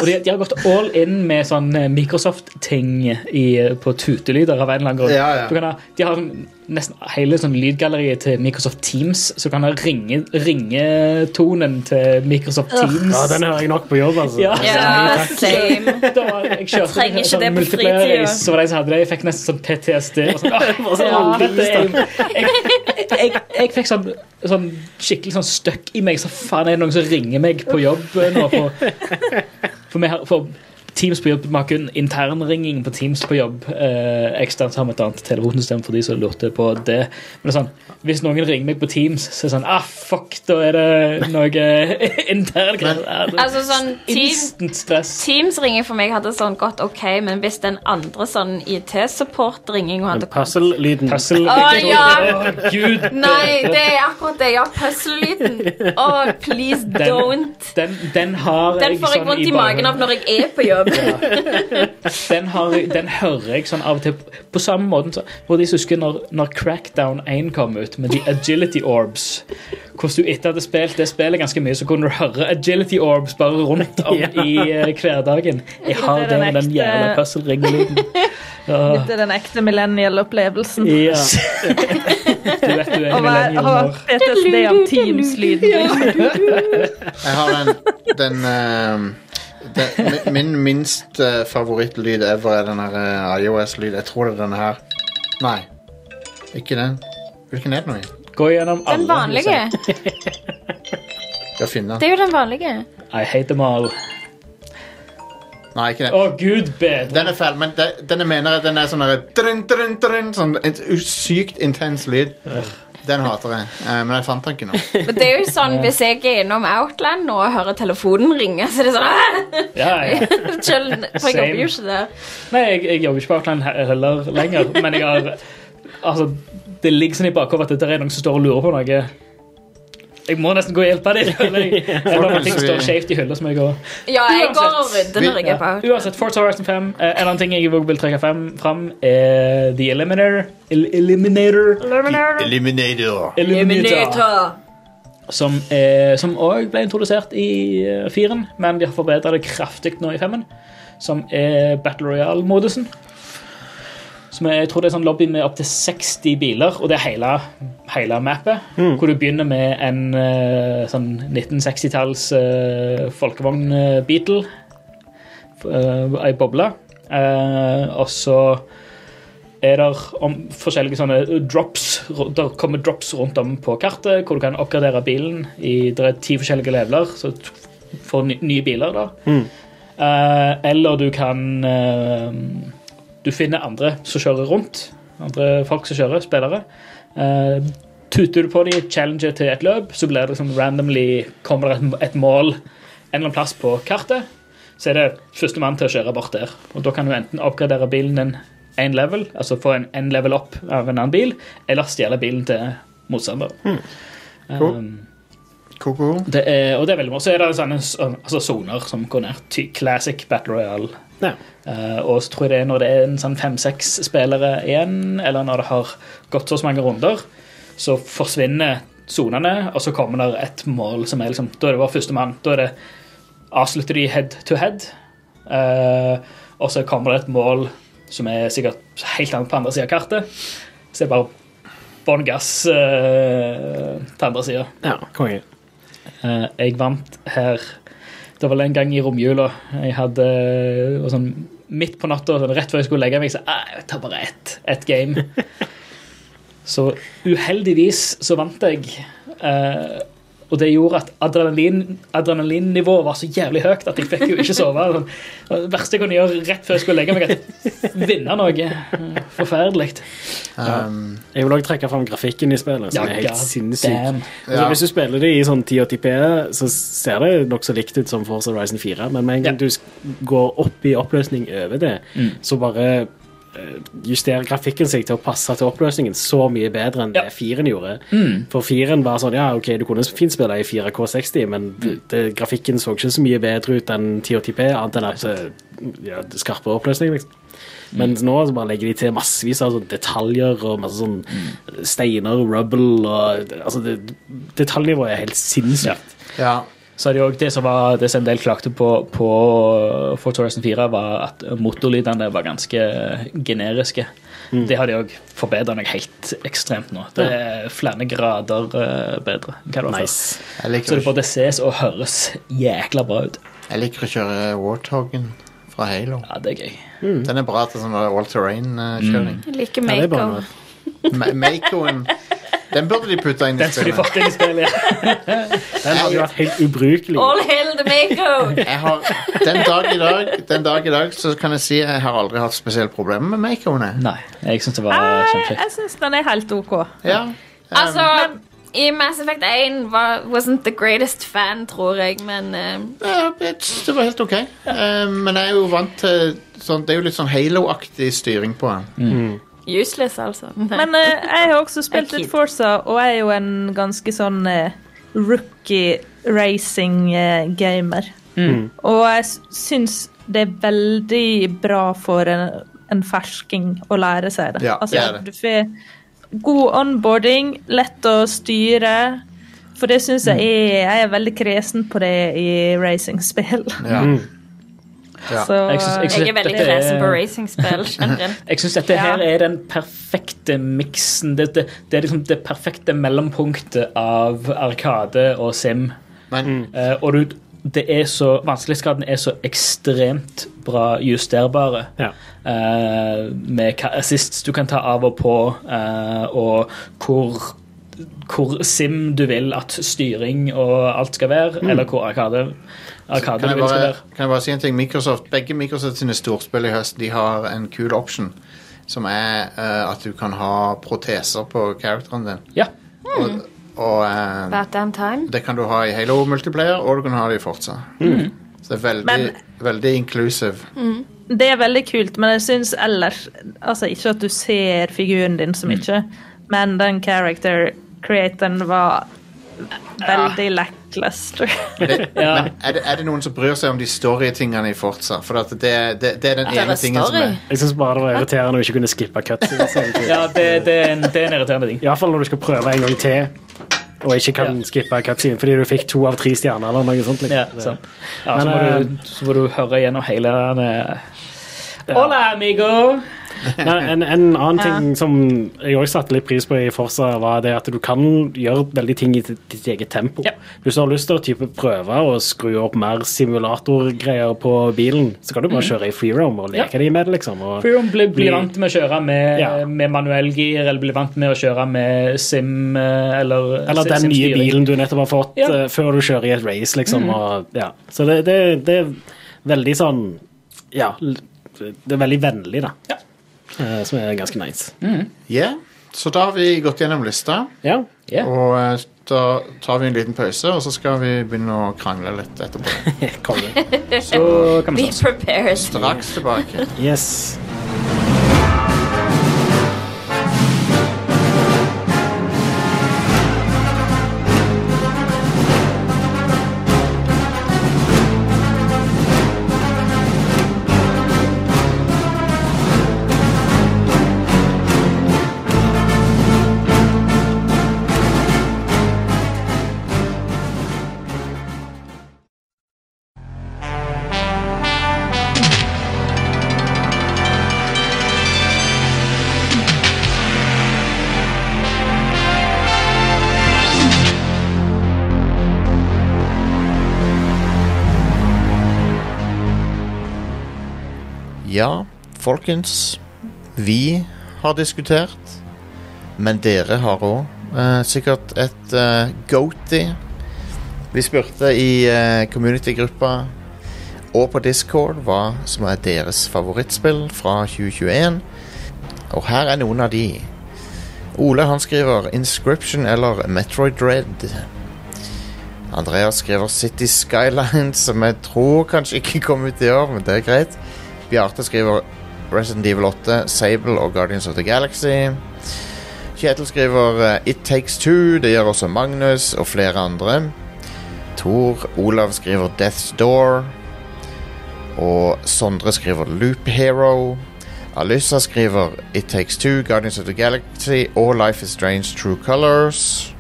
Speaker 4: Og de, de har gått all in med sånn eh, Microsoft-ting i- på tutelyder av en eller annen grunn.
Speaker 1: Ja, ja.
Speaker 4: Du kan ha, de har sånn, nesten hele sånn lydgalleriet til Microsoft Teams, så du kan ha ringe, ringetonen til Microsoft Teams.
Speaker 2: Ja, den hører jeg nok på jobb, altså.
Speaker 4: Ja.
Speaker 3: Ja, same.
Speaker 4: Da var- jeg kjørte
Speaker 3: Trenger ikke
Speaker 4: sånn
Speaker 3: det på
Speaker 4: multiplayer
Speaker 3: fritida.
Speaker 4: race, Så var det en som hadde det. Jeg fikk nesten sånn PTSD. Og sånn, «Åh,
Speaker 2: sånn
Speaker 4: dette er- jeg, jeg, jeg fikk sånn, sånn skikkelig sånn støkk i meg. Så faen er det noen som ringer meg på jobb nå? For, for, vi har, for Teams på jobb Vi har kun internringing på Teams på jobb. Eh, eksternt har vi et annet telefonsystem for de som lurte på det. Men det er sånn, hvis noen ringer meg på Teams, så er det sånn Ah, fuck, da er det noe interngreier. Ah, det-
Speaker 3: Altså sånn Teams,
Speaker 4: Instant stress.
Speaker 3: Teams-ringing for meg hadde sånn godt OK, men hvis den andre sånn IT-support-ringing hadde kommet
Speaker 2: Puzzle-lyden.
Speaker 4: Puzzle.
Speaker 3: Å, ja.
Speaker 4: Å, Gud.
Speaker 3: Nei, det er akkurat det. Ja, puzzle-lyden. Å, please
Speaker 4: Den-
Speaker 3: don't.
Speaker 4: Den, den har
Speaker 3: Den får jeg
Speaker 4: sånn
Speaker 3: vondt i magen av
Speaker 4: bakhodet.
Speaker 3: når jeg er på jobb.
Speaker 4: Den, har, den hører jeg sånn av og til. På samme måten så- hvor de husker når, når Crackdown 1 kom ut, med de agility orbs. Hvordan du etter at du spilt det spillet ganske mye, så kunne du høre agility orbs bare rundt om i eh, hverdagen. Jeg har
Speaker 5: Det
Speaker 4: det
Speaker 5: er den
Speaker 4: med den
Speaker 5: ekte-
Speaker 4: jævla puzzle-ringelyden. Ja.
Speaker 5: Dette er den ekte millennial-opplevelsen.
Speaker 4: Ja. Du vet du er
Speaker 5: Å
Speaker 4: en
Speaker 5: være- å
Speaker 4: millennial
Speaker 5: ha
Speaker 4: når
Speaker 5: PTSD av Teams-lyd.
Speaker 1: Jeg har den, den, eh, den mi- Min minst eh, favorittlyd ever er den her eh, IOS-lyd. Jeg tror det er den her. Nei, ikke den. Hvilken er det nå? igjen?
Speaker 4: Gå gjennom alle.
Speaker 3: Den vanlige.
Speaker 4: liksom.
Speaker 1: Jeg finner
Speaker 3: Det
Speaker 1: den.
Speaker 3: er jo den vanlige.
Speaker 4: I hate them all.
Speaker 1: Nei, ikke
Speaker 4: Å,
Speaker 1: den.
Speaker 4: gud bedre.
Speaker 1: Den er fæl, men de- den jeg mener at den er sånn her, drun, drun, drun, Sånn en sykt intens lyd. Den hater jeg. Eh, Men jeg fant den ikke nå.
Speaker 3: Men det er jo sånn hvis jeg er innom Outland nå og hører telefonen ringe, så er det sånn «Åh!»
Speaker 4: Ja, ja.
Speaker 3: Chill, for jeg
Speaker 4: Same.
Speaker 3: jobber jo ikke der.
Speaker 4: Nei, jeg, jeg jobber ikke på Outland he- heller lenger, men jeg har Altså, det ligger sånn i bakhodet at det er noen som står og lurer på noe. Jeg må nesten gå og hjelpe dem. føler jeg. Eller når ting står skjevt i hylla, så må jeg gå.
Speaker 3: Ja, jeg går og
Speaker 4: Uansett.
Speaker 3: rydder når jeg
Speaker 4: Ja.
Speaker 3: er på Outland.
Speaker 4: Uansett, Forza Horizon 5. eh, En annen ting jeg vil trekke frem, fram, er The Eliminator. El Eliminator.
Speaker 1: Eliminator.
Speaker 4: Eliminator. Som, eh, som også ble introdusert i eh, firen, men de har forbedret det kraftig nå i femmen. Som er Battle Royale-modusen. Som er, jeg tror det er sånn lobby med opptil 60 biler, og det er hele, hele mappet. Hvor du begynner med en eh, sånn 1960-talls eh, folkevogn eh, Beatle. Uh, ei boble. Eh, og så er det om forskjellige sånne eh, drops. Der kommer drops rundt om på kartet, hvor du kan oppgradere bilen. I, det er ti forskjellige leveler, så du får ny, nye biler da. Eh, eller du kan eh, Du finner andre som kjører rundt. Andre folk som kjører, spillere. Eh, tuter du på dem, challenger til et løp, så blir det liksom randomly kommer det et, et mål en eller annen plass på kartet. Så er det førstemann til å kjøre bort der. Og da kan du enten oppgradere bilen din én level, altså få en, en level opp av en annen bil, eller stjele bilen til motstander.
Speaker 1: Cool.
Speaker 4: Um,
Speaker 1: Koko.
Speaker 4: det er, og det er veldig bra. Så er det sånne s- altså, soner som går ned til classic Battle Royale.
Speaker 2: Ja.
Speaker 4: Eh, og så tror jeg det er når det er en sånn fem-seks spillere igjen, eller når det har gått så så mange runder, så forsvinner sonene, og så kommer det et mål som er liksom Da er det bare førstemann. Da er det Avslutter de head to head, eh, og så kommer det et mål som er sikkert helt annet på andre sida av kartet. Så det er bare bånn gass eh, til andre sida.
Speaker 2: Ja, konge.
Speaker 4: Eh, jeg vant her Det var vel en gang i romjula. Jeg hadde eh, og sånn, Midt på natta, sånn, rett før jeg skulle legge meg, så «Ah, jeg tar bare ett ett game. Så uheldigvis så vant jeg. eh, og det gjorde at adrenalin, adrenalinnivået var så jævlig høyt at jeg fikk jo ikke sove. Sånn, Det verste jeg kunne gjøre rett før jeg skulle legge meg, at vinne noe. Eh, Forferdelig.
Speaker 1: Um,
Speaker 2: Jeg vil også trekke fram grafikken i spillet, som
Speaker 4: Ja,
Speaker 2: er helt
Speaker 4: god
Speaker 2: sinnssyk.
Speaker 4: damn.
Speaker 2: Altså,
Speaker 1: Ja.
Speaker 2: Hvis du spiller det i sånn 1080p, så ser det nokså likt ut som Forza Horizon 4, men med en gang
Speaker 4: Ja. Mm.
Speaker 2: du sk- går opp i oppløsning over det, så bare eh, justerer grafikken seg til å passe til oppløsningen så mye bedre enn
Speaker 4: Ja. Mm.
Speaker 2: det 4-en gjorde. For 4-en var sånn, ja, ok, du kunne fint spille i 4K60, men
Speaker 4: Mm.
Speaker 2: det, grafikken så ikke så mye bedre ut enn 1080p, annet enn at eh, ja, det skarpe oppløsning, liksom. Men nå så bare legger de til massevis av sånn detaljer og masse sånn steiner og rubble og altså det, Detaljnivået er helt sinnssykt.
Speaker 4: Ja.
Speaker 1: ja.
Speaker 4: Så er det jo også det som, var, det som en del klagte på på Forza Horizon 4, var at motorlydene var ganske generiske.
Speaker 2: Mm.
Speaker 4: Det har de òg forbedra meg helt ekstremt nå. Det er flere grader eh, bedre. enn Hva det var før.
Speaker 2: Nice.
Speaker 1: Jeg,
Speaker 4: Så
Speaker 1: liker,
Speaker 4: det
Speaker 1: å-
Speaker 4: både ses og høres jækla bra ut.
Speaker 1: jeg liker å kjøre Warthogen fra Halo.
Speaker 4: Ja, det er gøy.
Speaker 1: Den er bra til sånn all terrain-kjøring.
Speaker 3: Jeg liker
Speaker 2: Ja, det er
Speaker 3: Mako.
Speaker 2: bare noe.
Speaker 1: Ma- Makoen Den burde de putta inn i
Speaker 4: Mm. Den skal de
Speaker 1: spillet.
Speaker 4: fått inn i spillet.
Speaker 2: Den hadde jo vært helt ubrukelig.
Speaker 3: All hail the Mako!
Speaker 1: Jeg har, den, dag i dag, den dag i dag så kan jeg si jeg har aldri hatt spesielle problemer med makeovene.
Speaker 4: Nei, jeg syns det var
Speaker 5: Jeg,
Speaker 4: kjempekjekt.
Speaker 5: jeg syns den er helt OK.
Speaker 1: Ja.
Speaker 3: Altså, i Mass Effect 1 var, wasn't the greatest fan, tror jeg, men eh,
Speaker 1: Ja, jeg synes det var helt ok. Eh, men jeg er jo vant til sånn, Det er jo litt sånn Halo-aktig styring på den.
Speaker 4: Mm-hmm.
Speaker 3: useless, altså.
Speaker 5: Men eh, jeg har også spilt
Speaker 3: Jeg er
Speaker 5: litt Forza, og jeg er jo en ganske sånn eh, rookie racing eh, gamer.
Speaker 1: Mm.
Speaker 5: Og jeg s- syns det er veldig bra for en, en fersking å lære seg det. Altså,
Speaker 1: Ja, det er det.
Speaker 5: Du får god onboarding, lett å styre. For det syns
Speaker 1: Mm.
Speaker 5: jeg er Jeg er veldig kresen på det i racingspill.
Speaker 1: Ja.
Speaker 4: Mm.
Speaker 1: Ja.
Speaker 5: Så
Speaker 4: Jeg synes- jeg synes-
Speaker 3: Jeg er veldig
Speaker 4: Dette er-
Speaker 3: kresen på racingspill generelt.
Speaker 4: Jeg syns dette her er den perfekte miksen. Det, det, det er liksom det perfekte mellompunktet av Arkade og Sim.
Speaker 1: Men
Speaker 4: Eh, og du, det er så, vanskelighetsgraden er så ekstremt bra justerbare.
Speaker 2: Ja.
Speaker 4: Eh, med hva assist du kan ta av og på, eh, og hvor hvor sim du vil at styring og alt skal være, eller hvor arkade,
Speaker 1: kan
Speaker 4: arkade du
Speaker 1: jeg,
Speaker 4: vil skal
Speaker 1: bare,
Speaker 4: være.
Speaker 1: kan jeg bare si en ting? Microsoft, begge Microsoft sine storspill i høst De har en kul option, som er eh, at du kan ha proteser på characteren din.
Speaker 4: Ja.
Speaker 1: Og, og eh,
Speaker 3: About damn time.
Speaker 1: det kan du ha i Halo multiplayer, og du kan ha det i Forza.
Speaker 4: Mm.
Speaker 1: Så det er veldig,
Speaker 5: Mm-hmm. Men-
Speaker 1: veldig inclusive.
Speaker 5: Det er veldig kult, men jeg syns ellers Altså, ikke at du ser figuren din så mye, men den character creatoren var veldig lackluster.
Speaker 4: Ja.
Speaker 1: Men er det, er det noen som bryr seg om de storytingene i Forza? For at det, det, det er den
Speaker 3: Det er
Speaker 1: ene tingen som
Speaker 3: story.
Speaker 1: er
Speaker 2: Jeg syns bare det var irriterende å ikke kunne skippe cutscenes. egentlig.
Speaker 4: ja, det, det, er en, det er en irriterende ting.
Speaker 2: I hvert fall når du skal prøve en gang til og ikke kan
Speaker 4: Ja.
Speaker 2: skippe cutscene fordi du fikk to av tre stjerner eller noe sånt. liksom.
Speaker 4: Ja, sant. ja så,
Speaker 2: Men,
Speaker 4: må du, så må du høre gjennom hele den eh, Hola, amigo!
Speaker 2: Men en, en annen ting som jeg også satte litt pris på i Forsa, var det at du kan gjøre veldig ting i ditt ditt eget tempo.
Speaker 4: Ja.
Speaker 2: Hvis du har lyst til å type prøve å skru opp mer simulatorgreier på bilen, så kan du bare kjøre i freeroam og leke
Speaker 4: Mhm. Ja.
Speaker 2: de med, liksom. Og,
Speaker 4: Freerom blir,
Speaker 2: Blir-
Speaker 4: blir vant med å kjøre med,
Speaker 2: Ja.
Speaker 4: med manuell gir, eller blir vant med å kjøre med sim eh, eller
Speaker 2: eller
Speaker 4: si-
Speaker 2: den nye
Speaker 4: simstyring.
Speaker 2: bilen du nettopp har fått,
Speaker 4: Ja. Mhm.
Speaker 2: eh, før du kjører i et race, liksom. Og, ja. Så det, det, det er veldig sånn Ja, l- det er veldig vennlig, da.
Speaker 4: Ja. Mhm.
Speaker 2: Eh, Som er ganske nice.
Speaker 1: Yeah. Så da har vi gått gjennom lista,
Speaker 2: Ja.
Speaker 4: Ja.
Speaker 1: og eh, da tar vi en liten pause, og så skal vi begynne å krangle litt etterpå.
Speaker 2: Konge.
Speaker 4: Så kan vi
Speaker 6: Be
Speaker 4: se.
Speaker 6: prepared.
Speaker 1: Straks tilbake.
Speaker 2: Yes.
Speaker 1: Ja, folkens. Vi har diskutert, men dere har òg eh, sikkert et eh, goatee. Vi spurte i eh, community-gruppa og på Discord hva som er deres favorittspill fra 2021. Og her er noen av de. Ole han skriver 'Inscription' eller 'Metroid Red'. Andreas skriver 'City Skylines', som jeg tror kanskje ikke kom ut i år, men det er greit. Bjarte skriver Resident Evil 8, Sable og Guardians of the Galaxy. Kjetil skriver eh, It Takes Two. Det gjør også Magnus og flere andre. Tor Olav skriver Death's Door. Og Sondre skriver Loop Hero. Alyssa skriver It Takes Two, Guardians of the Galaxy og Life Is Strange True Colors.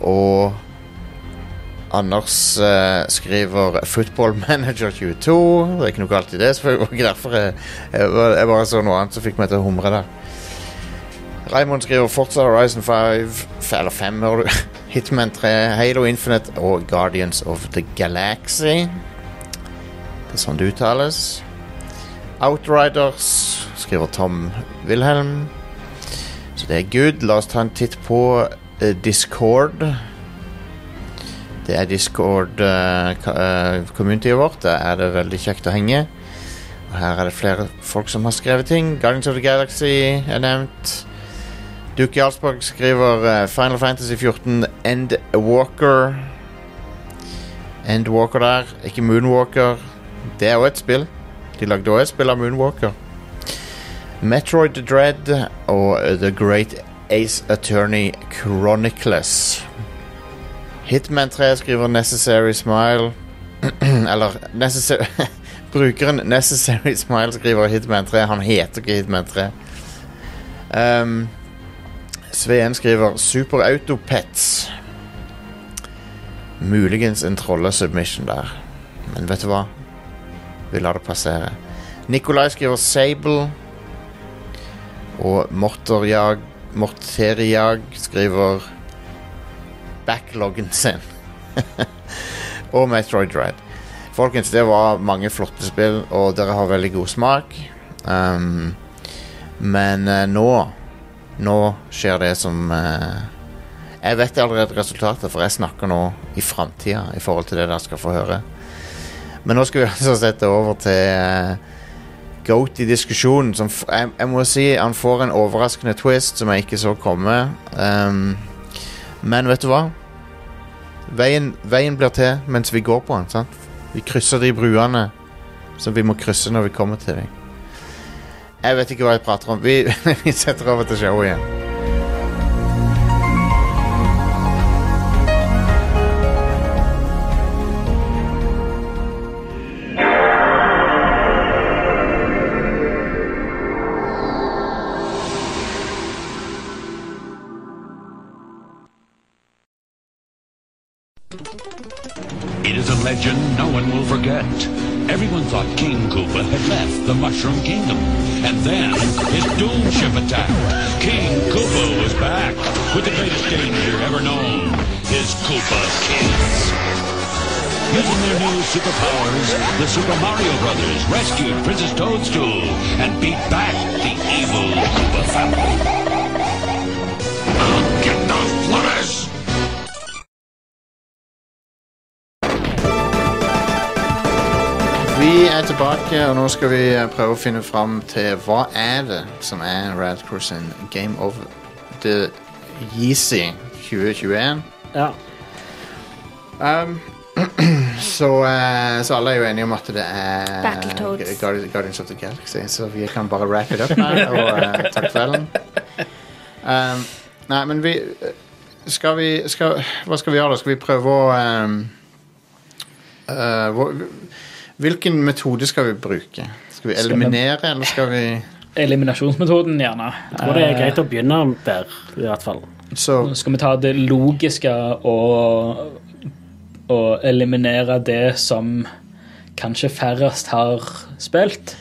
Speaker 1: Og Anders eh, skriver Football Manager 22. Det er ikke noe galt i det, så det var ikke derfor jeg, jeg, var- jeg bare så noe annet som fikk meg til å humre der. Raymond skriver Forza Horizon 5, f- eller 5, hører du. Hitman 3, Halo Infinite og Guardians of the Galaxy. Det er sånn det uttales. Outriders skriver Tom Wilhelm. Så det er good. La oss ta en titt på eh, Discord. Det er eh, Discord-communityet vårt. Der er det veldig kjekt å henge. Og her er det flere folk som har skrevet ting. Guardians of the Galaxy er nevnt. Duke Jarlsberg skriver eh, Final Fantasy 14 Endwalker. Endwalker der, ikke Moonwalker. Det er jo et spill. De lagde òg et spill av Moonwalker. Metroid Dread og eh, The Great Ace Attorney Chronicles. Hitman 3 skriver Necessary Smile Eller necessary, Brukeren Necessary Smile skriver Hitman 3 Han heter ikke Hitman 3 um, Sveen skriver Super Auto Pets Muligens en trollesubmission der Men vet du hva? Vi lar det passere Nikolai skriver Sable Og Morterjag Morteriag skriver backloggen sin. og Metroid Red. Folkens, det var mange flotte spill, og dere har veldig god smak. Um, men eh, nå Nå skjer det som eh, Jeg vet allerede resultatet, for jeg snakker nå i framtida i forhold til det dere skal få høre. Men nå skal vi altså sette over til eh, Goat i diskusjonen. Som f jeg, jeg må si han får en overraskende twist som jeg ikke så komme. Um, men vet du hva? Veien, veien blir til mens vi går på den. sant? Vi krysser de bruene som vi må krysse når vi kommer til dem. Jeg vet ikke hva jeg prater om. Vi, vi setter over til showet igjen.
Speaker 7: It is a legend no one will forget. Everyone thought King Koopa had left the Mushroom Kingdom. And then his doom ship attacked. King Koopa was back with the greatest danger ever known. His Koopa Kids. Using their new superpowers, the Super Mario Brothers rescued Princess Toadstool and beat back the evil Koopa family. I'll get the flourish!
Speaker 1: Vi er tilbake, og nå skal vi eh, prøve å finne fram til hva er det som er Radcrow sin Game of the Yeezy 2021.
Speaker 2: Ja.
Speaker 1: Um, så, eh, så alle er jo enige om at det er
Speaker 6: Battletoads.
Speaker 1: Guardi- Guardians of the Galaxy, så vi kan bare wrap it up her og eh, ta kvelden. Um, nei, men vi eh, Skal vi skal, Hva skal vi gjøre, da? Skal vi prøve å um, eh, hvor- Hvilken metode skal vi bruke? Skal vi
Speaker 4: Skal vi-
Speaker 1: eliminere, eller skal vi
Speaker 4: Eliminasjonsmetoden, gjerne.
Speaker 2: Jeg tror det er greit å begynne der, i hvert fall.
Speaker 1: Så
Speaker 4: Nå Eh, skal vi ta det logiske og, og eliminere det som kanskje færrest har spilt.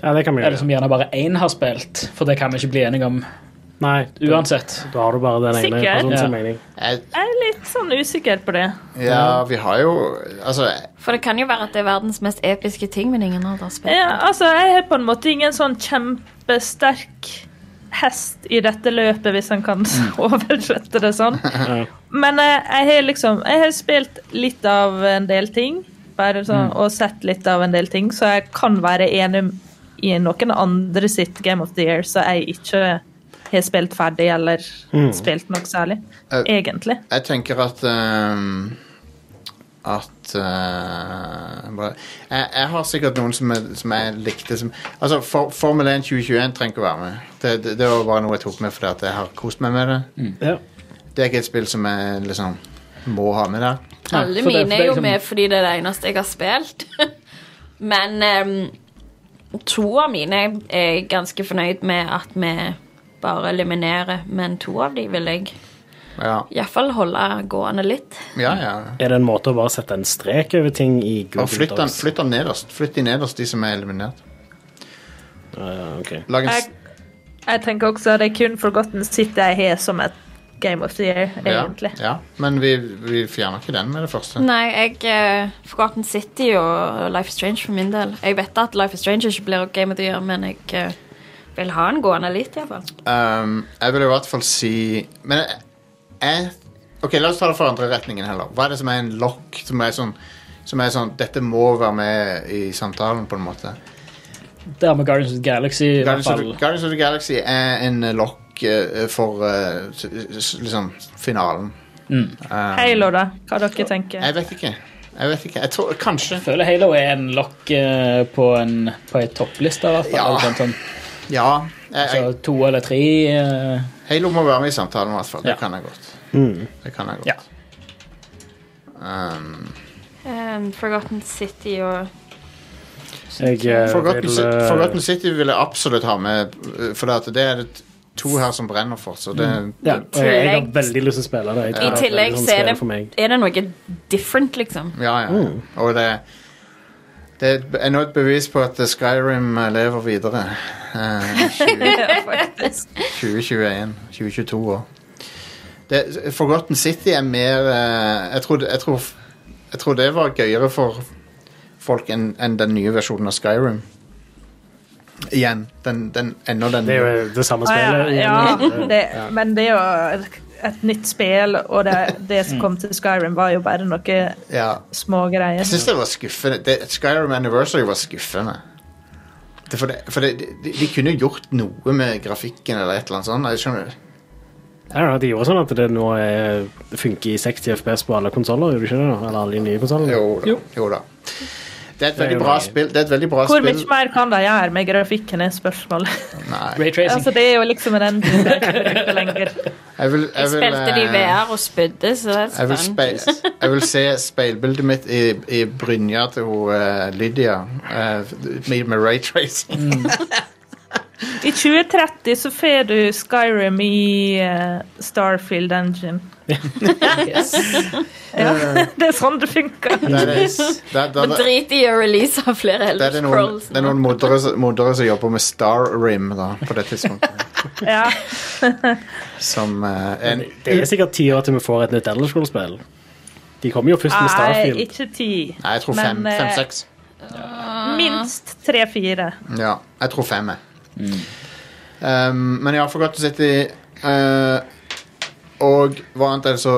Speaker 2: Ja, det kan vi
Speaker 4: Eller
Speaker 2: gjøre.
Speaker 4: som gjerne bare én har spilt, for det kan vi ikke bli enige om
Speaker 2: Nei, da,
Speaker 4: sånn- uansett.
Speaker 2: da har du bare den ene
Speaker 5: Sikker?
Speaker 2: personen som
Speaker 4: Ja.
Speaker 2: mening.
Speaker 1: jeg,
Speaker 5: Jeg er litt sånn usikker på det.
Speaker 1: Ja, vi har jo Altså,
Speaker 6: For det kan jo være at det er verdens mest episke ting, men ingen har da spilt.
Speaker 5: Ja, altså, jeg har på en måte ingen sånn kjempesterk hest i dette løpet, hvis en kan
Speaker 1: Mm.
Speaker 5: oversette det sånn. Men eh, jeg har liksom Jeg har spilt litt av en del ting, bare sånn,
Speaker 1: Mm.
Speaker 5: og sett litt av en del ting, så jeg kan være enig i noen andre sitt Game of the Year, så jeg ikke har spilt ferdig eller spilt noe særlig,
Speaker 1: Mm. Eh.
Speaker 5: egentlig.
Speaker 1: jeg tenker at ehm, At eh, bare, jeg, jeg har sikkert noen som, jeg- som jeg likte som Altså, for, Formel 1 2021 trenger ikke å være med. Det, det, det var bare noe jeg tok med fordi at jeg har kost meg med det.
Speaker 2: Ja.
Speaker 1: Det er ikke et spill som jeg liksom må ha med der.
Speaker 6: Alle
Speaker 4: for det- for
Speaker 6: mine
Speaker 4: det
Speaker 6: er
Speaker 4: er
Speaker 6: jo
Speaker 4: liksom-
Speaker 6: med fordi det er det eneste jeg har spilt. Men em, to av mine er jeg ganske fornøyd med at vi bare eliminerer. Men to av de vil jeg
Speaker 1: Ja,
Speaker 6: iallfall holde gående litt.
Speaker 1: ja. ja.
Speaker 2: Er det en måte å bare sette en strek over ting i Google
Speaker 1: Og flytt den,
Speaker 2: Docs?
Speaker 1: flytt den nederst. Flytt de nederst, de som er eliminert.
Speaker 2: Ja, ok.
Speaker 1: Lag en, s-
Speaker 5: Jeg, jeg tenker også at det er kun Forgotten City jeg har som et Game of the Year, egentlig.
Speaker 1: Ja, ja. Men vi, vi fjerner ikke den med det første.
Speaker 6: Nei, jeg eh, Forgotten City og Life is Strange for min del. Jeg vet at Life is Strange ikke blir Game of the Year, men jeg eh, vil ha den gående litt, iallfall.
Speaker 1: Ehm, jeg vil i hvert fall si Men jeg, jeg Ok, la oss ta det fra andre retningen heller. Hva er det som er en lokk? Som er sånn, som er sånn Dette må være med i samtalen, på en måte.
Speaker 4: Det har med Guardians of the Galaxy i hvert
Speaker 1: Guardians of, the-
Speaker 4: fall.
Speaker 1: Guardians of the Galaxy er en eh, lokk eh, for eh, s- s- liksom finalen. Ehm,
Speaker 5: Halo, da. Hva dere tenker?
Speaker 1: Jeg vet ikke. Jeg vet ikke. Jeg tror kanskje
Speaker 4: Jeg føler Halo er en lokk eh, på en på en toppliste, i hvert fall.
Speaker 1: Ja.
Speaker 4: eller Sånn, sånn.
Speaker 1: Ja. Jeg,
Speaker 4: Så
Speaker 1: jeg,
Speaker 4: to eller tre eh,
Speaker 1: Halo må være med i samtalen, i hvert fall. Det
Speaker 4: Ja.
Speaker 1: kan jeg godt.
Speaker 2: Mm.
Speaker 1: Det kan jeg godt.
Speaker 4: Ja.
Speaker 1: Ehm,
Speaker 6: Em, Forgotten City og
Speaker 2: Jeg eh,
Speaker 1: Forgotten,
Speaker 2: vil
Speaker 1: Ci-
Speaker 2: eh,
Speaker 1: Forgotten City vil jeg absolutt ha med, eh, for det, at det er det to her som brenner for, så det,
Speaker 2: Mm. ja, og jeg, jeg har
Speaker 6: tillegg-
Speaker 2: veldig lyst til å spille det. Jeg tror
Speaker 6: I
Speaker 2: det er et
Speaker 6: tillegg
Speaker 2: veldig sånn
Speaker 6: så er
Speaker 2: spill
Speaker 6: det,
Speaker 2: for meg.
Speaker 6: er det noe different, liksom.
Speaker 1: Ja, ja.
Speaker 2: Mm.
Speaker 1: Og det, det er nå et bevis på at Skyrim eh, lever videre. eh, 20,
Speaker 5: Ja, faktisk.
Speaker 1: 2021. 2022 òg. Forgotten City er mer eh, jeg tror, jeg, tror, jeg tror det var gøyere for folk enn enn den nye versjonen av Skyrim. Igjen. Den, den, ennå den
Speaker 2: Det er jo eh, det samme
Speaker 5: Ah,
Speaker 2: spillet.
Speaker 5: ja, ja. Det, men det er jo et nytt spill, og det, det
Speaker 1: Mm.
Speaker 5: som kom til Skyrim, var jo bare noen
Speaker 1: ja.
Speaker 5: små greier.
Speaker 1: Jeg synes det var skuffende det, Skyrim Anniversary var skuffende det, For, det, for det, de, de kunne jo gjort noe med grafikken Eller et eller annet sånt Jeg skjønner
Speaker 2: Jeg vet ikke, de gjorde sånn at det nå er, det funker i 60 FPS på alle konsoller, gjør det ikke det? da? Eller alle de nye konsollene?
Speaker 1: Jo da, jo. da. Det er et
Speaker 2: er
Speaker 1: veldig
Speaker 2: jo
Speaker 1: bra
Speaker 2: det.
Speaker 1: spill Det er et veldig bra
Speaker 5: Hvor
Speaker 1: spill
Speaker 5: mye mer kan de gjøre med grafikken, er spørsmålet.
Speaker 1: Nei,
Speaker 4: Ray Tracing.
Speaker 5: altså, det er jo liksom en endring det er ikke brukt lenger.
Speaker 1: jeg vil,
Speaker 6: Jeg
Speaker 1: jeg vil,
Speaker 6: spilte det i
Speaker 1: eh,
Speaker 6: VR og spydde, så det
Speaker 1: jeg
Speaker 6: er
Speaker 1: vil,
Speaker 6: spennende.
Speaker 1: speil, jeg vil se speilbildet mitt i, i brynja
Speaker 5: Mm.
Speaker 1: til hun, eh, Lydia eh, med, med raytracing.
Speaker 5: I 2030 så får du Skyrim i eh, Starfield Engine. Det er sånn det funker.
Speaker 1: Det er, det, det, er- det,
Speaker 6: Men
Speaker 1: er- det,
Speaker 6: drit i å release av flere
Speaker 1: er- det
Speaker 6: Elder
Speaker 1: er noen,
Speaker 6: Scrolls.
Speaker 1: det er noen moddere, som- moddere som jobber med Star Rim da, på det tidspunktet.
Speaker 5: Ja.
Speaker 1: Som eh, en
Speaker 2: Det er sikkert ti år til vi får et nytt Elder Scrolls-spill. De kommer jo først med
Speaker 5: Nei,
Speaker 2: Starfield.
Speaker 5: ikke ti.
Speaker 1: Nei, jeg tror
Speaker 5: Men,
Speaker 1: fem.
Speaker 5: eh,
Speaker 1: Fem-seks.
Speaker 5: Minst tre-fire.
Speaker 1: Ja, jeg tror fem, jeg.
Speaker 5: Mm.
Speaker 1: Um, men ja, Forgotten City uh, Og hva annet er det så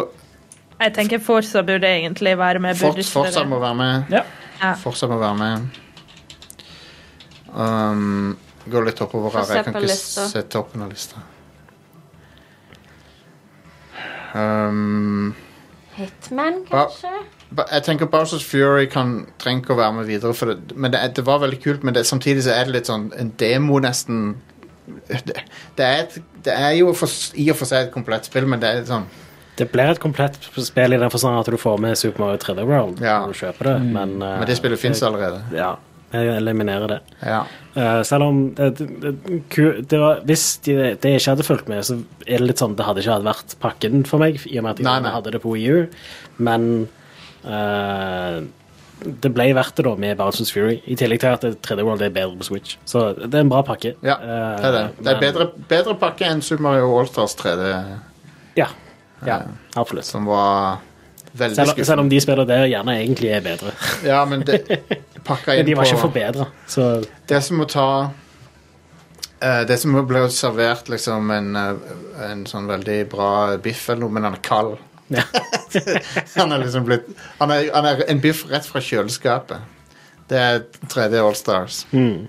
Speaker 5: Jeg tenker Forsa burde egentlig være med.
Speaker 1: Fort,
Speaker 5: burde ikke
Speaker 1: Fortsatt
Speaker 5: det?
Speaker 1: må være med.
Speaker 4: Ja.
Speaker 5: Ja.
Speaker 1: Fortsatt må være med. Um, Gå litt oppover
Speaker 6: Få
Speaker 1: her.
Speaker 6: se
Speaker 1: Jeg kan
Speaker 6: på
Speaker 1: ikke
Speaker 6: lista.
Speaker 1: se toppen av lista. Um,
Speaker 6: Hitman,
Speaker 1: Ja.
Speaker 6: kanskje?
Speaker 1: Ba- Jeg tenker Bowsers Fury kan trenger ikke å være med videre. For det, men det, er- det var veldig kult, men det, samtidig så er det litt sånn en demo, nesten. Det, det, er, et, det er jo for, s- i og for seg et komplett spill, men det er litt sånn
Speaker 2: Det blir et komplett spill i den forstand at du får med Super Mario 3D World
Speaker 1: Ja. Mm.
Speaker 2: når du kjøper det, men, eh,
Speaker 1: Men det spillet fins allerede.
Speaker 2: Ja, jeg eliminerer det.
Speaker 1: Ja.
Speaker 2: Eh, selv om eh, det, det, ku- det var, Hvis de, det ikke hadde fulgt med, så er det litt sånn det hadde ikke hadde vært pakken for meg, i og med at jeg
Speaker 1: Nei, nei.
Speaker 2: hadde det på Wii U, men eh, det ble verdt det da med Bouncers Fury, i tillegg til at 3D World er bedre på Switch. Så det er en bra pakke.
Speaker 1: ja
Speaker 2: Eh,
Speaker 1: det er det. Det er
Speaker 2: men-
Speaker 1: bedre, bedre pakke enn Super Mario Allstars 3D,
Speaker 2: Ja, ja absolutt.
Speaker 1: som var veldig
Speaker 2: Selv, selv
Speaker 1: skuffende.
Speaker 2: om de spiller der gjerne egentlig er bedre.
Speaker 1: Ja, men det, pakka inn
Speaker 2: Men de var ikke
Speaker 1: på
Speaker 2: forbedra, så
Speaker 1: Det er som å ta eh, Det er som å bli servert liksom en, eh, en sånn veldig bra biff eller noe, men han er kald.
Speaker 2: Ja.
Speaker 1: han er liksom blitt han er, han er en biff rett fra kjøleskapet. Det er 3D All Stars.
Speaker 2: Mm.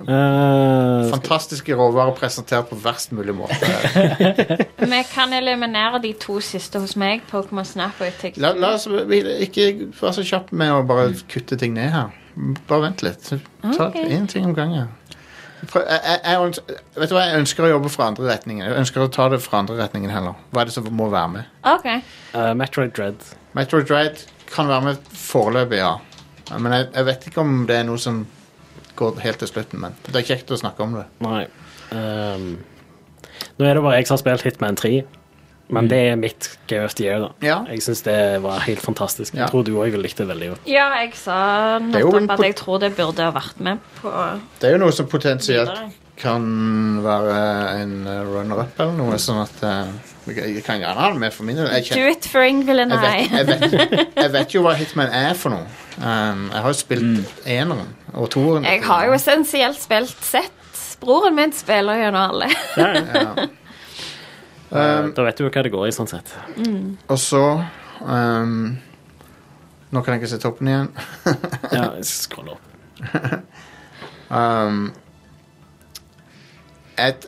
Speaker 2: eh,
Speaker 1: Fantastiske råvarer presentert på verst mulig måte.
Speaker 6: Vi kan eliminere de to siste hos meg. Pokémon Snap og Utix.
Speaker 1: La, la oss vi- ikke være så kjapp med å bare kutte ting ned her. Bare vent litt. Ta
Speaker 6: Ok.
Speaker 1: én ting om gangen. Prøv, jeg, jeg, jeg, øns- vet du hva, jeg ønsker å jobbe fra andre retningen. Jeg ønsker å ta det fra andre retningen heller. Hva er det som må være med?
Speaker 6: OK.
Speaker 2: eh, Metroid Dread.
Speaker 1: Metroid Dread kan være med foreløpig, ja. Ja, Men jeg, jeg vet ikke om det er noe som går helt til slutten, men det er kjekt å snakke om det.
Speaker 2: Nei. Ehm, nå er det bare jeg som har spilt Hitman 3, men det er mitt Game of the Year. da.
Speaker 1: Ja.
Speaker 2: Jeg syns det var helt fantastisk.
Speaker 1: Ja.
Speaker 2: Jeg tror du òg likte det veldig godt.
Speaker 6: Ja, jeg sa
Speaker 1: er jo
Speaker 6: nettopp
Speaker 1: en
Speaker 6: at
Speaker 1: pot-
Speaker 6: jeg tror det burde ha vært med på
Speaker 1: Det er jo noe som potensielt
Speaker 6: videre.
Speaker 1: kan være en eh, runner-up eller noe, sånn at eh, Jeg kan gjerne ha det med for min del. Jeg,
Speaker 6: Do
Speaker 1: kjen-
Speaker 6: it for Ingvild and
Speaker 1: jeg, vet,
Speaker 6: I.
Speaker 1: jeg, vet, jeg vet jo hva Hitman er for noe. Um, jeg har jo spilt eneren og toeren.
Speaker 6: Jeg har jo essensielt spilt sett broren min spiller gjennom alle.
Speaker 2: Eh, da vet du jo hva det går i, sånn sett.
Speaker 1: Og så um, Nå kan jeg ikke se toppen igjen.
Speaker 2: Ja, jeg skal scrolle opp.
Speaker 1: Et,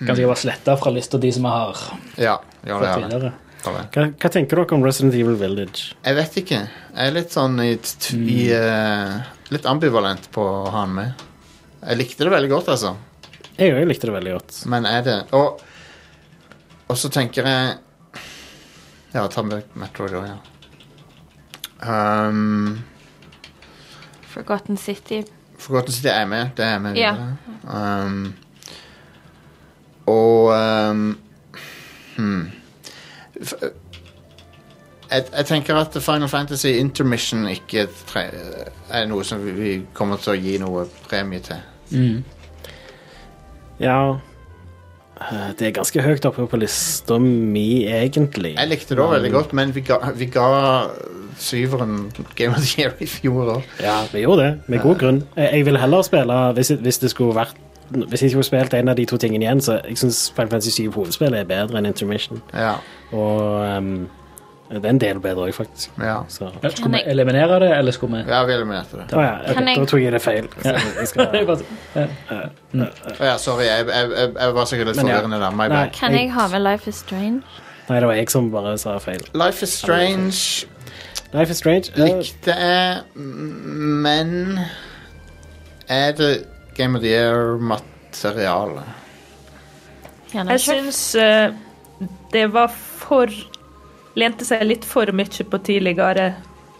Speaker 4: Kan sikkert bare slette fra lista de som har
Speaker 1: ja, gjør det.
Speaker 4: fått
Speaker 1: Gjør det.
Speaker 4: tidligere.
Speaker 1: Gjør det.
Speaker 2: Hva, hva tenker dere om Resident Evil Village?
Speaker 1: Jeg vet ikke. Jeg er litt sånn i, t- t- i eh, Litt ambivalent på å ha den med. Jeg likte det veldig godt, altså.
Speaker 2: Jeg òg likte det veldig godt.
Speaker 1: Men er det Og, og så tenker jeg Ja, ta med Metroid òg, ja. Um,
Speaker 6: Forgotten City.
Speaker 1: Forgotten City er med. Det er med
Speaker 6: Ja.
Speaker 1: videre. Um, og um, hmm. F- eh, jeg, jeg tenker at Final Fantasy Intermission ikke tre, er noe som vi, vi kommer til å gi noe premie til.
Speaker 2: Mm. Ja eh, Det er ganske høyt oppe på lista mi, egentlig.
Speaker 1: Jeg likte det òg veldig godt, men vi ga, vi ga syveren Game of the Year i fjor òg.
Speaker 2: Ja, vi gjorde det, med god grunn. Eh, Jeg, jeg ville heller spille hvis, hvis det skulle vært hvis jeg skulle spilt en av de to tingene igjen, så jeg syns Final Fantasy 7 hovedspill er bedre enn Intermission.
Speaker 1: Ja,
Speaker 2: Og ehm, det er en del bedre òg, faktisk.
Speaker 1: ja.
Speaker 2: Så Å
Speaker 4: Ja, Skulle vi eliminere det, eller skulle vi
Speaker 1: ja vi eliminerte det.
Speaker 2: ja, ok,
Speaker 6: Kan jeg-
Speaker 2: da tok jeg det feil. Så jeg skal,
Speaker 4: Jeg bare-
Speaker 1: Å Ja, sorry, jeg, jeg, jeg, jeg var sikkert litt
Speaker 2: Men ja.
Speaker 1: forvirrende der. My
Speaker 2: Nei.
Speaker 1: bad.
Speaker 6: Kan jeg ha med Life is Strange?
Speaker 2: nei, det var jeg som bare sa feil.
Speaker 1: Life is Strange
Speaker 2: Life is Strange. eh,
Speaker 1: likte jeg, m- men er det Game of the Year-materiale?
Speaker 6: Gjerne
Speaker 5: Jeg
Speaker 6: ikke.
Speaker 5: syns eh, det var for Lente seg litt for mye på tidligere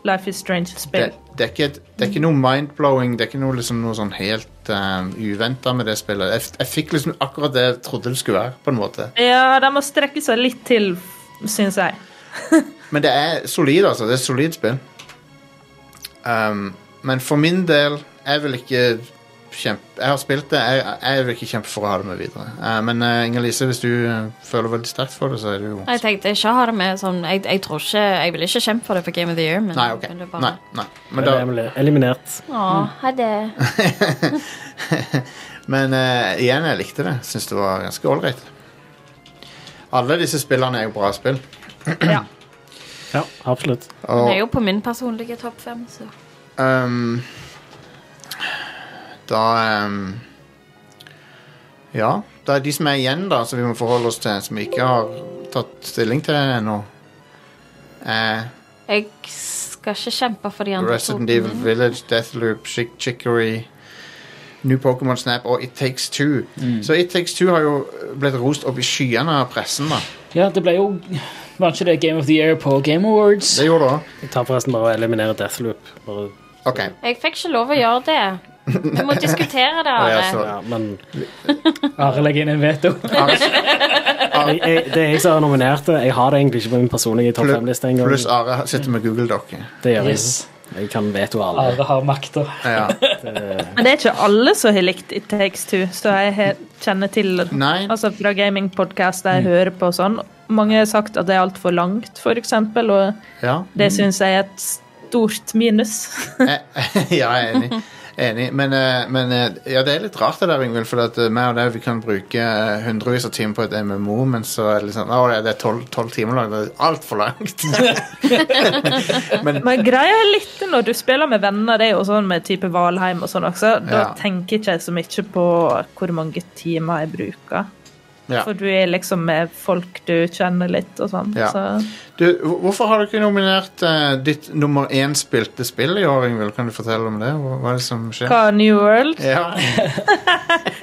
Speaker 5: Life is
Speaker 1: det,
Speaker 5: Strange-spill.
Speaker 1: det, er ikke, et- det er ikke noe mind-blowing. Det er ikke noe, liksom, noe sånn helt um, uventa med det spillet. Jeg, f- jeg fikk liksom akkurat det jeg trodde det skulle være. på en måte
Speaker 5: Ja, de må strekke seg litt til, syns jeg.
Speaker 1: Men det er solid, altså. Det er et solid spill. Um, men for min del Jeg vil ikke kjempe Jeg har spilt det. Jeg, jeg vil ikke kjempe for å ha det med videre. Uh, men uh, Inger-Lise, hvis du uh, føler veldig sterkt for det, så er det jo
Speaker 3: Jeg tenkte ikke å ha det med sånn Jeg, jeg tror ikke Jeg ville ikke kjempe for det for Game of the Year, men
Speaker 1: Nei, ok.
Speaker 3: jeg ville
Speaker 1: Nei,
Speaker 3: bare...
Speaker 1: nei. Men,
Speaker 2: Det
Speaker 1: da,
Speaker 2: er vel eliminert.
Speaker 3: Å, ha det.
Speaker 1: men uh, igjen, jeg likte det. Syns det var ganske ålreit. Alle disse spillene er jo bra spill.
Speaker 2: Ja, absolutt.
Speaker 1: Og,
Speaker 3: Det er jo på min personlige topp fem, så
Speaker 1: Ehm, da ehm, Ja. Da er de som er igjen, da, som vi må forholde oss til, som vi ikke har tatt stilling til ennå, er
Speaker 3: Jeg skal ikke kjempe for de andre
Speaker 1: Resident
Speaker 3: to.
Speaker 1: Evil Village, Deathloop, Chick Chicory, New Pokémon Snap og It Takes Two. Så It Takes Two har jo blitt rost opp i skyene av pressen, da.
Speaker 4: Ja, det ble jo Var ikke det Game of the Year på Game Awards?
Speaker 1: Det gjorde det òg.
Speaker 2: Jeg tar forresten bare og eliminerer Deathloop. Bare,
Speaker 1: OK.
Speaker 3: Jeg fikk ikke lov å gjøre det. Vi må diskutere det.
Speaker 1: Ja,
Speaker 3: Are.
Speaker 1: så-
Speaker 2: ja, men
Speaker 4: Are legger inn en veto.
Speaker 2: jeg, jeg, det er jeg som har nominert det. Jeg har det egentlig ikke på min personlige topp
Speaker 1: Plu-
Speaker 2: fem-liste engang.
Speaker 1: Pluss Are sitter med Google-dokke.
Speaker 2: Det gjør jeg.
Speaker 4: Yes.
Speaker 2: Jeg kan veto alle.
Speaker 4: Are har makta.
Speaker 1: Ja.
Speaker 5: Men det er ikke alle som har likt It Takes Two, så jeg he- kjenner til
Speaker 1: Nei. Mm.
Speaker 5: Altså fra gamingpodkaster jeg hører på og sånn. Mange har sagt at det er altfor langt, for eksempel, og
Speaker 1: ja. Eh,
Speaker 5: det syns jeg er et stort minus.
Speaker 1: ja, jeg er enig. enig. Men, eh, men eh, ja, det er litt rart det der, Yngvild, for at eh, meg og deg vi kan bruke eh, hundrevis av timer på et MMO, men så er det liksom Å, det er tolv tolv timer langt. Det er altfor langt.
Speaker 5: Men greia er litt når du spiller med venner, det er jo sånn med type Valheim og sånn også, da
Speaker 1: Ja.
Speaker 5: tenker ikke jeg så mye på hvor mange timer jeg bruker.
Speaker 1: ja.
Speaker 5: For du er liksom med folk du kjenner litt og sånn.
Speaker 1: Ja.
Speaker 5: Så
Speaker 1: du, hvor- hvorfor har du ikke nominert eh, ditt nummer én spilte spill i år, Yngvild? Kan du fortelle om det? Hva, hva er det som skjer?
Speaker 5: hva New World?
Speaker 1: Ja.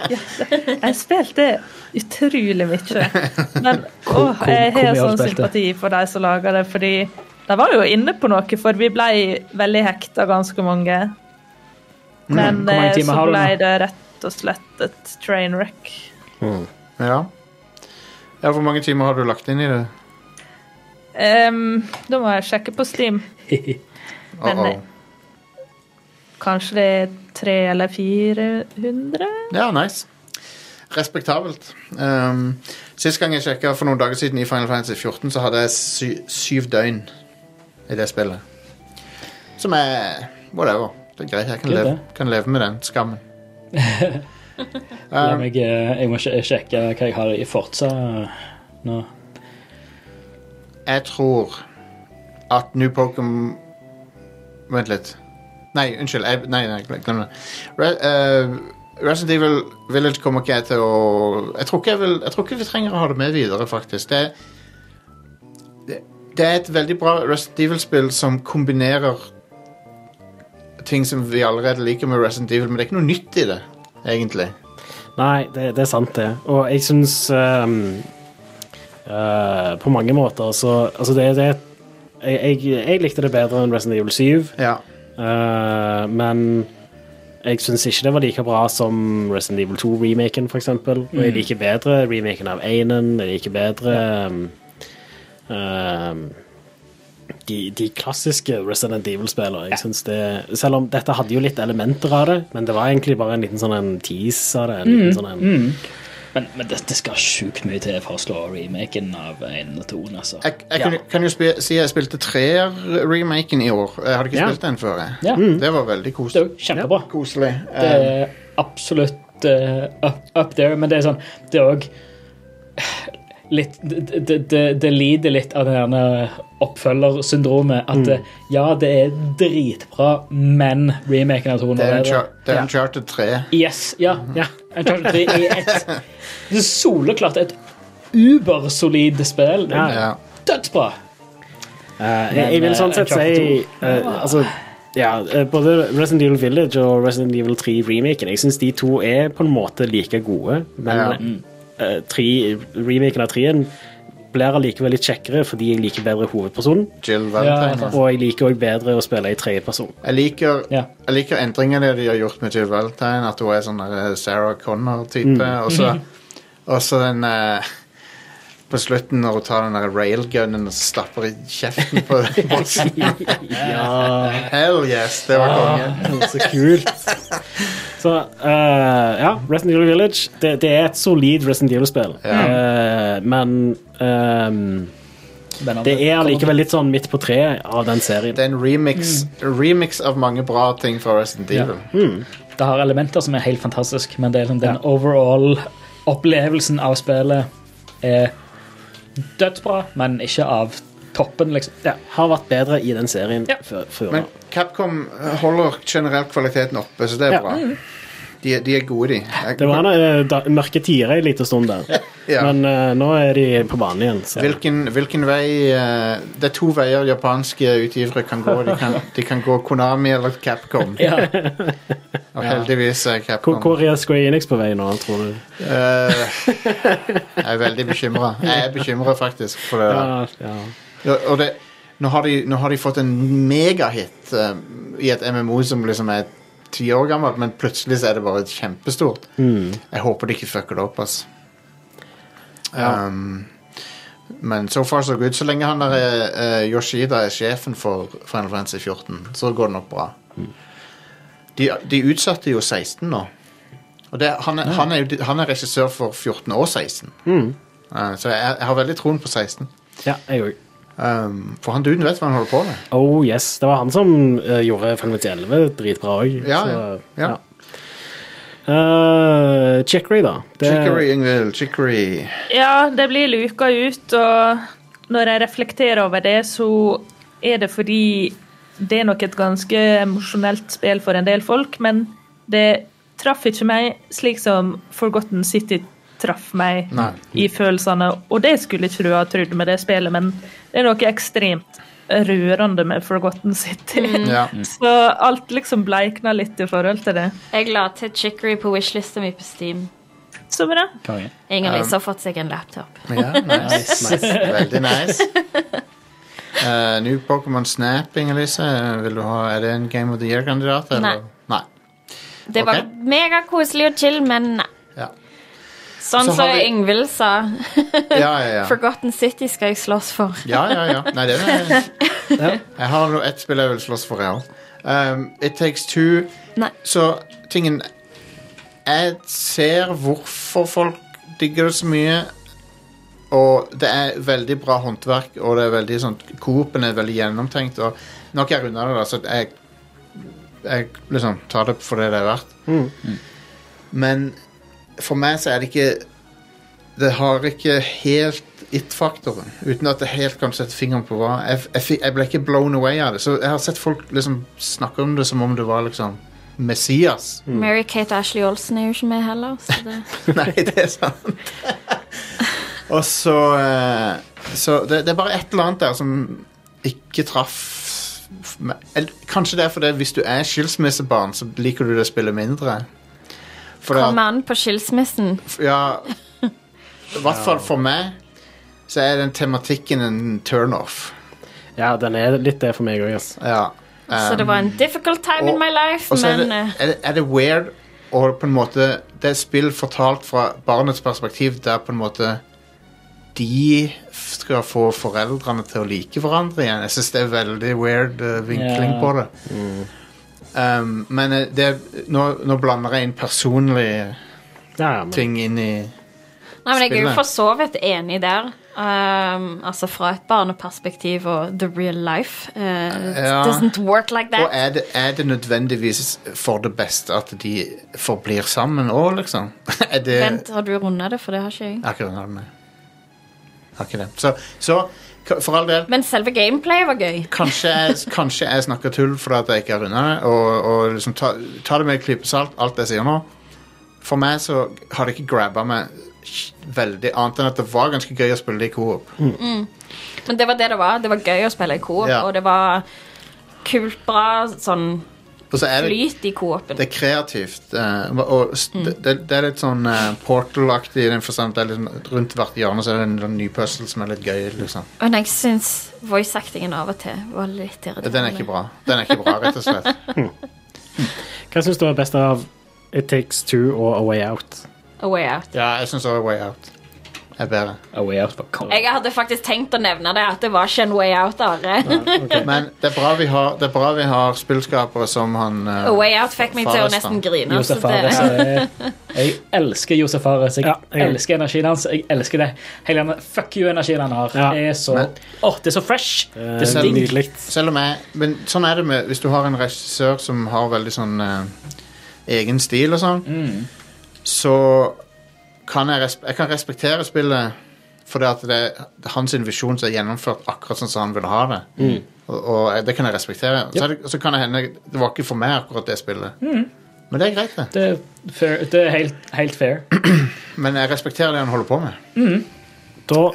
Speaker 5: Jeg spilte utrolig mye. Men
Speaker 4: Hvor-
Speaker 5: åh, jeg
Speaker 4: hvor- hvor mye
Speaker 5: har
Speaker 4: har
Speaker 5: sånn
Speaker 4: du spilt det?
Speaker 5: sympati for de som lager det, fordi de var jo inne på noe, for vi ble veldig hekta, ganske mange. Men
Speaker 4: Mm. Hvor mange
Speaker 5: eh,
Speaker 4: timer
Speaker 5: så
Speaker 4: har du
Speaker 5: ble
Speaker 4: nå?
Speaker 5: det rett og slett et train wreck.
Speaker 1: ja. Ja, Hvor mange timer har du lagt inn i det?
Speaker 5: Ehm, da må jeg sjekke på Steam.
Speaker 1: Oh,
Speaker 5: Men,
Speaker 1: oh.
Speaker 5: Kanskje det er tre eller 400?
Speaker 1: Ja, nice. Respektabelt. Um, sist gang jeg sjekka for noen dager siden i Final Fantasy 14, så hadde jeg sy syv døgn i det spillet. Som er whatever. Det er greit. Jeg kan,
Speaker 4: Kult,
Speaker 1: leve,
Speaker 4: det.
Speaker 1: kan leve med den skammen.
Speaker 4: La
Speaker 1: um,
Speaker 4: meg, eh, jeg må sj- sjekke hva jeg har i Forza nå.
Speaker 1: jeg tror at New Pokémon Vent litt. Nei, unnskyld. Jeg, nei, nei, glem det. Re, eh, Resident Evil Village kommer ikke jeg til å jeg tror ikke, jeg, vil, jeg tror ikke vi trenger å ha det med videre, faktisk. Det, det, det er et veldig bra Resident Evil-spill som kombinerer ting som vi allerede liker med Resident Evil, men det er ikke noe nytt i det, egentlig.
Speaker 2: Nei, det, det er sant det. Og jeg syns ehm, eh, På mange måter så Altså, det, det jeg, jeg, jeg likte det bedre enn Resident Evil 7,
Speaker 1: Ja.
Speaker 2: eh, men jeg syns ikke det var like bra som Resident Evil 2-remaken, f.eks. Og jeg liker bedre remaken av Einen, jeg liker bedre ehm, ehm, de, de klassiske Resident Evil-spillene. Jeg synes det Selv om dette hadde jo litt elementer av det, men det var egentlig bare en liten sånn en tease av det. En liten sånn en,
Speaker 4: Men, men det, det skal sjukt mye til for å slå remaken av 1 og 2. Altså.
Speaker 1: Jeg, jeg kan, kan jo spi- si jeg spilte treer-remaken i år. Jeg hadde ikke
Speaker 2: Ja.
Speaker 1: spilt den før. jeg.
Speaker 4: Ja,
Speaker 1: Det var veldig
Speaker 4: Det
Speaker 1: koselig.
Speaker 4: er jo kjempebra.
Speaker 1: koselig. Eh,
Speaker 4: Det er Eh, absolutt eh, up, up there, men det er sånn Det er òg litt det, det, det- det lider litt av det derne oppfølgersyndromet. At eh, ja, det er dritbra, men remaken av 200
Speaker 1: Det er
Speaker 4: er bedre.
Speaker 1: Unchar- det er Uncharted 3.
Speaker 4: Yes, ja. ja. Uncharted 3 er et det er soleklart et ubersolid spill.
Speaker 2: Ja.
Speaker 1: Ja.
Speaker 4: Dødsbra!
Speaker 2: Eh, jeg, jeg vil sånn sett si
Speaker 4: Uncharted
Speaker 2: eh, altså, ja, eh, Både Resident Evil Village og Resident Evil 3-remaken Jeg synes de to er på en måte like gode, men
Speaker 1: Ja.
Speaker 2: eh, tre- remaken av 3-en blir allikevel litt kjekkere fordi jeg liker bedre hovedpersonen.
Speaker 1: Jill
Speaker 4: Ja,
Speaker 1: Valentine.
Speaker 4: sant.
Speaker 2: Og jeg liker òg bedre å spille i tredjeperson.
Speaker 1: Jeg liker,
Speaker 4: Ja.
Speaker 1: jeg liker endringene de har gjort med Jill Valentine. At hun er sånn der, eh, Sarah Connor-type. Og så
Speaker 4: Mm.
Speaker 1: og så den eh, På slutten, når hun tar den der railgunnen og så stapper i kjeften på bossen.
Speaker 2: ja,
Speaker 1: Hell yes, det var konge.
Speaker 2: så kult. Så eh, ja, Resident Evil Village det, det er et solid Resident Evil-spill, Eh, men ehm,
Speaker 4: Men om
Speaker 2: det er allikevel litt sånn midt på treet av den serien.
Speaker 1: Det er en remix,
Speaker 2: Mm.
Speaker 1: remix av mange bra ting fra Resident
Speaker 4: Ja.
Speaker 1: Evil.
Speaker 4: Det har elementer som er helt fantastisk, men det er liksom den overall opplevelsen av spillet er dødsbra, men ikke av toppen, liksom.
Speaker 2: Ja, har vært bedre i den serien
Speaker 4: Ja.
Speaker 2: før. før
Speaker 1: Men
Speaker 2: nå.
Speaker 1: Capcom eh, holder generelt kvaliteten oppe, så det er
Speaker 2: Ja.
Speaker 1: bra. De, er- de er gode, de. Jeg-
Speaker 2: Det var en eh, da- mørke tider en liten stund der,
Speaker 1: Ja.
Speaker 2: men eh, nå er de på banen igjen. Så.
Speaker 1: Hvilken, hvilken vei eh, Det er to veier japanske utgivere kan gå. De kan, de kan gå Konami eller Capcom. Og heldigvis er
Speaker 2: Hvor,
Speaker 1: Capcom
Speaker 2: hvor er Square Enix på vei nå, tror du?
Speaker 1: Eh, Jeg er veldig bekymra. Jeg er bekymra faktisk for det. der.
Speaker 2: ja.
Speaker 1: Og- Og det nå har, de, nå har de fått en megahit eh, i et MMO som liksom er ti år gammelt, men plutselig så er det bare kjempestort. Jeg håper de ikke fucker det opp, ass. Um, men so far so good. Så lenge han der eh, eh, Yoshida er sjefen for Final Fantasy 14, så går det nok bra. De, de utsatte jo 16 nå. Og det, han, er, han, er, jo- han er regissør for 14 og 16. Eh, så jeg, jeg har veldig troen på 16.
Speaker 2: ja, jeg òg.
Speaker 1: Um, for han duden vet hva han holder på med.
Speaker 2: Oh yes, det var han som eh, gjorde Final Fantasy 11 dritbra òg.
Speaker 1: Ja, ja.
Speaker 2: Eh, Chicory, da. Det-
Speaker 1: Chicory, Ingvild. Chicory.
Speaker 5: Ja, det blir luka ut, og når jeg reflekterer over det, så er det fordi det er nok et ganske emosjonelt spill for en del folk, men det traff ikke meg slik som Forgotten City traff meg
Speaker 1: Nei.
Speaker 5: i følelsene, og det skulle ikke du ha trodd med det spillet, men det er noe ekstremt rørende med Forgotten City.
Speaker 1: Ja.
Speaker 5: Så alt liksom bleikna litt i forhold til det.
Speaker 3: Jeg la til Chicory på wishlista mi på Steam.
Speaker 5: Så bra.
Speaker 4: Konge.
Speaker 3: Inger Lise har fått seg en laptop.
Speaker 1: ja nice. Veldig nice. Eh, New Pokémon Snap, Inger-Lise. Eh, vil du ha- Er det en Game of the Year-kandidat? eller?
Speaker 3: Nei.
Speaker 1: Nei.
Speaker 3: Det var
Speaker 1: Ok.
Speaker 3: megakoselig og chill, men nei.
Speaker 1: Ja.
Speaker 3: Sånn
Speaker 1: Så
Speaker 3: som
Speaker 1: har vi-
Speaker 3: Ingvild sa.
Speaker 1: Ja, ja, ja.
Speaker 3: Forgotten City skal jeg slåss for.
Speaker 1: ja, ja, ja. Nei, det er Jeg har nå ett spill jeg vil slåss for, jeg òg. Um, It Takes Two.
Speaker 3: Nei.
Speaker 1: Så tingen Jeg ser hvorfor folk digger det så mye. Og det er veldig bra håndverk, og det er veldig sånn Coopen er veldig gjennomtenkt. Og nå har ikke jeg runda det, da, så jeg, jeg liksom tar det for det det er verdt. Men for meg så er det ikke Det har ikke helt it-faktoren. Uten at jeg helt kan sette fingeren på hva. Jeg, jeg, fi- jeg ble ikke blown away av det. Så jeg har sett folk liksom snakke om det som om det var liksom Messias.
Speaker 3: Mm. Mary-Kate Ashley Olsen er jo ikke med heller. Så det...
Speaker 1: Nei, det er sant. Og så eh, Så det, det er bare et eller annet der som ikke traff meg. Eller, Kanskje det er fordi hvis du er skilsmissebarn, så liker du det spillet mindre. For
Speaker 3: Kommer an på skilsmissen.
Speaker 1: Ja I hvert fall for meg så er den tematikken en turnoff.
Speaker 2: ja, den er litt det for meg òg, yes.
Speaker 1: Ja.
Speaker 3: Så det var en difficult time in
Speaker 1: Um, og-
Speaker 3: my life,
Speaker 1: Og så er,
Speaker 3: men
Speaker 1: det-
Speaker 3: eh,
Speaker 1: er, det- er det weird og på en måte Det er spill fortalt fra barnets perspektiv der på en måte de skal få foreldrene til å like hverandre igjen. Jeg syns det er veldig weird eh, vinkling
Speaker 4: Ja.
Speaker 1: på det. Um, men eh, det, nå, nå blander jeg inn personlige
Speaker 2: Ja, men,
Speaker 1: ting inn i
Speaker 3: Nei, men jeg er jo
Speaker 1: spillet.
Speaker 3: for så vidt enig der. Um, altså fra et barneperspektiv og the real life. Uh,
Speaker 1: Ja.
Speaker 3: It doesn't work like
Speaker 1: Og
Speaker 3: that.
Speaker 1: er det, er det nødvendigvis for det beste at de forblir sammen òg, liksom? er det
Speaker 3: Vent, har du runda det? For det har ikke jeg.
Speaker 1: Jeg har ikke den her, nei. Jeg har ikke det. Så, så k- for all del
Speaker 3: Men selve gameplayet var gøy.
Speaker 1: Kanskje jeg, kanskje jeg snakker tull fordi at jeg ikke har runda det, og, og liksom ta, ta det med en klype salt, alt jeg sier nå. For meg så har det ikke grabba meg veldig, annet enn at det var ganske gøy å spille det i coop.
Speaker 3: Men det var det det var. Det var gøy å spille i kor,
Speaker 1: Ja.
Speaker 3: og det var kult bra sånn
Speaker 1: Og så er det,
Speaker 6: Flyt i co-open.
Speaker 1: det er kreativt. eh, hva- og s- det, det er litt sånn eh, portal-aktig i den forstand. at Det er litt sånn- rundt hvert hjørne så er det en, sånn ny puzzle som er litt gøy. liksom.
Speaker 6: Men jeg syns voice-actingen av og til var litt irriterende.
Speaker 1: Den er ikke bra, Den er ikke bra, rett og slett.
Speaker 2: Hva syns du er best av It Takes Two og A Way Out?
Speaker 6: A way out.
Speaker 1: Ja, jeg syns også Way Out er bedre.
Speaker 4: A Way Out var konge.
Speaker 6: Jeg hadde faktisk tenkt å nevne det, at det var ikke en way out. Are.
Speaker 1: Men det er bra vi har, det er bra vi har spillskapere som han
Speaker 6: A
Speaker 1: eh,
Speaker 6: way out fikk meg til å nesten grine. Så det,
Speaker 4: Josef Fares. er- Jeg elsker Josef Fares. Jeg
Speaker 2: Ja, jeg-
Speaker 4: elsker energien hans. Jeg elsker det. Hele den fuck you-energien han har.
Speaker 2: Ja.
Speaker 4: Er så,
Speaker 1: Men-
Speaker 4: Åh, det er så fresh.
Speaker 2: Eh,
Speaker 4: Det er så digg.
Speaker 2: Nydelig.
Speaker 1: Selv om jeg Men sånn er det med Hvis du har en regissør som har veldig sånn eh, egen stil og sånn, så kan jeg, resp jeg kan respektere spillet fordi at det er hans visjon som er gjennomført akkurat sånn som han ville ha det. Og, og jeg- det kan jeg respektere. Så, er det, så kan det hende Det var ikke for meg akkurat det spillet. Men det er greit, det.
Speaker 4: Det er, fair. Det er helt, helt fair.
Speaker 1: Men jeg respekterer det han holder på med.
Speaker 2: Da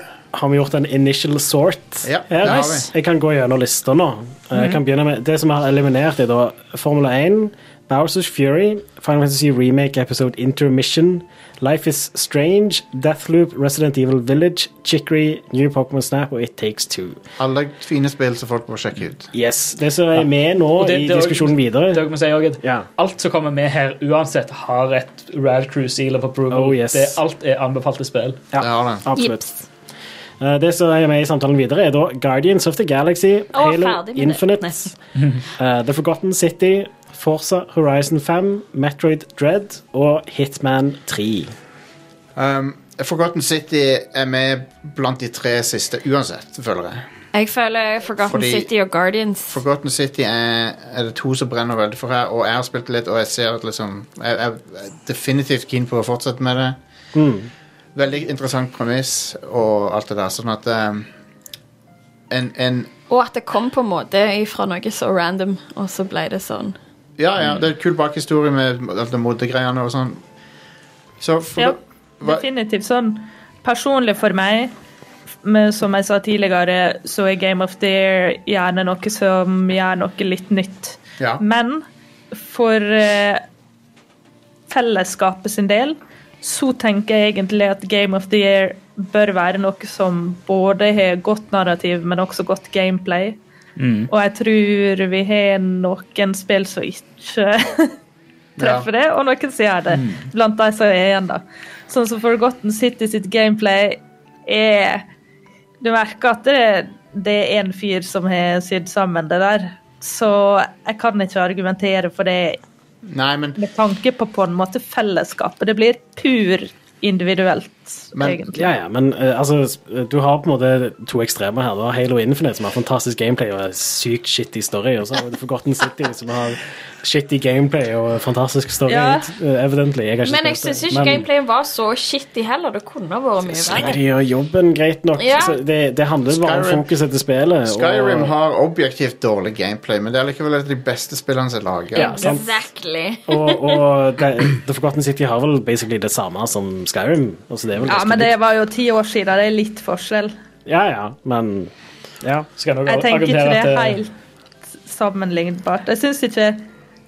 Speaker 2: har vi gjort en initial sort.
Speaker 1: Ja,
Speaker 2: her.
Speaker 1: det har vi.
Speaker 2: Jeg kan gå gjennom lista nå. Eh, Jeg
Speaker 4: Mhm.
Speaker 2: kan begynne med Det som er eliminert, er da Formula 1, Bowsers Fury, Final Fantasy Remake Episode Intermission, Life Is Strange, Deathloop, Resident Evil Village, Chicory, New Pokémon Snap og It Takes Two.
Speaker 1: Alle fine spill som folk må sjekke ut.
Speaker 2: Yes, Det som er med nå
Speaker 4: Og det-
Speaker 2: i
Speaker 4: det er også-
Speaker 2: diskusjonen
Speaker 4: Det
Speaker 2: videre
Speaker 4: dere må si også, at
Speaker 2: Ja.
Speaker 4: Alt som kommer med her, uansett, har et Rad Crew Seal of Approval.
Speaker 2: Oh, yes.
Speaker 4: det, alt er anbefalte spill.
Speaker 1: Det har det.
Speaker 2: Absolutt. Eh, Det som er med i samtalen videre, er da Guardians of the Galaxy,
Speaker 6: Å,
Speaker 2: Halo
Speaker 6: ferdig med det.
Speaker 2: Infinite, eh, The Forgotten City, Forza Horizon 5, Metroid Dread og Hitman 3.
Speaker 1: Um, Forgotten City er med blant de tre siste uansett, føler jeg.
Speaker 6: jeg føler Forgotten
Speaker 1: Fordi-
Speaker 6: City og Guardians.
Speaker 1: Forgotten City er, er det to som brenner veldig for her, og jeg har spilt litt, og jeg ser at liksom Jeg jeg er definitivt keen på å fortsette med det. Veldig interessant premiss og alt det der, sånn at um, en, en
Speaker 6: Og at det kom på en måte ifra noe så random, og så ble det sånn.
Speaker 1: Ja, ja, det er en kul bakhistorie med alt det modegreiene og sånn. Så for,
Speaker 5: Ja,
Speaker 1: hva,
Speaker 5: definitivt sånn. Personlig for meg, men som jeg sa tidligere, så er Game of the Year gjerne noe som gjør noe litt nytt.
Speaker 1: Ja.
Speaker 5: Men for eh, fellesskapet sin del, så tenker jeg egentlig at Game of the Year bør være noe som både har godt narrativ, men også godt gameplay. Og jeg tror vi har noen spill som ikke treffer det, og noen som gjør det. Blant de som er igjen, da. Sånn som Forgotten City sitt gameplay er Du merker at det, det er en fyr som har sydd sammen det der. Så jeg kan ikke argumentere for det
Speaker 1: Nei, men
Speaker 5: med tanke på på en måte fellesskapet. Det blir pur individuelt,
Speaker 1: Men-
Speaker 5: egentlig.
Speaker 2: Ja, ja, men eh, altså, s- du har på en måte to ekstremer her. Du har Halo Infinite, som har fantastisk gameplay og sykt shitty story, og så har du Forgotten City, som har shitty gameplay og fantastisk story,
Speaker 5: Ja.
Speaker 2: eh, evidently. Jeg har ikke
Speaker 6: Men jeg
Speaker 2: spilt det,
Speaker 6: syns ikke
Speaker 2: men-
Speaker 6: gameplayen var så shitty heller. Det kunne vært mye
Speaker 2: Så lenge
Speaker 6: verre.
Speaker 2: de gjør jobben greit nok.
Speaker 6: Ja.
Speaker 2: Så det, det handler bare om
Speaker 1: Skyrim-
Speaker 2: fokuset til spillet.
Speaker 1: Skyrim
Speaker 2: og,
Speaker 1: har objektivt dårlig gameplay, men det er likevel et av de beste spillene som er laget.
Speaker 2: ja, sant?
Speaker 6: Exactly.
Speaker 2: og, og det, The Forgotten City har vel basically det samme som Skyrim. Altså, det er vel
Speaker 5: Ja,
Speaker 2: ganske
Speaker 5: men det
Speaker 2: likt.
Speaker 5: var jo ti år siden. Det er litt forskjell.
Speaker 2: ja, ja, men ja.
Speaker 4: Så kan dere
Speaker 5: Jeg tenker ikke
Speaker 4: argumentere
Speaker 5: det er
Speaker 4: at, eh,
Speaker 5: helt sammenlignbart. Jeg syns ikke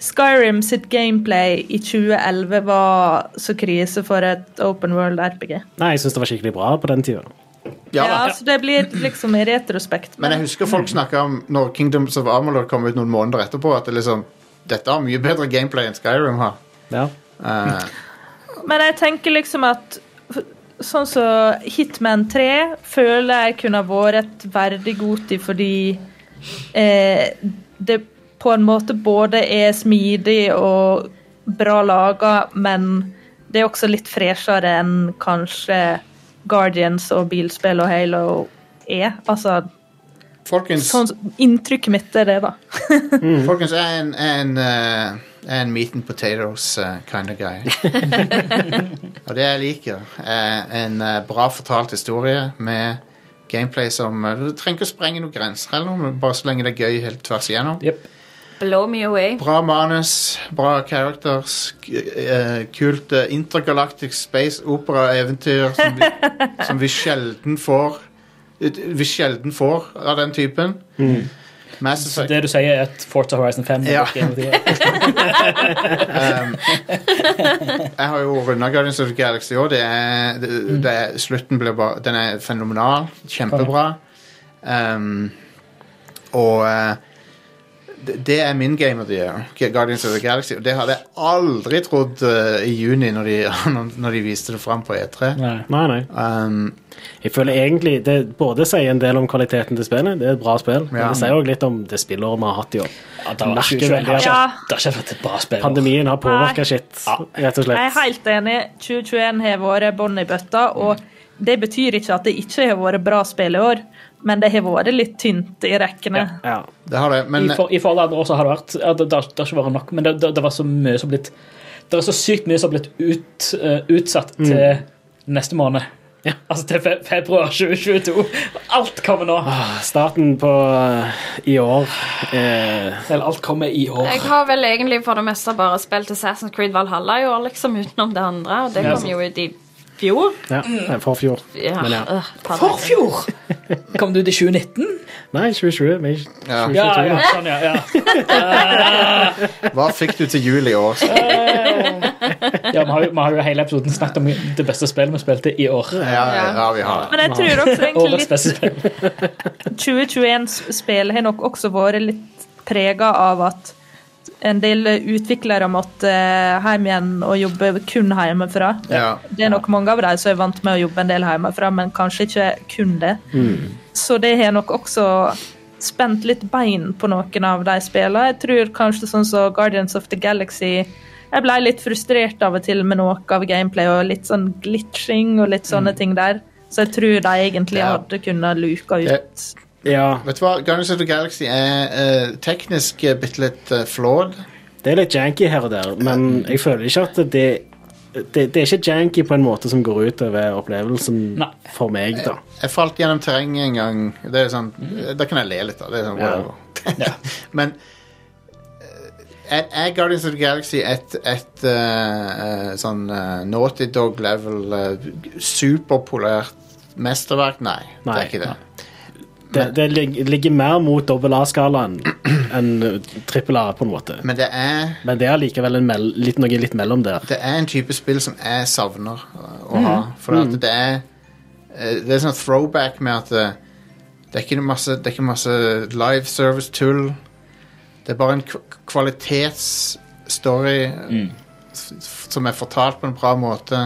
Speaker 5: Skyrim sitt gameplay i 2011 var så krise for et open world RPG.
Speaker 2: Nei, jeg syns det var skikkelig bra på den tida.
Speaker 1: Ja, da.
Speaker 5: Ja, så det blir liksom i retrospekt.
Speaker 1: Men jeg husker folk snakka om når Kingdoms of Amalur kom ut noen måneder etterpå, at det liksom Dette har mye bedre gameplay enn Skyrim har.
Speaker 2: Ja.
Speaker 1: Eh,
Speaker 5: Men jeg tenker liksom at f- sånn som Hitman 3 føler jeg kunne ha vært et verdig godtid fordi eh, det på en måte både er smidig og bra laga, men det er også litt freshere enn kanskje Guardians og bilspill og Halo er. Altså,
Speaker 1: folkens,
Speaker 5: sånn, inntrykket mitt er det, da.
Speaker 1: folkens, jeg er en, jeg er en, eh, jeg er en meat and potatoes eh, kind of guy. Og det jeg liker, er en eh, bra fortalt historie med gameplay som eh, Du trenger ikke å sprenge noen grenser, eller noe, men bare så lenge det er gøy helt tvers igjennom.
Speaker 4: Jep.
Speaker 6: Blow me away.
Speaker 1: Bra manus, bra characters, k- eh, kult eh, intergalactic space opera-eventyr som, vi- som vi sjelden får. Ut- Vi sjelden får av den typen. Mass
Speaker 4: Så
Speaker 1: Effect.
Speaker 4: det du sier, er at Forza Horizon 5
Speaker 1: Ja.
Speaker 4: er Game of the Year.
Speaker 1: Um, jeg har jo runda Guardians of the Galaxy òg. Det er, det,
Speaker 4: Mm.
Speaker 1: det er, slutten blir bare Den er fenomenal. Kjempebra. Um, og eh, det det er min game of the year. Guardians of the Galaxy. Og det hadde jeg aldri trodd eh, i juni, når de, når de viste det fram på E3.
Speaker 4: Nei.
Speaker 2: Nei, nei.
Speaker 1: Um,
Speaker 2: Jeg føler egentlig det både sier en del om kvaliteten til spillet, det er et bra spill,
Speaker 1: Ja.
Speaker 2: men det sier også litt om det spillåret vi har hatt i år.
Speaker 4: Ja, det, var
Speaker 2: Merker
Speaker 4: 2021
Speaker 2: veldig
Speaker 4: har
Speaker 2: at-
Speaker 4: ikke,
Speaker 5: Ja.
Speaker 4: det har ikke vært et bra spill.
Speaker 2: Pandemien har påvirka shit, rett og
Speaker 5: Jeg er
Speaker 2: slett.
Speaker 5: helt enig. 2021 har vært bånn i bøtta, og det betyr ikke at det ikke har vært bra spill i år, men det har vært litt tynt i rekkene.
Speaker 2: Ja.
Speaker 1: det har det. Men
Speaker 4: I, for, I forhold til andre år så har det vært ja, det, det, har- det har ikke vært nok, men det, det, det var så mye som blitt Det er så sykt mye som har blitt ut, eh, utsatt til neste måned. Altså til fe februar 2022. Alt kommer nå.
Speaker 2: Starten på eh, i år eh,
Speaker 4: Eller alt kommer i år.
Speaker 3: Jeg har vel egentlig for det meste bare spilt Assassin's Creed Valhalla i år, liksom, utenom det andre. Og det kom jo ut i fjor.
Speaker 2: ja,
Speaker 5: Mm.
Speaker 2: nei, forfjor.
Speaker 3: Ja,
Speaker 2: Men ja.
Speaker 3: øh, ta det.
Speaker 4: Forfjor! Kom du til 2019?
Speaker 2: Nei, 2020. Men ikke
Speaker 1: Ja.
Speaker 2: 2022.
Speaker 4: Ja, ja, sånn, ja, ja.
Speaker 1: hva fikk du til jul i år?
Speaker 4: ja vi, har jo, vi har jo hele episoden snakket om det beste spillet vi spilte i år.
Speaker 1: Ja, ja, vi har det.
Speaker 5: Men jeg tror også egentlig
Speaker 4: Årets
Speaker 5: litt
Speaker 4: beste spill.
Speaker 5: 2021-spill har nok også vært litt prega av at en del utviklere måtte eh, hjem igjen og jobbe kun hjemmefra.
Speaker 1: Ja.
Speaker 5: Det er nok mange av dem som er vant med å jobbe en del hjemmefra, men kanskje ikke kun det.
Speaker 1: Mm.
Speaker 5: Så det har nok også spent litt bein på noen av de spillene. Jeg tror kanskje sånn som Guardians of the Galaxy Jeg ble litt frustrert av og til med noe av gameplay og litt sånn glitching og litt sånne ting der. Så jeg tror de egentlig
Speaker 1: Mm. Ja.
Speaker 5: hadde kunnet luke ut
Speaker 1: Ja.
Speaker 2: ja.
Speaker 1: Vet du hva? Guardians of the Galaxy er eh, teknisk eh, bitte litt eh, flawed.
Speaker 2: Det er litt janky her og der, men jeg føler ikke at det det, det er ikke janky på en måte som går ut over opplevelsen
Speaker 4: Nei.
Speaker 2: for meg, da.
Speaker 1: Jeg falt gjennom terrenget en gang. Det er sånn, Da kan jeg le litt av. Det er sånn, whatever. Men eh, er, er Guardians of the Galaxy et, et eh, eh, sånn eh, Naughty Dog-level eh, superpolert mesterverk? Nei, det
Speaker 2: Nei,
Speaker 1: er ikke det.
Speaker 2: Det, det lig- ligger mer mot dobbel A-skalaen enn trippel A, på en måte.
Speaker 1: Men det er,
Speaker 2: Men det er likevel en mel litt, noe litt mellom der.
Speaker 1: det er en type spill som jeg savner eh, å ha. For at det er eh, Det er sånn throwback med at eh, det er ikke noe masse, det er ikke masse live service-tull. Det er bare en k- kvalitetsstory eh, s- f- som er fortalt på en bra måte.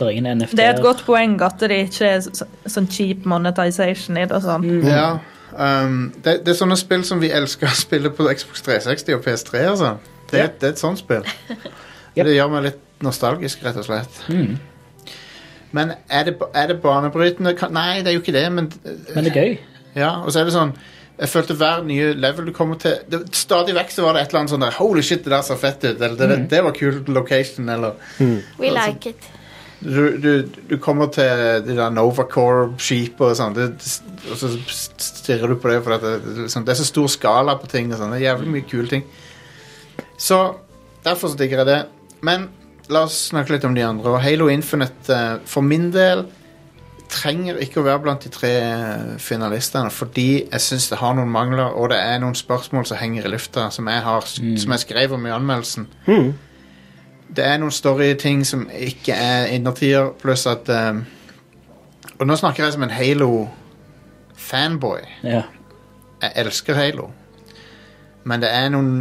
Speaker 4: Det er ingen NFT.
Speaker 5: Det er et godt poeng at det ikke er så, sånn cheap monetization i det. og Sånn.
Speaker 1: Ja. Um, det, det er sånne spill som vi elsker å spille på Xbox 360 og PS3. Altså. Det, er- det er et sånt spill.
Speaker 4: Ja. Mm.
Speaker 1: Det gjør meg litt nostalgisk, rett og slett. Men er det, ba- er det banebrytende? Kan- Nei, det er jo ikke det, men
Speaker 4: Men det er gøy.
Speaker 1: ja, og så er det sånn Jeg følte hver nye level du kommer til det, Stadig vekk så var det et eller annet sånn der Holy shit, det der ser fett ut, eller det,
Speaker 4: Mm.
Speaker 1: det, det var kul location, eller
Speaker 6: We like it.
Speaker 1: du, du, du kommer til det der Novacore-skipet og sånn, det- det- og så stirrer du på det for at det, det, er sånn- det er så stor skala på ting og sånn. Det er jævlig mye kule ting. Så derfor så digger jeg det. Men la oss snakke litt om de andre. Og Halo Infinite, eh, for min del, trenger ikke å være blant de tre eh, finalistene, fordi jeg syns det har noen mangler, og det er noen spørsmål som henger i lufta, som jeg, har, som jeg skrev om i anmeldelsen det er noen storyting som ikke er innertier, pluss at um, Og nå snakker jeg som en Halo-fanboy.
Speaker 4: Ja.
Speaker 1: Jeg elsker Halo. Men det er noen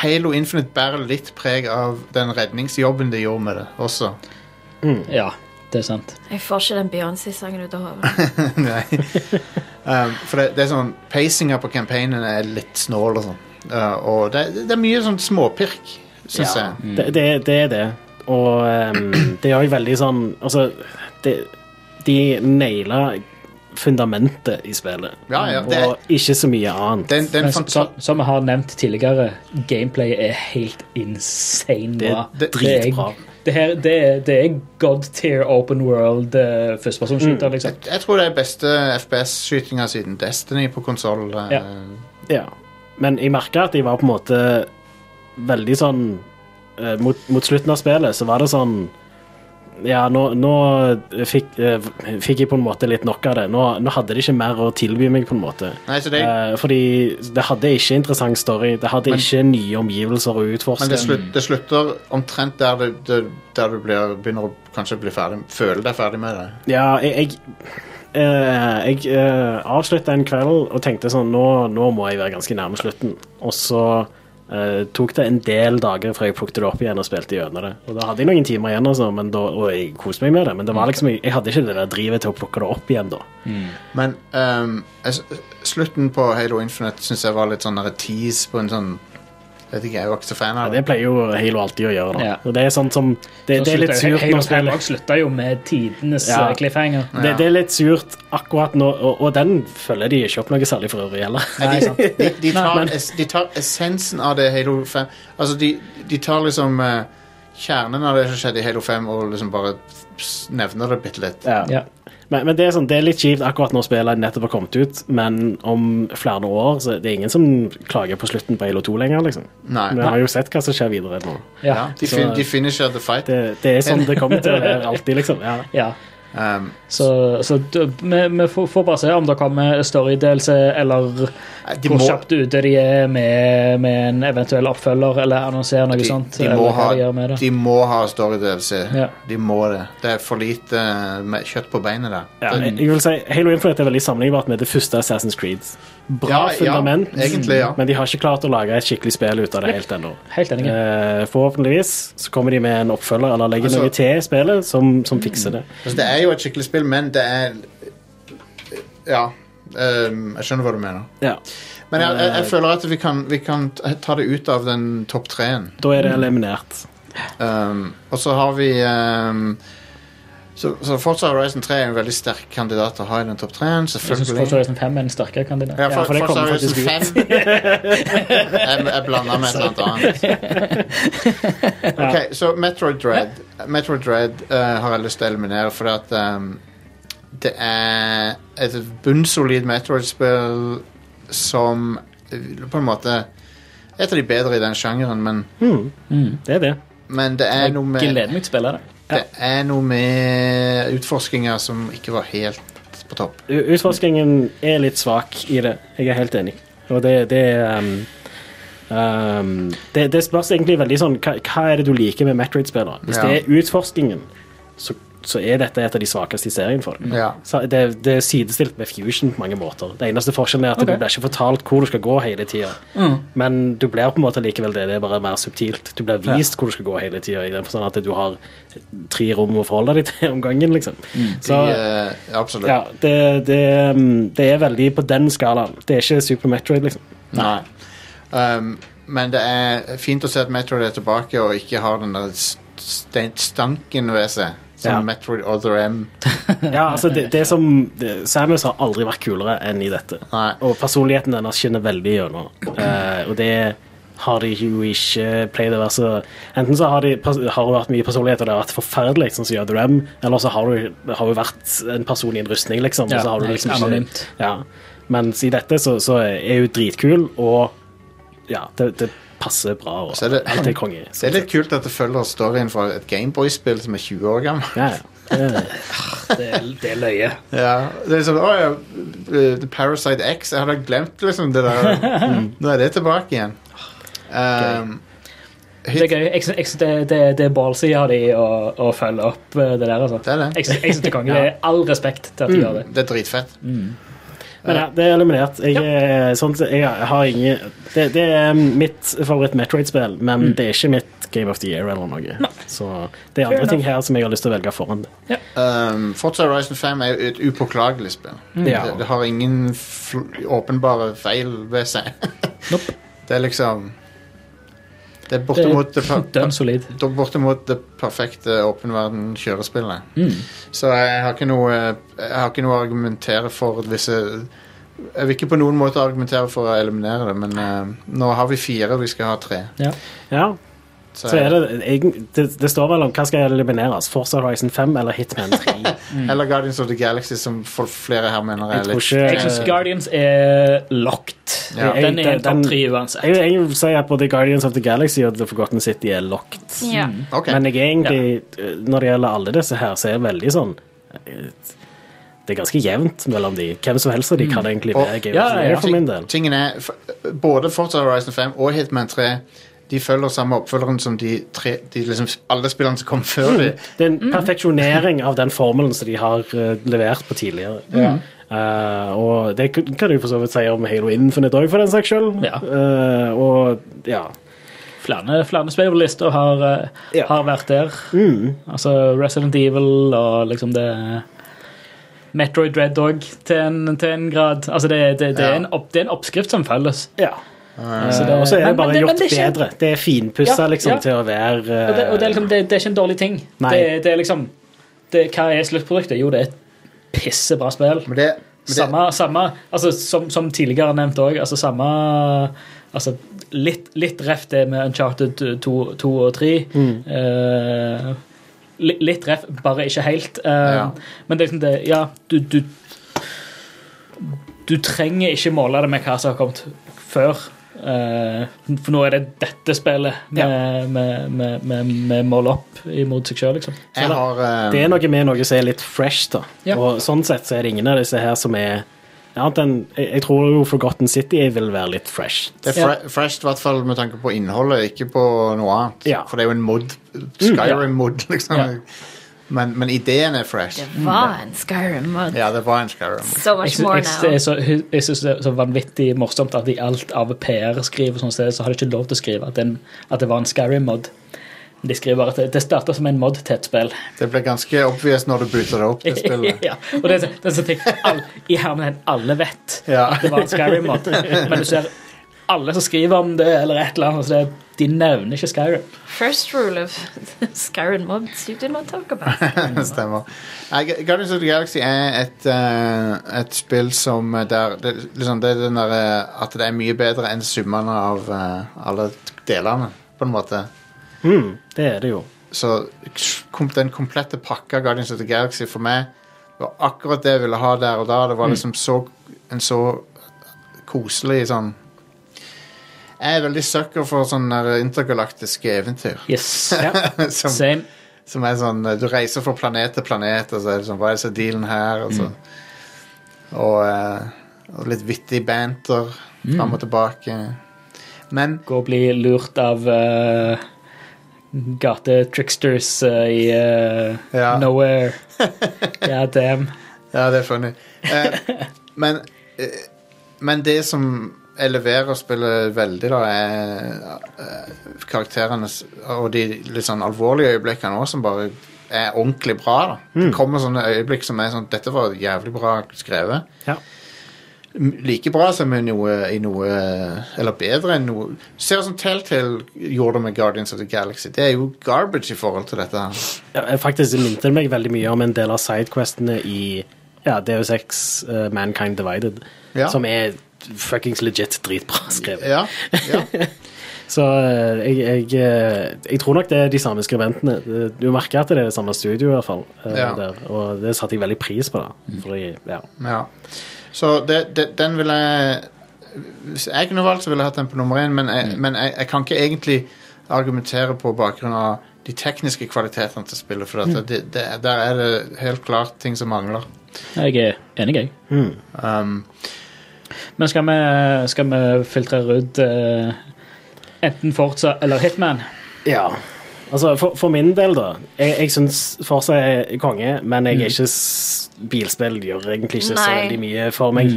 Speaker 1: Halo Infinite bærer litt preg av den redningsjobben de gjorde med det også.
Speaker 4: ja, det er sant.
Speaker 6: Jeg får ikke den Beyoncé-sangen ut av hodet.
Speaker 1: Nei. um, for det, det er sånn Pacinga på campaignen er litt snål og sånn. Uh, og det, det er mye sånn småpirk, syns
Speaker 2: Ja.
Speaker 1: jeg.
Speaker 2: Det, det, det er det. Og ehm, det er jo veldig sånn Altså, det, de naila fundamentet i spillet,
Speaker 1: Ja, ja, det,
Speaker 2: og ikke så mye annet.
Speaker 1: det, er en- det er
Speaker 4: Men
Speaker 1: en
Speaker 4: som,
Speaker 1: fanta-
Speaker 4: som- som vi har nevnt tidligere, gameplayet er helt insane
Speaker 2: Det er
Speaker 4: bra.
Speaker 1: det-
Speaker 2: dritbra.
Speaker 4: Det, her, det, er- det er god tier open world uh, førstepersonsskyter,
Speaker 2: Mm.
Speaker 4: liksom.
Speaker 1: Jeg tror det er beste FPS-skytinga siden Destiny på eh. konsoll.
Speaker 4: Ja.
Speaker 2: Ja. Men jeg merka at jeg var på en måte veldig sånn eh, mot, mot slutten av spillet så var det sånn ja, nå, nå fikk, eh, fikk jeg på en måte litt nok av det. Nå, nå hadde de ikke mer å tilby meg, på en måte.
Speaker 1: Nei, så det-
Speaker 2: Eh, fordi det hadde ikke interessant story. Det hadde ikke nye omgivelser å utforske.
Speaker 1: Men det, slut, det slutter omtrent der du, det, der du blir, begynner å kanskje bli ferdig Føle deg ferdig med det.
Speaker 2: Ja, jeg, jeg, eh, jeg eh, avslutta en kveld og tenkte sånn nå, nå må jeg være ganske nærme slutten. Og så eh, tok det en del dager før jeg plukket det opp igjen og spilte gjennom det. Og da hadde jeg noen timer igjen, altså, men da, og jeg koste meg med det, men det var liksom, jeg, jeg hadde ikke det der drivet til å plukke det opp igjen da.
Speaker 1: Men ehm, jeg s- slutten på Halo Infinite syns jeg var litt sånn der tease på en sånn Jeg vet ikke, jeg var ikke så fan
Speaker 2: Ja,
Speaker 1: av
Speaker 2: det
Speaker 1: det.
Speaker 2: pleier jo Halo alltid å gjøre. da.
Speaker 4: Ja.
Speaker 2: Og det er sånn som Det, det er litt surt
Speaker 4: Halo
Speaker 2: når spillet
Speaker 4: 5 slutta jo med tidenes
Speaker 2: Ja.
Speaker 4: eh, cliffhanger.
Speaker 2: det, det er litt surt akkurat nå, og, og den følger de ikke opp noe særlig for øvrig heller.
Speaker 1: Nei, de, de, de,
Speaker 2: Nei,
Speaker 1: tar,
Speaker 2: men-
Speaker 1: es, de tar essensen av det Halo 5 Altså, de, de tar liksom eh, kjernen av det som skjedde i Halo 5, og liksom bare s- nevner det bitte litt.
Speaker 2: Ja.
Speaker 4: Ja.
Speaker 2: Men, men det, er sånn, det er litt kjipt akkurat når spillet nettopp har kommet ut, men om flere år så det er ingen som klager på slutten på Halo 2 lenger. liksom.
Speaker 1: Nei.
Speaker 2: Vi har jo sett hva som skjer videre nå.
Speaker 1: Ja, de, fin, de finisher the fight.
Speaker 2: Det, det er sånn det kommer til å være alltid, liksom. Ja.
Speaker 4: Ja.
Speaker 1: Ehm,
Speaker 4: Så, så d- vi, vi får, får bare se om det kommer storydelelse, eller
Speaker 1: de
Speaker 4: hvor
Speaker 1: må,
Speaker 4: kjapt ute de er med, med en eventuell oppfølger, eller annonserer noe
Speaker 1: de,
Speaker 4: sånt.
Speaker 1: de, må
Speaker 4: eller
Speaker 1: ha,
Speaker 4: hva de gjør med det.
Speaker 1: de må ha story DLC.
Speaker 4: Ja.
Speaker 1: De må det. Det er for lite eh, med kjøtt på beinet der.
Speaker 2: Ja,
Speaker 1: det,
Speaker 2: jeg jeg vil si, Halo Infinite er veldig sammenlignbart med det første Assassin's Creed. Bra
Speaker 1: Ja, ja,
Speaker 2: fundament,
Speaker 1: egentlig, ja.
Speaker 2: men de har ikke klart å lage et skikkelig spill ut av det helt ennå.
Speaker 4: Helt enig.
Speaker 2: Eh, forhåpentligvis så kommer de med en oppfølger eller legger
Speaker 1: Altså-
Speaker 2: noe til i spillet som, som fikser det.
Speaker 1: Altså, det er jo et skikkelig spill, men det er Ja. ehm, jeg skjønner hva du mener.
Speaker 2: Ja.
Speaker 1: Men jeg, jeg,
Speaker 4: Eh.
Speaker 1: jeg føler at vi kan, vi kan ta- ta det ut av den topp treen.
Speaker 2: Da er det eliminert.
Speaker 1: Ehm, og så har vi ehm, så, så Forza Horizon 3 er en veldig sterk kandidat til å ha i den topp treen.
Speaker 4: Jeg syns
Speaker 1: Selvfølgelig.
Speaker 4: Forza Horizon 5 er en sterkere kandidat.
Speaker 1: Ja, for,
Speaker 2: for det
Speaker 1: Forza
Speaker 2: kommer
Speaker 1: Horizon
Speaker 2: faktisk
Speaker 1: 5 Jeg, jeg blanda med et eller annet annet. Ok, så Metroid Dread Metroid Dread eh, har jeg lyst til å eliminere, fordi at ehm, det er et bunnsolid Metroid-spill som eh, på en måte er et av de bedre i den sjangeren, men,
Speaker 2: Det er det.
Speaker 1: men det er noe
Speaker 4: Jeg
Speaker 1: med
Speaker 4: gleder meg til å spille det.
Speaker 1: Det er noe med utforskinger som ikke var helt på topp.
Speaker 2: U- Utforskingen er litt svak i det. Jeg er helt enig. Og det, det um, um, det, det spørs egentlig veldig sånn hva, hva er det du liker med Metroid-spillere? Hvis
Speaker 1: Ja.
Speaker 2: det er utforskingen, så, så er dette et av de svakeste i serien for deg.
Speaker 1: Ja.
Speaker 2: Så det, det er sidestilt med Fusion på mange måter. Det eneste forskjellen er at du blir ikke fortalt hvor du skal gå hele tida.
Speaker 1: Mm.
Speaker 2: Men du blir på en måte likevel det. Det er bare mer subtilt. Du blir vist hvor du skal gå hele tida, i den forstand at du har tre rom å forholde deg til om gangen, liksom.
Speaker 1: De,
Speaker 2: Så,
Speaker 1: eh, absolutt.
Speaker 2: ja, det, det, mm, det er veldig på den skalaen. Det er ikke Super Metroid, liksom.
Speaker 1: Nei. Um, men det er fint å se at Metroid er tilbake og ikke har den der st stanken ved seg. Som
Speaker 2: Ja.
Speaker 1: Metroid Other M.
Speaker 2: Ja, altså det, det som det, Samus har aldri vært kulere enn i dette.
Speaker 1: Nei.
Speaker 2: Og personligheten hennes skinner veldig gjennom. Eh, og det har de jo ikke pleid å være så Enten så har, de, pers- har hun vært mye personlighet, og det har vært forferdelig, sånn som Jøde Rem, eller så har hun, har hun vært en person i en rustning, liksom. og
Speaker 4: Ja,
Speaker 2: så har hun
Speaker 4: helt
Speaker 2: liksom
Speaker 4: anonymt.
Speaker 2: Ikke, ja. Mens i dette så, så er hun dritkul, og ja, det, det passer bra. Og,
Speaker 1: Så er det-
Speaker 2: alt er konge.
Speaker 1: Det er litt kult at det følger storyen fra et Gameboy-spill som er 20 år gammel.
Speaker 2: Ja, ja. Det er-
Speaker 4: Det, er løye.
Speaker 1: Ja, det er sånn, å, ja, uh, Parasite X, jeg hadde glemt liksom det der. Nå er det tilbake igjen. Um,
Speaker 4: Det er gøy. Jeg synes- jeg synes det, det, det er ballsy av de å, å følge opp eh, det der. Altså.
Speaker 1: Det er det.
Speaker 4: Jeg, synes- jeg synes det er konge. Det er all respekt til at de gjør det.
Speaker 1: det er dritfett.
Speaker 2: Men ja, det er eliminert. Jeg, er- sånn, sett- jeg har ingen det, det er mitt favoritt-Metroid-spill, men det er ikke mitt Game of the Year eller noe. Så det er andre ting her som jeg har lyst til å velge foran. det.
Speaker 1: Um, Forza Horizon 5 er jo et upåklagelig spill.
Speaker 2: Ja.
Speaker 1: Det, det har ingen fl åpenbare feil ved seg.
Speaker 4: Nope.
Speaker 1: Det er liksom Det er
Speaker 4: Det
Speaker 1: bortimot det,
Speaker 4: er
Speaker 1: per,
Speaker 4: dønn solid.
Speaker 1: det, er bortimot det perfekte åpen verden kjørespillet. Så jeg har ikke noe Jeg har ikke noe å argumentere for hvis jeg, jeg vil ikke på noen måte argumentere for å eliminere det, men eh, nå har vi fire, vi skal ha tre.
Speaker 4: Ja.
Speaker 2: Ja. Så er det, egen- det, det står vel om hva skal elimineres. Forza Horizon 5 eller Hitman 3.
Speaker 1: Eller Guardians of the Galaxy, som for flere her mener
Speaker 2: Mm. Jeg
Speaker 1: er
Speaker 2: tror
Speaker 1: litt
Speaker 2: ikke
Speaker 4: Jeg synes Guardians er locked.
Speaker 1: Ja.
Speaker 2: Eh,
Speaker 4: Den er
Speaker 2: Den-
Speaker 4: en topp
Speaker 2: den-
Speaker 4: tre
Speaker 2: Jeg,
Speaker 4: uansett.
Speaker 2: jeg vil si at både Guardians of the Galaxy og The Forgotten City er locked.
Speaker 6: Ja.
Speaker 1: Ok.
Speaker 2: Men jeg er egentlig, eh, når det gjelder alle disse her, så er det veldig sånn eh, Det er ganske jevnt mellom de. Hvem som helst av de kan egentlig
Speaker 1: Og-
Speaker 2: være Game
Speaker 4: ja,
Speaker 2: of the
Speaker 4: ja,
Speaker 2: Year
Speaker 4: ja.
Speaker 2: for min del.
Speaker 1: Tingen er, f- både Forza Horizon 5 og Hitman 3 de følger samme oppfølgeren som de, tre, de liksom, alle spillene som kom
Speaker 2: Mm.
Speaker 1: før de.
Speaker 2: Det er en perfeksjonering av den formelen som de har eh, levert på tidligere. Eh, og det kun- kan du for så vidt si om Halo Infinite òg, for den saks skyld.
Speaker 4: Ja.
Speaker 2: Eh, og ja.
Speaker 4: Flere, flere spillerlister har, eh,
Speaker 2: Ja. Mm.
Speaker 4: har vært der. Altså Resident Evil og liksom det Metroid Red Dog til en, til en grad. Altså det, det, det, er
Speaker 1: Ja.
Speaker 4: en opp, det er en oppskrift som følges.
Speaker 2: ja.
Speaker 4: Så
Speaker 2: Eh, og så er det
Speaker 4: men-
Speaker 2: bare
Speaker 4: men det- men
Speaker 2: gjort
Speaker 4: det er ikke-
Speaker 2: bedre. Det er finpussa
Speaker 4: Ja,
Speaker 2: liksom,
Speaker 4: ja.
Speaker 2: til å være eh,
Speaker 4: Og det, og det, er liksom, det, det er ikke en dårlig ting.
Speaker 2: Nei.
Speaker 4: Det, er- det er liksom det, Hva er sluttproduktet? Jo, det er et pissebra spill.
Speaker 1: Men det, men det,
Speaker 4: Samme, samme altså, som, som tidligere nevnt òg, altså samme altså, litt, litt ref det med Uncharted 2, 2 og 3.
Speaker 1: Mm.
Speaker 4: Eh, li- litt ref, bare ikke helt. Eh,
Speaker 1: Ja.
Speaker 4: Men det er liksom det Ja, du, du Du trenger ikke måle det med hva som har kommet før. Eh, for nå er det dette spillet vi måler opp imot seg sjøl, liksom.
Speaker 1: jeg har eh,
Speaker 2: Det er noe med noe som er litt fresh, da.
Speaker 4: Ja.
Speaker 2: Og sånn sett så er det ingen av disse her som er annet enn, jeg, jeg tror jo Forgotten City vil være litt fresh.
Speaker 1: det er fre fresh, i hvert fall med tanke på innholdet, ikke på noe annet.
Speaker 2: Ja. Mm.
Speaker 1: For det er jo en mod. Skyrim-mod, liksom.
Speaker 4: Ja.
Speaker 1: Men, men ideen er fresh.
Speaker 3: Det var en Skyrim-mod.
Speaker 1: Ja, det var en Skyrim.
Speaker 3: So much more
Speaker 4: Jeg, sy- jeg,
Speaker 3: now.
Speaker 4: jeg, så- jeg syns det er så vanvittig morsomt at i alt AVP-er skriver sånn sted, så har de ikke lov til å skrive at, den, at det var en Skyrim-mod. De skriver at det, det starta som en mod til et spill.
Speaker 1: Det ble ganske obvious når du booter det opp, det spillet.
Speaker 4: ja, og det, er så- det er sånn ting all, I hermen alle vet
Speaker 1: Ja.
Speaker 4: at det var en Skyrim-mod, men du ser alle som skriver om det, eller et eller annet, så det, de nevner ikke Skyrim.
Speaker 3: First rule of Skyrim-mods you do not talk about.
Speaker 1: Stemmer. Nei, Gu- Guardians of the Galaxy er et, eh, et spill som eh, der det, liksom, det er den der, eh, At det er mye bedre enn summene av eh, alle delene, på en måte.
Speaker 2: Mm, det er det jo.
Speaker 1: Så kom, den komplette pakka Guardians of the Galaxy for meg var akkurat det jeg ville ha der og da. Det var liksom så, en så koselig sånn Jeg er veldig sucker for sånne der intergalaktiske eventyr.
Speaker 4: Yes.
Speaker 1: som,
Speaker 4: Same.
Speaker 1: som er sånn eh, Du reiser fra planet til planet, og så er det sånn Hva er det som er dealen her? Og, så, og, eh, og litt vittig banter fram og tilbake. Men
Speaker 4: Gå og bli lurt av eh, gatetricksters eh, i eh,
Speaker 1: Ja.
Speaker 4: Nowhere. God damn.
Speaker 1: Ja, det er funny. Eh, men, eh, men det som jeg leverer og spiller veldig, da, er eh, karakterene s- og de litt sånn alvorlige øyeblikkene òg, som bare er ordentlig bra. da. Det kommer sånne øyeblikk som er sånn Dette var jævlig bra skrevet.
Speaker 2: Ja.
Speaker 1: M- Like bra som i noe, i noe Eller bedre enn noe Du ser som Telltale gjorde det med Guardians of the Galaxy. Det er jo garbage i forhold til dette. her.
Speaker 2: Ja, jeg faktisk minte det meg veldig mye om en del av sidequestene i ja, DU6 Mankind Divided,
Speaker 1: Ja.
Speaker 2: som er fuckings legit dritbra skrevet.
Speaker 1: Ja, ja.
Speaker 2: Så eh, jeg, jeg, eh, jeg tror nok det er de samme skribentene. Det- Du merker at det er det samme studio, i hvert fall. eh,
Speaker 1: Ja. Mm.
Speaker 2: Der, og det satte jeg veldig pris på. da. Fordi, ja.
Speaker 1: Ja. Så det, det, den ville jeg Hvis jeg kunne valgt, så ville jeg hatt den på nummer én, men,
Speaker 4: Mm.
Speaker 1: jeg, men jeg, jeg kan ikke egentlig argumentere på bakgrunn av de tekniske kvalitetene til spillet, for
Speaker 4: Mm.
Speaker 1: at det, det, der er det helt klart ting som mangler.
Speaker 4: Jeg er enig, jeg.
Speaker 1: Um,
Speaker 4: Men skal vi, skal vi filtrere ut eh, enten Forza eller Hitman?
Speaker 2: Ja. Altså, for, for min del, da. Jeg, jeg syns Forsa er konge, men
Speaker 1: Mm.
Speaker 2: jeg er ikke s- Bilspill gjør egentlig ikke så
Speaker 3: Nei.
Speaker 2: veldig mye for
Speaker 1: Mm.
Speaker 2: meg.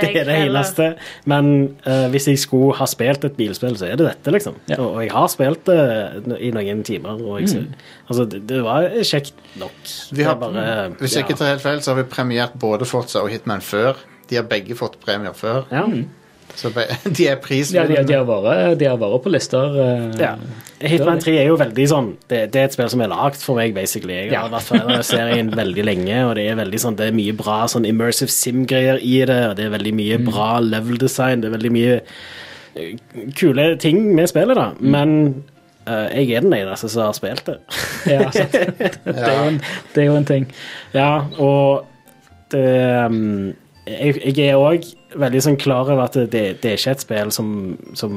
Speaker 2: det er det eneste. Men eh, hvis jeg skulle ha spilt et bilspill, så er det dette, liksom.
Speaker 4: Ja. Mm.
Speaker 2: Og, og jeg har spilt det no- i noen timer. Og jeg, sy- altså, det, det var kjekt nok.
Speaker 1: vi har,
Speaker 2: det er bare,
Speaker 1: hvis jeg ikke tar helt feil, så har vi premiert både Forza og Hitman før. De har begge fått premier før,
Speaker 2: ja.
Speaker 4: Mm.
Speaker 1: så be, de er
Speaker 4: Ja, de, de,
Speaker 1: prisvinnende.
Speaker 4: har vært, de har vært på lister. eh,
Speaker 2: Ja. Hitman 3 er jo veldig sånn Det, det er et spill som er lagd for meg, basically. Jeg har
Speaker 4: Ja.
Speaker 2: vært fan av serien veldig lenge, og det er veldig sånn Det er mye bra sånn immersive sim-greier i det, og det er veldig mye
Speaker 4: Mm.
Speaker 2: bra
Speaker 4: Mm.
Speaker 2: level design, det er veldig mye eh, kule ting med spillet, da. Men eh, jeg er den eneste som har spilt det.
Speaker 4: Ja, sant. Det, er jo en, det er jo en ting.
Speaker 2: Ja, og det um, jeg, jeg er òg veldig sånn klar over at det, det er ikke et spill som, som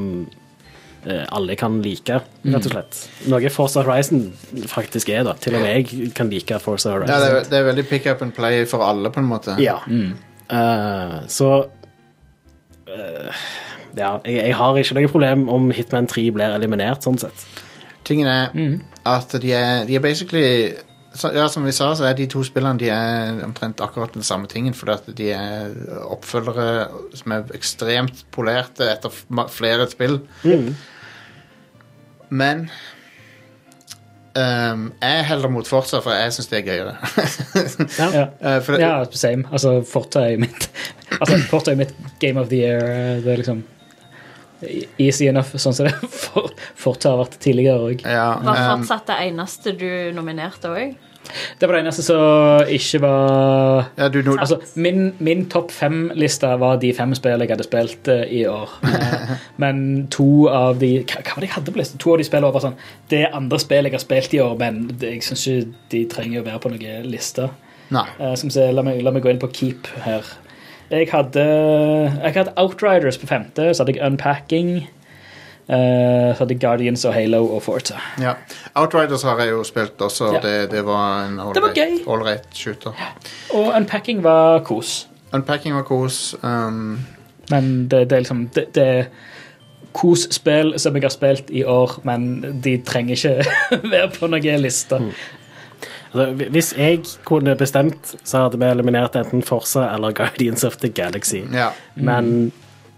Speaker 2: eh, alle kan like, rett og slett. Noe Forza Horizon faktisk er, da. Til og med jeg kan like Forza Horizon.
Speaker 1: Ja, det, er, Mm. det er veldig pick up and play for alle, på en måte.
Speaker 2: Ja. Eh, så eh, Ja, jeg, jeg har ikke noe problem om Hitman 3 blir eliminert, sånn sett.
Speaker 1: Tingen er
Speaker 4: Mm.
Speaker 1: at de er, de er basically så, ja, Som vi sa, så er de to spillene de er omtrent akkurat den samme tingen. Fordi at de er oppfølgere som er ekstremt polerte etter f- ma- flere spill. Men ehm, jeg heller mot Forza, for jeg syns det er gøyere.
Speaker 4: Ja.
Speaker 1: Eh, for det,
Speaker 4: Ja, same. Altså, fortøyet mitt Altså, fortøyet mitt Game of the Year eh, Det er liksom easy enough, sånn som det for, fortøyet har vært tidligere òg.
Speaker 1: ja,
Speaker 3: Var
Speaker 1: ehm,
Speaker 3: fortsatt det eneste du nominerte òg?
Speaker 4: Det var det eneste som ikke var
Speaker 1: ja, du, no,
Speaker 4: Altså, min, min topp fem-liste var de fem spillene jeg hadde spilt eh, i år. Eh, Men to av de Hva, hva var det jeg hadde på listen? To av de spillene var sånn Det er andre spill jeg har spilt i år, men det- jeg syns ikke de trenger å være på noen liste.
Speaker 1: nei.
Speaker 4: Eh, Som ser, la, meg, la meg gå inn på Keep her. Jeg hadde, jeg hadde Outriders på femte, så hadde jeg Unpacking. eh, så hadde jeg Guardians og Halo og Forza.
Speaker 1: Ja. Outriders har jeg jo spilt også, og
Speaker 4: Ja.
Speaker 1: det, det var en all
Speaker 4: Det var
Speaker 1: right-
Speaker 4: gøy.
Speaker 1: all right shooter.
Speaker 4: Og Unpacking var kos.
Speaker 1: Unpacking var kos. ehm,
Speaker 4: Men det, det er liksom Det, det er kos-spill som jeg har spilt i år, men de trenger ikke være på noen liste.
Speaker 2: Altså, hvi- hvis jeg kunne bestemt, så hadde vi eliminert enten Forza eller Guardians of the Galaxy.
Speaker 1: ja.
Speaker 2: Men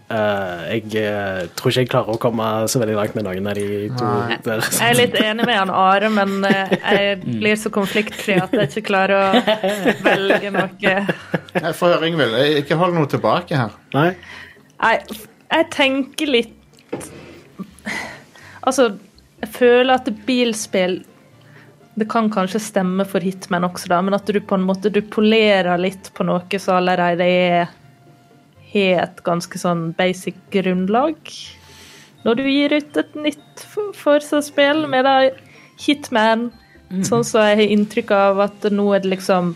Speaker 2: eh, jeg eh, tror ikke jeg klarer å komme så veldig langt med noen av de to der.
Speaker 5: Jeg er litt enig med han Are, men eh, jeg blir så konfliktfri at jeg ikke klarer å velge noe.
Speaker 1: Jeg får høre, Ingvild. Jeg- Ikke hold noe tilbake her.
Speaker 2: Nei?
Speaker 5: Jeg, jeg tenker litt Altså, jeg føler at bilspill Det kan kanskje stemme for Hitman også, da, men at du på en måte du polerer litt på noe som allerede er har et ganske sånn basic grunnlag. Når du gir ut et nytt for- Forsa-spill med da Hitman, sånn som jeg har inntrykk av at nå er det liksom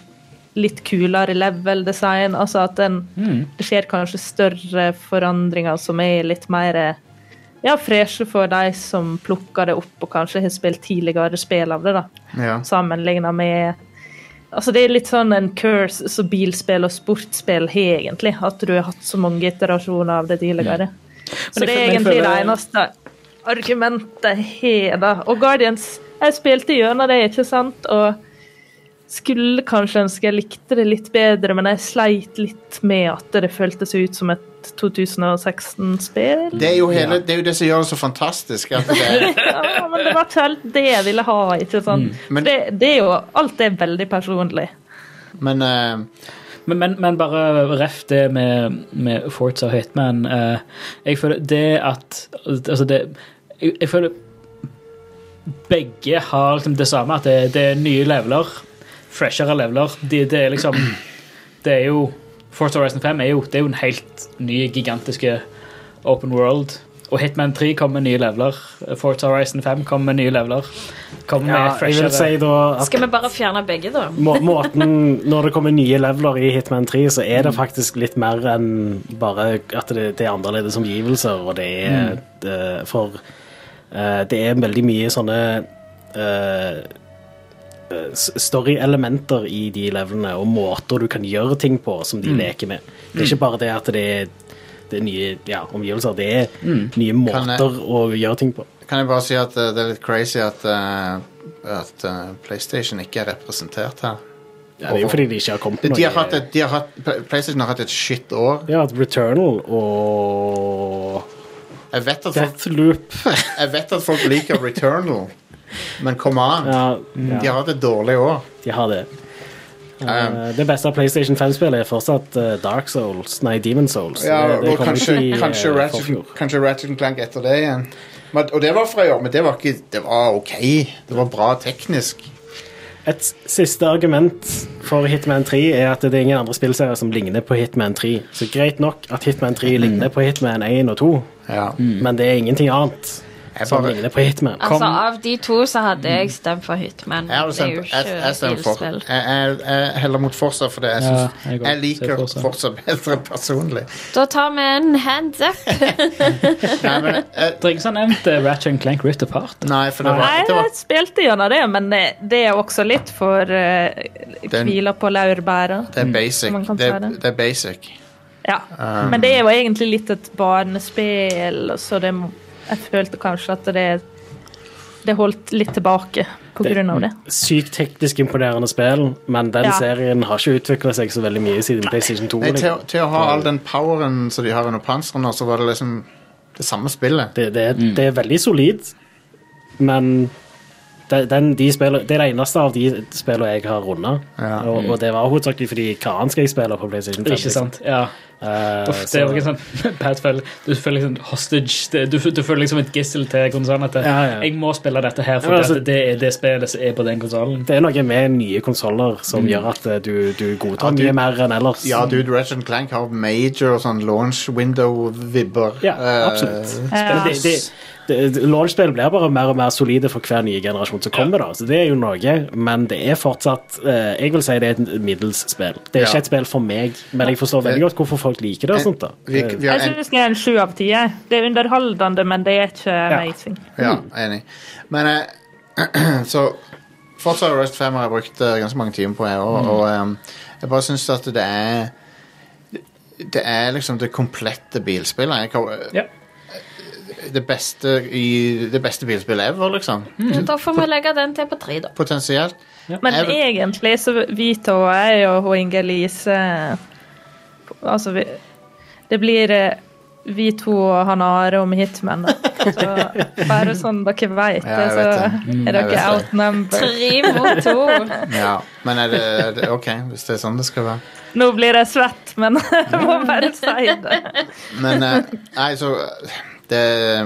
Speaker 5: litt kulere level design, altså at en, det skjer kanskje større forandringer som er litt mer eh, ja, freshe for de som plukker det opp og kanskje har spilt tidligere spill av det, da
Speaker 1: Ja.
Speaker 5: sammenligna med Altså Det er litt sånn en curse som bilspill og sportsspill har, egentlig. At du har hatt så mange iterasjoner av det tidligere. Så
Speaker 4: Men jeg føl- men
Speaker 5: det er
Speaker 4: jeg
Speaker 5: egentlig det
Speaker 4: føler-
Speaker 5: eneste argumentet jeg har, da. Og Guardians Jeg spilte gjennom det, ikke sant? Og skulle kanskje ønske jeg likte det litt bedre, men jeg sleit litt med at det føltes ut som et 2016-spill.
Speaker 1: Det er, jo hele, det er jo det som gjør det så fantastisk. At det er,
Speaker 5: Ja, men det var ikke helt det jeg ville ha, ikke
Speaker 4: Mm,
Speaker 5: sant?
Speaker 1: Men-
Speaker 5: For det, det er jo Alt er veldig personlig.
Speaker 1: men eh,
Speaker 4: Men, men, men bare ref det med, med Forza og Hitman. eh, jeg føler det at Altså, det Jeg, jeg føler begge har liksom det samme, at det, det er nye leveler. Freshere leveler. Det, det er liksom Det er jo Forza Horizon 5 er jo, det er jo en helt ny, gigantiske open world. Og Hitman 3 kommer med nye leveler. Forza Horizon 5 kommer med nye leveler.
Speaker 2: Ja,
Speaker 4: Kommer med
Speaker 2: jeg vil
Speaker 4: freshere
Speaker 2: si da at
Speaker 3: Skal vi bare fjerne begge, da?
Speaker 2: må, måten Når det kommer nye leveler i Hitman 3, så er det faktisk litt mer enn bare at det, det er annerledes omgivelser, og det er
Speaker 1: Mm.
Speaker 2: det- For eh, det er veldig mye sånne eh, eh, s- Story-elementer i de levelene, og måter du kan gjøre ting på, som
Speaker 1: Mm.
Speaker 2: de leker med. Det er ikke bare det at det er, det er nye ja, omgivelser, det er nye
Speaker 1: Mm. Kan jeg-
Speaker 2: måter å gjøre ting på.
Speaker 1: kan jeg bare si at eh, det er litt crazy at, eh, at eh, PlayStation ikke er representert her.
Speaker 2: Ja, det er jo fordi de ikke har kommet
Speaker 1: De,
Speaker 2: på
Speaker 1: de har hatt et, de har hatt, Pl- PlayStation har hatt et shit år.
Speaker 2: Ja, at Returnal og
Speaker 1: Jeg vet at folk,
Speaker 2: Deathloop
Speaker 1: jeg vet at folk liker Returnal, men kom an.
Speaker 2: ja,
Speaker 1: De har hatt et dårlig år.
Speaker 2: de har det. Eh, det beste av PlayStation 5-spillet er fortsatt eh, Dark Souls, nei, Demon Souls.
Speaker 1: Ja,
Speaker 2: det, det
Speaker 1: og
Speaker 2: kom
Speaker 1: kanskje,
Speaker 2: ikke i, eh,
Speaker 1: kanskje,
Speaker 2: forfjor.
Speaker 1: Ratchet, kanskje Ratchet Clank etter det igjen. Men, og det var fra i år, men det var ikke Det var OK. Det var bra teknisk.
Speaker 2: Et s- siste argument for Hitman 3 er at det er ingen andre spillserier som ligner på Hitman 3.
Speaker 1: Mm.
Speaker 2: Så greit nok at Hitman 3 ligner på Hitman 1 og 2,
Speaker 1: Ja.
Speaker 2: men det Mm. Sånn er ingenting annet.
Speaker 1: Mm. Jeg
Speaker 2: som
Speaker 1: bare-
Speaker 2: ligner på Hitman.
Speaker 3: Altså, av de to så hadde jeg stemt for Hitman.
Speaker 1: Jeg hadde
Speaker 3: Det er
Speaker 1: stemt
Speaker 3: jo
Speaker 1: jeg- jeg
Speaker 3: ikke
Speaker 1: stemmer for.
Speaker 3: bilspill.
Speaker 1: Jeg- Jeg jeg heller mot Forsa, fordi jeg,
Speaker 4: Ja,
Speaker 1: synes,
Speaker 4: jeg går.
Speaker 1: jeg
Speaker 4: Se
Speaker 1: liker
Speaker 4: Forza.
Speaker 1: Forsa bedre personlig.
Speaker 3: Da tar vi en hands up.
Speaker 1: Nei, men, jeg,
Speaker 4: Drinks har nevnt eh, Ratchet and Clank Rift Apart.
Speaker 1: nei for det var,
Speaker 5: Nei,
Speaker 1: det var
Speaker 5: jeg spilte gjennom det, men det, det er også litt for eh,
Speaker 1: Den-
Speaker 5: hviler på laurbæra.
Speaker 1: det er basic.
Speaker 5: Man kan
Speaker 1: Det,
Speaker 5: si det.
Speaker 1: det er basic. Um,
Speaker 5: Ja. Men det er jo egentlig litt et barnespill, så det, må- jeg følte kanskje at det, det holdt litt tilbake på
Speaker 2: Det-
Speaker 5: grunn av det.
Speaker 2: Sykt teknisk imponerende spill, men den
Speaker 5: Ja.
Speaker 2: serien har ikke utvikla seg så veldig mye siden PlayStation 2.
Speaker 1: Nei, til,
Speaker 2: liksom.
Speaker 1: å- til å ha all den poweren som de har under panseren, nå, så var det liksom det samme spillet.
Speaker 2: Det, det, det er veldig solid, men de- den, de spiller, det er det eneste av de spillene jeg har runda.
Speaker 1: Ja.
Speaker 2: Og, og det var hovedsakelig fordi hva annet skal jeg spille på PlayStation 5?
Speaker 4: Ikke sant? Ja.
Speaker 2: Eh,
Speaker 4: Uff, det
Speaker 2: så-
Speaker 4: er jo ikke sånn bad fell. Du føler liksom hostage. Det- Du, du føler liksom et gissel til konsernet. At
Speaker 2: Ja, ja.
Speaker 4: Jeg må spille dette her, for
Speaker 2: Ja, altså-
Speaker 4: det, er det spillet som er på den konsollen.
Speaker 2: det er noe med nye konsoller som gjør at eh, du, du godtar
Speaker 1: Ja, du-
Speaker 2: mye mer enn ellers.
Speaker 1: Ja, dude, Ratchet Clank har major sånn launch window-vibber.
Speaker 2: Ja,
Speaker 1: Eh,
Speaker 2: absolutt.
Speaker 5: Ja.
Speaker 2: Det, det, det, det- Launchspill blir bare mer og mer solide for hver nye generasjon som kommer. da, så Det er jo noe, men det er fortsatt eh, Jeg vil si det er et middels spill. Det
Speaker 1: Ja.
Speaker 2: er ikke et spill for meg, men jeg forstår veldig godt hvorfor folk liker det. og sånt da.
Speaker 1: Eh,
Speaker 2: Eh,
Speaker 1: Vi, vi har
Speaker 5: Jeg
Speaker 1: en,
Speaker 5: synes det er en sju av ti. jeg. Det er underholdende, men det er ikke amazing.
Speaker 1: ja, enig. Men eh, så Forza Rest 5 har jeg brukt eh, ganske mange timer på, jeg
Speaker 2: Mm.
Speaker 1: òg, og ehm, jeg bare syns at det er Det er liksom det komplette bilspillet. Jeg kan, eh,
Speaker 4: Ja.
Speaker 1: det, beste i, det beste bilspillet ever, liksom.
Speaker 2: Mm.
Speaker 3: Da får vi legge den til på tre, da.
Speaker 1: Potensielt.
Speaker 5: Men
Speaker 1: Jeg vil-
Speaker 5: egentlig så vi to og jeg og hun Inge Lise Altså, vi, det blir eh, vi to og han Are om Hitman. da. Så bare sånn dere vet
Speaker 1: Ja,
Speaker 5: det,
Speaker 1: jeg
Speaker 5: så
Speaker 1: vet det. Mm,
Speaker 5: er
Speaker 1: jeg vet
Speaker 5: dere
Speaker 1: det.
Speaker 5: outnumbered.
Speaker 3: Tre mot to.
Speaker 1: Ja, men er det, er det OK, hvis det er sånn det skal være.
Speaker 5: Nå blir jeg svett, men jeg må
Speaker 3: Mm.
Speaker 5: bare si det.
Speaker 1: Men eh, nei, så eh, Det eh,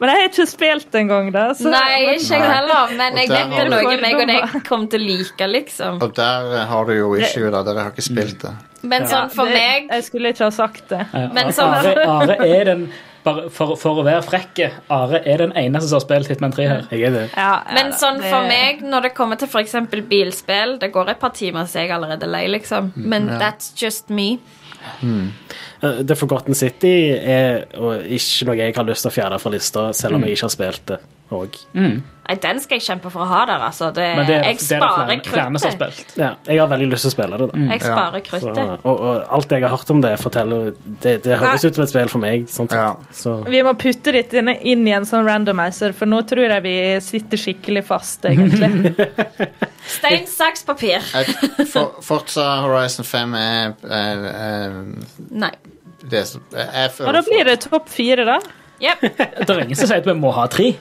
Speaker 5: Men jeg har ikke spilt engang, da. Så
Speaker 3: Nei, ikke jeg heller, men jeg
Speaker 1: Og der
Speaker 3: vet
Speaker 1: har
Speaker 3: det er
Speaker 5: du-
Speaker 3: noe meg og deg kommer til å like, liksom.
Speaker 1: Og der eh, har du jo issue, da. Dere har ikke spilt det.
Speaker 3: Men sånn for
Speaker 5: det,
Speaker 3: meg
Speaker 5: Jeg skulle ikke ha sagt det.
Speaker 4: Ja,
Speaker 3: Men
Speaker 4: Eh,
Speaker 3: sånn-
Speaker 4: Are-
Speaker 3: så-
Speaker 4: Are, Are er den bare for, for å være frekke, Are er den eneste som har spilt Hitman 3
Speaker 3: Eh,
Speaker 4: her.
Speaker 2: Jeg er det.
Speaker 5: Ja, ja,
Speaker 3: Men
Speaker 5: da,
Speaker 3: sånn
Speaker 5: det-
Speaker 3: for meg, når det kommer til f.eks. bilspill Det går et par timer, så er jeg allerede lei, liksom.
Speaker 4: Mm,
Speaker 3: Men that's just me.
Speaker 2: Eh, The Forgotten City er og ikke noe jeg har lyst til å fjerne fra lista, selv om jeg ikke har spilt det òg.
Speaker 3: Nei, den skal jeg kjempe for å ha der, altså. Det,
Speaker 4: Men det er det,
Speaker 3: jeg
Speaker 4: er det
Speaker 3: sparer
Speaker 4: flere, flere som Mm. har
Speaker 3: kruttet.
Speaker 4: spilt.
Speaker 2: Ja, jeg har veldig lyst til å spille det. da.
Speaker 3: Jeg sparer
Speaker 2: Så,
Speaker 3: kruttet.
Speaker 2: og, og alt jeg har hørt om det, forteller Det, det høres ut som et spill for meg. Sånn sett.
Speaker 1: Ja.
Speaker 2: Så,
Speaker 5: Vi må putte litt inn, inn i en sånn randomizer, for nå tror jeg vi sitter skikkelig fast, egentlig.
Speaker 3: Stein, saks, papir.
Speaker 1: Jeg- For, Forza Horizon 5 er, er, er
Speaker 3: Nei.
Speaker 1: det som jeg føler
Speaker 5: Og da blir det topp fire, da.
Speaker 3: Yep.
Speaker 4: Det er ingen som sier at vi må ha tre.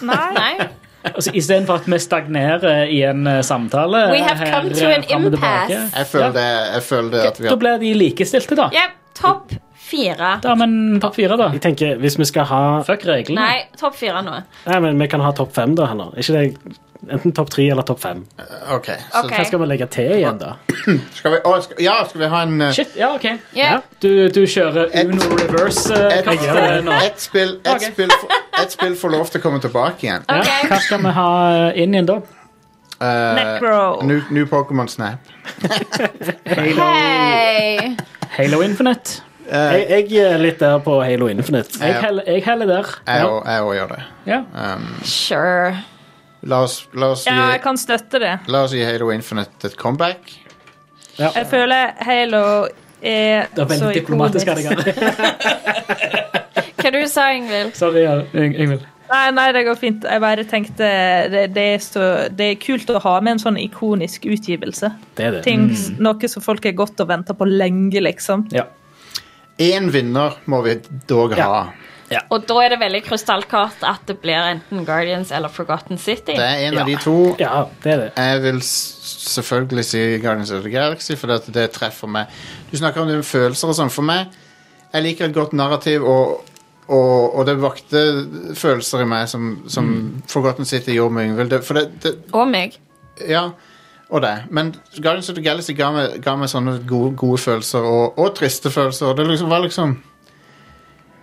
Speaker 5: Nei.
Speaker 3: Nei.
Speaker 4: Altså, Istedenfor at vi stagnerer i en eh, samtale.
Speaker 3: We have come
Speaker 4: her,
Speaker 3: to an
Speaker 4: eh, frem og tilbake.
Speaker 3: impasse.
Speaker 1: Jeg føler, det, jeg føler det at vi
Speaker 4: Da
Speaker 1: har
Speaker 4: blir de likestilte, da.
Speaker 3: Yep. Topp fire.
Speaker 4: Da har vi en topp fire, da.
Speaker 2: jeg tenker, hvis vi skal ha
Speaker 4: Fuck reglene.
Speaker 3: Nei, topp fire nå.
Speaker 2: Nei, men vi kan ha topp fem, da, heller. Ikke det, enten topp tre eller topp fem.
Speaker 1: OK. Så
Speaker 3: Ok.
Speaker 2: Hva skal vi legge til igjen, da?
Speaker 1: skal vi å, skal, Ja, skal vi ha en eh,
Speaker 4: Shit, ja, ok.
Speaker 3: Ja.
Speaker 4: Du, du kjører
Speaker 1: Et-
Speaker 4: Uno reverse eh,
Speaker 1: et,
Speaker 4: kast eh, nå.
Speaker 1: et spill et
Speaker 4: Ok.
Speaker 1: spill, for, et spill får lov til å komme tilbake igjen.
Speaker 4: Ja, Hva skal vi ha inn igjen da?
Speaker 1: Eh,
Speaker 5: Necro.
Speaker 1: New, new Pokémon Snap.
Speaker 4: Halo,
Speaker 3: Hei.
Speaker 4: Halo Infinite.
Speaker 1: Eh.
Speaker 2: Jeg, jeg er litt der på Halo Infinite.
Speaker 4: Jeg heller, jeg heller der.
Speaker 1: Jeg òg- jeg òg gjør det.
Speaker 4: Ja.
Speaker 3: Sure.
Speaker 1: La oss, la oss
Speaker 5: Ja, jeg
Speaker 1: gi
Speaker 5: kan støtte det.
Speaker 1: La oss gi Halo Infinite et comeback.
Speaker 5: Jeg føler Halo er
Speaker 4: Det er
Speaker 5: så
Speaker 4: veldig diplomatisk. Her,
Speaker 5: ikonisk.
Speaker 4: jeg.
Speaker 3: Hva du sa Ingvild?
Speaker 4: Sorry, ja, Yng- Yngvild.
Speaker 5: Nei, nei, det går fint. Jeg bare tenkte det, det, er så, det er kult å ha med en sånn ikonisk utgivelse.
Speaker 2: Det er det.
Speaker 5: Ting,
Speaker 4: Mm.
Speaker 5: Noe som folk har gått og venta på lenge, liksom.
Speaker 4: Ja.
Speaker 1: Én vinner må vi dog ha.
Speaker 3: Og da er det veldig krystallklart at det blir enten Guardians eller Forgotten City.
Speaker 1: Det er en av de
Speaker 2: Ja.
Speaker 1: to.
Speaker 2: Ja, det er det.
Speaker 1: Jeg vil s- selvfølgelig si Guardians of the Galaxy, for det, det treffer meg. Du snakker om dine følelser og sånn. For meg Jeg liker et godt narrativ, og, og, og det vakte følelser i meg som, som Forgotten City gjorde med Yngvild. Det- For det, det,
Speaker 3: Og meg.
Speaker 1: Ja, og det. Men Guardians of the Galaxy ga meg, ga meg sånne gode, gode følelser, og, og triste følelser. Og det liksom var liksom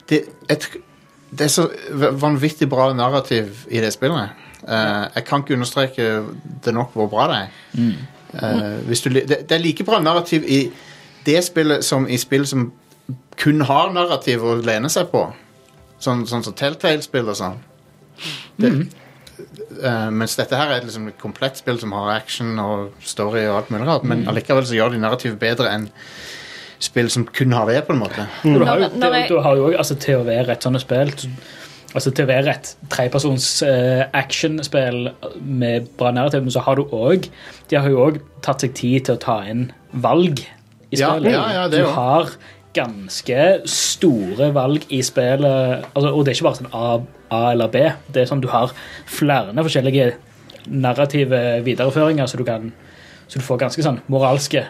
Speaker 1: det, jeg, tr- det er så v- vanvittig bra narrativ i det spillet. Eh, jeg kan ikke understreke det nok hvor bra det er. Eh, hvis du, li- det, det er like bra narrativ i det spillet som i spill som kun har narrativ å lene seg på. Sånn sånn som Telltale-spill og sånn. Det, eh, mens dette her er et liksom et komplett spill som har action og story og alt mulig rart.
Speaker 5: Mm.
Speaker 1: Men allikevel så gjør de narrativet bedre enn spill som kun har det, på en måte.
Speaker 4: Du har jo,
Speaker 3: Når- når jeg-
Speaker 4: du har jo også, altså, TOV-rett sånne spill. Altså TOV-rett, trepersons eh, actionspill med bra narrativ, men så har du òg De har jo òg tatt seg tid til å ta inn valg i
Speaker 1: Ja,
Speaker 4: spillet.
Speaker 1: ja, ja, det
Speaker 4: du
Speaker 1: jo.
Speaker 4: har ganske store valg i spillet, altså, og det er ikke bare sånn A, A eller B. Det er sånn Du har flere forskjellige narrative videreføringer, så du kan så du får ganske sånn moralske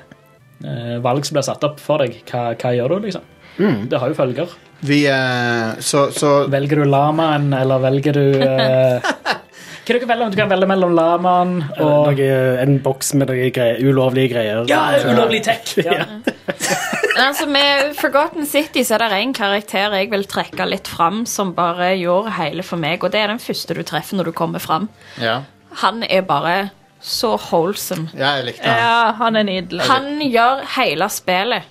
Speaker 4: eh, valg som blir satt opp for deg. Hva, hva gjør du, liksom?
Speaker 1: Mm.
Speaker 4: Det har jo følger.
Speaker 1: Vi, eh, så, så
Speaker 4: Velger du lamaen, eller velger du eh, Hva dere velger, Du kan velge mellom lamaen og
Speaker 2: Noe, eh, en boks med noen greier, ulovlige greier.
Speaker 4: Ja, ulovlig tech! Ja.
Speaker 3: Men altså, Med Forgotten City så er det en karakter jeg vil trekke litt fram, som bare gjorde hele for meg, og det er den første du treffer når du kommer fram.
Speaker 1: ja.
Speaker 3: Han er bare så wholesome.
Speaker 1: ja, jeg likte han.
Speaker 5: Ja, han er nydelig.
Speaker 3: Han gjør hele spillet.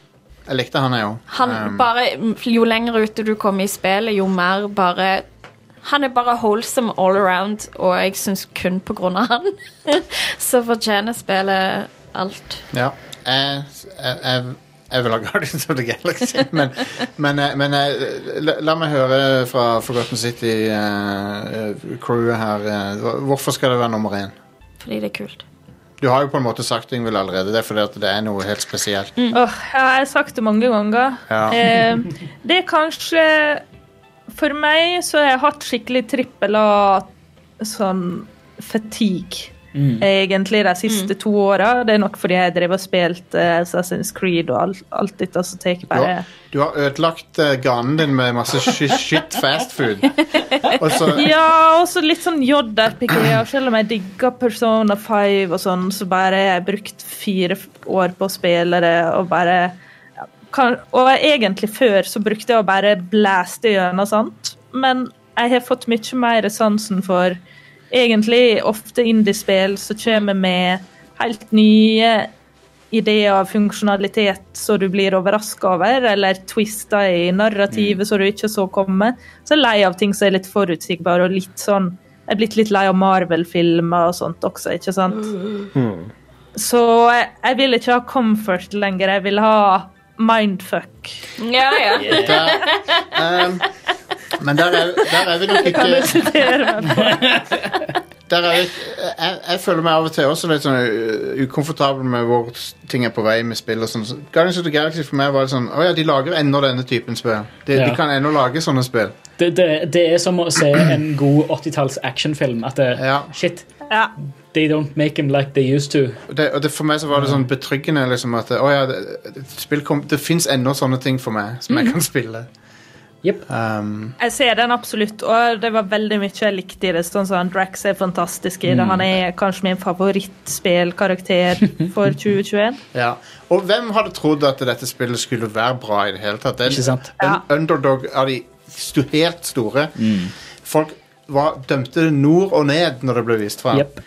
Speaker 1: Jeg likte han, jeg òg.
Speaker 3: Han
Speaker 1: Um.
Speaker 3: bare, Jo lenger ute du kommer i spillet, jo mer bare Han er bare wholesome all around, og jeg syns kun på grunn av han. så fortjener spillet alt.
Speaker 1: Ja. Jeg, jeg, jeg, jeg vil ha Guardians of the Galaxy, men, men, eh, men eh, la, la meg høre fra Forgotten City-crewet her. eh, hva- hvorfor skal det være nummer én?
Speaker 3: Fordi det er kult.
Speaker 1: Du har jo på en måte sagt Yngvild allerede. Det er fordi at det er noe helt spesielt.
Speaker 4: Mm.
Speaker 5: Åh, ja, jeg har sagt det mange ganger.
Speaker 1: Ja.
Speaker 5: Mm. Eh, det er kanskje For meg så har jeg hatt skikkelig trippel av sånn fatigue. Egentlig de siste to åra. Det er nok fordi jeg drev og spilte eh, Assassin's Creed og alt, alt dette som tar
Speaker 1: Du
Speaker 5: bare
Speaker 1: har, du har ødelagt eh, ganen din med masse shit, shit fast food. Og så,
Speaker 5: Ja, og så litt sånn JRPG. Og selv om jeg digger Persona 5 og sånn, så bare har jeg brukt fire f- år på å spille det, og bare ja, kan, Og egentlig før så brukte jeg å bare blæste gjennom sånt, men jeg har fått mye mer sansen for egentlig ofte indiespill som kommer med helt nye ideer av funksjonalitet som du blir overraska over, eller twister i narrativet som du ikke så komme. Så er jeg lei av ting som er litt forutsigbare og litt sånn Jeg er blitt litt lei av Marvel-filmer og sånt også, ikke sant? Så jeg, jeg vil ikke ha comfort lenger. Jeg vil ha mindfuck.
Speaker 3: Ja, ja.
Speaker 1: der, ehm, men der er, der er vi nok ikke der er vi, jeg, jeg føler meg av og til også litt sånn uh, ukomfortabel med hvor s- ting er på vei med spill. og sånn. Så Guardians of the Galaxy for meg var det sånn Å ja, de lager ennå denne typen spill. De,
Speaker 4: Ja.
Speaker 1: de kan ennå lage sånne spill.
Speaker 4: Det, det, det er som å se en god 80-talls actionfilm. At det,
Speaker 1: Ja.
Speaker 4: shit,
Speaker 5: Ja.
Speaker 4: they don't make them like they used to.
Speaker 1: Og det, og det, for meg så var det sånn betryggende liksom at Å ja, det, det- spill kom, det fins ennå sånne ting for meg som jeg kan spille.
Speaker 4: Jep.
Speaker 1: Um,
Speaker 5: Jeg ser den absolutt, og det var veldig mye jeg likte i det. Sånn som han Drax er fantastisk i det. Han er kanskje min favorittspillkarakter for 2021.
Speaker 1: ja. Og hvem hadde trodd at dette spillet skulle være bra i det hele tatt? Det,
Speaker 4: Ikke sant?
Speaker 1: En
Speaker 5: Ja.
Speaker 1: underdog av de sto helt store.
Speaker 4: Mm.
Speaker 1: Folk var, dømte det nord og ned når det ble vist fram.
Speaker 4: Jep.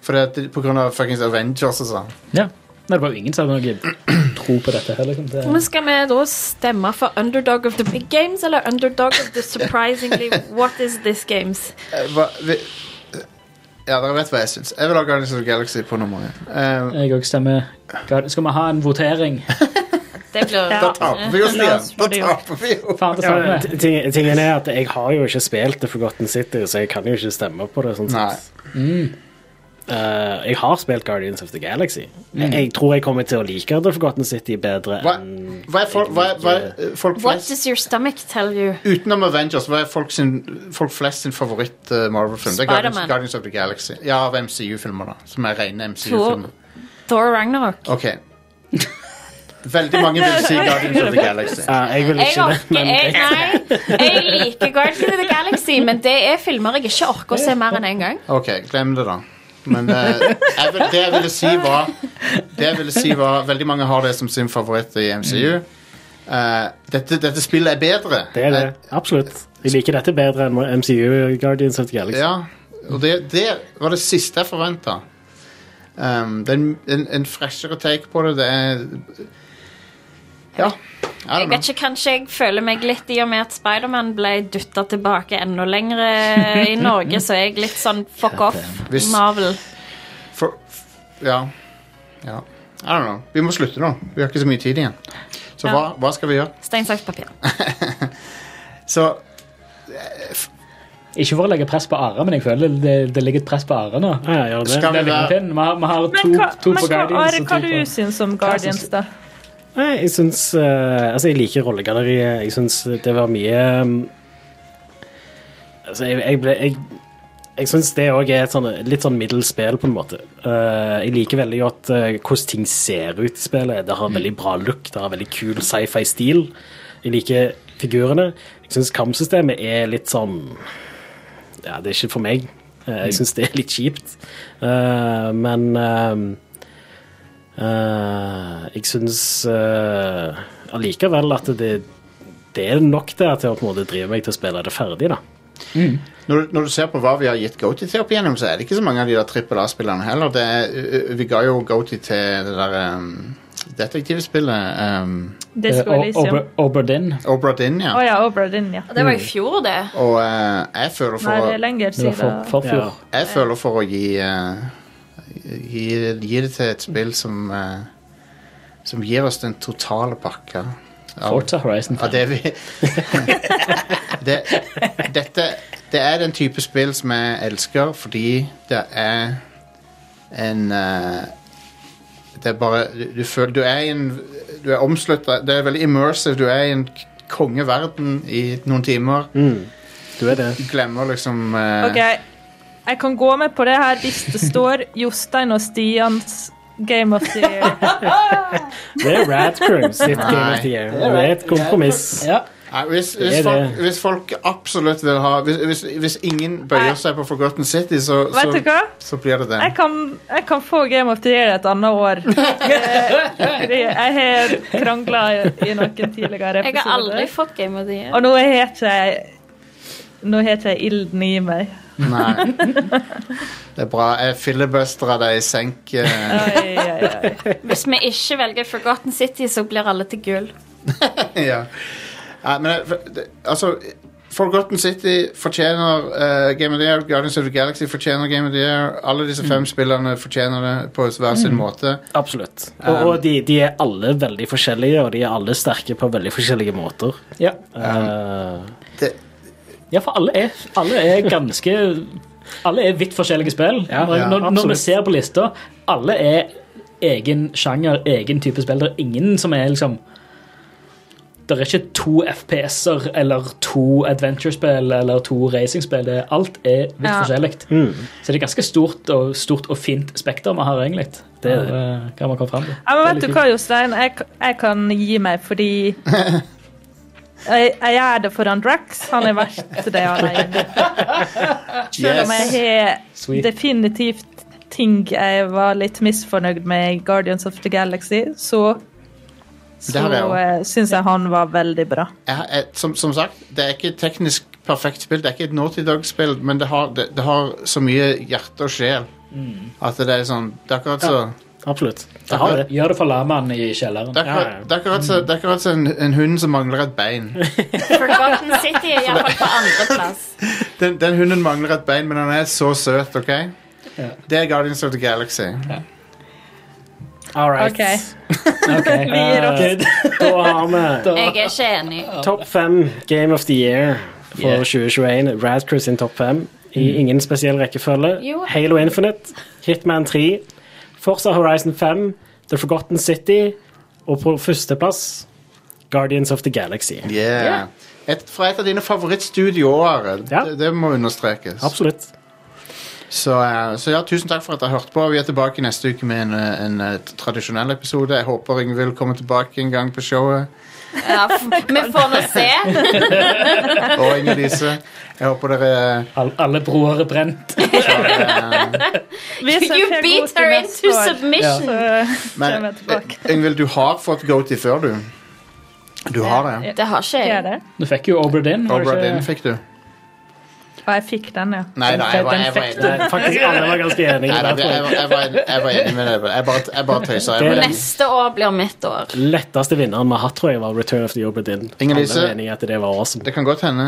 Speaker 1: Fordi at det- På grunn av fuckings Avengers og sånn.
Speaker 4: Ja. Nei, det var jo ingen som hadde noe tro på dette. her. Liksom. Det,
Speaker 3: Men skal vi da stemme for Underdog of the Big Games eller Underdog of the Surprisingly What Is This Games?
Speaker 1: Eh, Hva, vi, eh, ja, dere vet hva jeg syns. Jeg vil ha Guardians of the Galaxy på nummer én. Eh,
Speaker 4: jeg òg stemmer. Skal skal vi ha en votering?
Speaker 3: Det blir
Speaker 1: Da taper vi oss
Speaker 5: La
Speaker 1: igjen!
Speaker 5: oss
Speaker 1: Da
Speaker 5: få det gjort.
Speaker 1: taper vi jo!
Speaker 4: Faen, det
Speaker 2: Ja,
Speaker 4: samme.
Speaker 2: t- ting- eh, tingen er at jeg har jo ikke spilt The Forgotten City, så jeg kan jo ikke stemme på det. sånn sett.
Speaker 1: Nei.
Speaker 2: Eh, jeg har spilt Guardians of the Galaxy. Jeg, jeg tror jeg kommer til å like The Forgotten City bedre
Speaker 1: Mm. Hva,
Speaker 2: enn
Speaker 1: hva er folk, hva, er- hva, er, eh, folk
Speaker 3: What
Speaker 1: flest
Speaker 3: does your stomach tell you?
Speaker 1: Utenom Avengers, hva er folk, sin, folk flest sin favoritt eh, Marvel-film? Det er Guardians,
Speaker 3: Spider-Man.
Speaker 1: Guardians of the Galaxy. Ja, av MCU-filmer, da. Som er rene MCU-filmer.
Speaker 3: Thor, Thor Ragnarok.
Speaker 1: Ok. Veldig mange vil si Guardians of the Galaxy.
Speaker 2: Eh, Jeg vil
Speaker 3: Jeg
Speaker 2: ikke det,
Speaker 3: orker
Speaker 2: men
Speaker 3: jeg,
Speaker 2: jeg,
Speaker 3: Nei, jeg liker Guardians of the Galaxy, men det er filmer jeg ikke orker å se mer enn én en gang.
Speaker 1: Ok, glem det da. Men eh, jeg, vil- det jeg ville si var Det jeg ville si var Veldig mange har det som sin favoritt i MCU. Eh, dette, dette spillet er bedre.
Speaker 2: Mm.
Speaker 1: Eh,
Speaker 2: Det er det. Absolutt. Jeg liker dette bedre enn MCU Guardians of the
Speaker 1: Eh,
Speaker 2: Galaxy.
Speaker 1: ja, og det, det var det siste jeg forventa. Um, det er en, en, en freshere take på det. Det er Ja. I don't
Speaker 3: Jeg
Speaker 1: know.
Speaker 3: vet ikke, Kanskje jeg føler meg litt i og med at Spiderman ble dytta tilbake enda lengre i Norge, så er jeg litt sånn fuck off,
Speaker 1: Hvis-
Speaker 3: Marvel.
Speaker 1: For, f- ja. ja. I don't know. Vi må slutte nå. Vi har ikke så mye tid igjen. Så hva, hva skal vi gjøre?
Speaker 3: Stein, saks, papir.
Speaker 1: Så
Speaker 4: Ikke for å legge press på Are, men jeg føler det, det ligger et press på Are nå.
Speaker 2: Ja, ja, gjør det.
Speaker 1: Skal-
Speaker 4: Det er
Speaker 1: Ja.
Speaker 4: viktig. Vi har, vi har to,
Speaker 5: Men hva,
Speaker 4: to
Speaker 5: men
Speaker 4: på
Speaker 5: hva,
Speaker 4: Guardians
Speaker 5: Are,
Speaker 4: og
Speaker 5: hva
Speaker 4: to
Speaker 5: du
Speaker 4: på
Speaker 5: syns om Guardians, da?
Speaker 2: Nei, jeg syns eh, Altså, jeg liker rollegalleriet. Jeg syns det var mye mm, Altså, jeg, jeg ble Jeg, jeg syns det òg er et sånn, litt sånn middels spill, på en måte. Eh, jeg liker veldig godt eh, hvordan ting ser ut i spillet. Det har veldig bra look, det har veldig kul sci-fi-stil. Jeg liker figurene. Jeg syns kampsystemet er litt sånn Ja, det er ikke for meg. Eh, jeg syns det er litt kjipt. Eh, men eh, Eh, jeg syns eh, allikevel at det, det er nok der til å på en måte drive meg til å spille det ferdig, da.
Speaker 1: når, når du ser på hva vi har gitt Goaty til opp igjennom, så er det ikke så mange av de der trippel A-spillerne heller. Det er, ø- ø- vi ga jo Goaty til det der um, detektivspillet um,
Speaker 4: eh,
Speaker 5: Disco
Speaker 4: O-
Speaker 5: Elysium.
Speaker 4: Ober- Oberdin.
Speaker 1: Obra Dinn, ja.
Speaker 5: Å ja, Obradin, ja.
Speaker 3: Det var i fjor, det.
Speaker 1: Og eh, jeg, føler
Speaker 5: Nei,
Speaker 1: for,
Speaker 5: det er lenger
Speaker 4: Det var for,
Speaker 5: siden.
Speaker 4: for fjor.
Speaker 1: å- jeg føler for å gi, eh, gi Gi det til et spill som eh, Som gir oss den totale pakka. av-
Speaker 4: Forza Horizon.
Speaker 1: Ja, det er vi det, Dette Det er den type spill som jeg elsker Fordi det er En eh, Det er bare Du, du føler du er i en Du er omsluttet, det er veldig immersive Du er i en k- kongeverden I noen timer
Speaker 2: Du er det.
Speaker 1: Du glemmer liksom eh,
Speaker 5: OK, jeg kan gå med på det her hvis det står Jostein og Stians Game of the Year.
Speaker 2: Det er Rad Crew sitt Game of the Year. og Det er et kompromiss.
Speaker 4: Ja.
Speaker 1: Nei, hvis,
Speaker 2: Det
Speaker 1: hvis,
Speaker 2: er
Speaker 1: folk,
Speaker 2: det.
Speaker 1: hvis folk absolutt vil ha Hvis, hvis, hvis ingen bøyer
Speaker 5: Nei.
Speaker 1: seg på Forgotten City Så, så,
Speaker 5: Vet du hva?
Speaker 1: så blir det
Speaker 5: Jeg
Speaker 1: det
Speaker 5: kan, jeg kan få Game of the Year et annet år. Eh, Jeg har krangla i noen tidligere episoder.
Speaker 3: Jeg har aldri fått Game of the Year.
Speaker 5: Og nå har ikke jeg Nå har ikke jeg ilden i meg.
Speaker 1: Nei Det er bra, jeg filibusterer deg i senk eh,
Speaker 5: Oi, oi, oi.
Speaker 3: Hvis vi ikke velger Forgotten City, så blir alle til gull.
Speaker 1: ja. Nei, men eh, for- det- altså Forgotten City fortjener eh, Game of the Year, Guardians of the Galaxy fortjener Game of the Year. Alle disse
Speaker 5: Mm.
Speaker 1: fem spillerne fortjener det på hver sin måte.
Speaker 2: Absolutt. Og, og de, de er alle veldig forskjellige, og de er alle sterke på veldig forskjellige måter.
Speaker 4: Ja.
Speaker 2: Eh,
Speaker 1: Det,
Speaker 4: ja, for alle er, alle er ganske Alle er vidt forskjellige spill.
Speaker 2: Ja,
Speaker 4: når,
Speaker 1: ja,
Speaker 4: når, når vi
Speaker 2: absolutt.
Speaker 4: ser på lista, alle er egen sjanger, egen type spill. Det er ingen som er liksom Det er ikke to FPS-er eller to adventure-spill eller to racing-spill. Det er- Alt er vidt
Speaker 5: Ja.
Speaker 4: forskjellig. Så det er ganske stort og, stort og fint spekter vi har, egentlig.
Speaker 2: Det er
Speaker 4: av, eh, hva man kommer frem til.
Speaker 5: Ja,
Speaker 4: Det
Speaker 5: men vet
Speaker 4: er
Speaker 5: du
Speaker 4: litt
Speaker 5: hva, Jostein? Jeg, k- jeg kan gi meg fordi jeg, jeg gjør det for han Drax. Han er verdt det han er. Selv om
Speaker 1: yes.
Speaker 5: jeg har
Speaker 4: Sweet.
Speaker 5: definitivt ting jeg var litt misfornøyd med i Guardians of the Galaxy, så
Speaker 1: Det
Speaker 5: så
Speaker 1: har jeg også.
Speaker 5: eh, syns jeg han var veldig bra.
Speaker 1: Jeg har- jeg- som, som sagt, det er ikke et teknisk perfekt spill, det er ikke et Naughty Dog-spill, men det har, det, det har så mye hjerte og sjel
Speaker 2: Mm.
Speaker 1: at det er sånn Det er akkurat så
Speaker 2: absolutt. Det har det.
Speaker 4: Gjør det for lamaen i kjelleren.
Speaker 1: Det er akkurat,
Speaker 2: Ja, ja.
Speaker 1: det er akkurat så, det er akkurat så en, en hund som mangler et bein.
Speaker 3: Forgotten City er iallfall på andreplass.
Speaker 1: Den, den hunden mangler et bein, men han er så søt, OK?
Speaker 4: Ja.
Speaker 1: Det er Guardians of the Galaxy.
Speaker 2: All right.
Speaker 5: OK.
Speaker 4: Ok.
Speaker 5: Vi gir oss.
Speaker 2: Eh, da har vi
Speaker 3: Jeg er ikke enig.
Speaker 2: topp fem Game of the Year for
Speaker 4: Yeah.
Speaker 2: 2021. Rad Crew sin topp fem i
Speaker 1: Mm.
Speaker 2: ingen spesiell rekkefølge.
Speaker 3: Jo.
Speaker 2: Halo Infinite, Hitman 3, Forza Horizon 5, The Forgotten City og på førsteplass Guardians of the Galaxy.
Speaker 1: Yeah. Et, fra et av dine favorittstudioer.
Speaker 2: Ja.
Speaker 1: Det, det må understrekes.
Speaker 2: Absolutt.
Speaker 1: Så, eh, så ja, tusen takk for at dere hørte på. Vi er tilbake neste uke med en, eh, en eh, tradisjonell episode. Jeg håper Ingvild kommer tilbake en gang på showet.
Speaker 3: Ja, f- vi får nå se.
Speaker 1: Og Inger Lise. Jeg håper dere eh,
Speaker 4: All, alle broer er brent.
Speaker 5: Vi setter
Speaker 3: You
Speaker 5: god
Speaker 3: beat
Speaker 5: til
Speaker 3: her
Speaker 5: neste
Speaker 3: into
Speaker 5: år,
Speaker 3: submission.
Speaker 5: så eh,
Speaker 1: Men
Speaker 5: kommer jeg tilbake.
Speaker 1: eh, Ingvild, du har fått goatee før, du. Du har det, ja.
Speaker 3: Det har ikke
Speaker 5: Er
Speaker 3: jeg.
Speaker 5: det?
Speaker 4: Du fikk jo Obra Dinn. var det
Speaker 1: Obra
Speaker 4: ikke?
Speaker 1: Dinn fikk du.
Speaker 5: Og jeg fikk den, ja.
Speaker 1: Nei da, jeg var, jeg var, jeg var,
Speaker 2: Nei, faktisk alle var ganske enige.
Speaker 1: nei, da,
Speaker 2: der, tror
Speaker 1: jeg
Speaker 2: jeg.
Speaker 1: var, jeg var, jeg var enig med deg. Jeg bare, jeg bare tøysa. Jeg var enig.
Speaker 3: Neste år blir mitt år.
Speaker 2: Letteste vinneren vi har hatt, tror jeg, var Return of the Obra Dinn.
Speaker 1: Inger Lise?
Speaker 2: Alle er enige i at det var awesome.
Speaker 1: Det kan godt hende.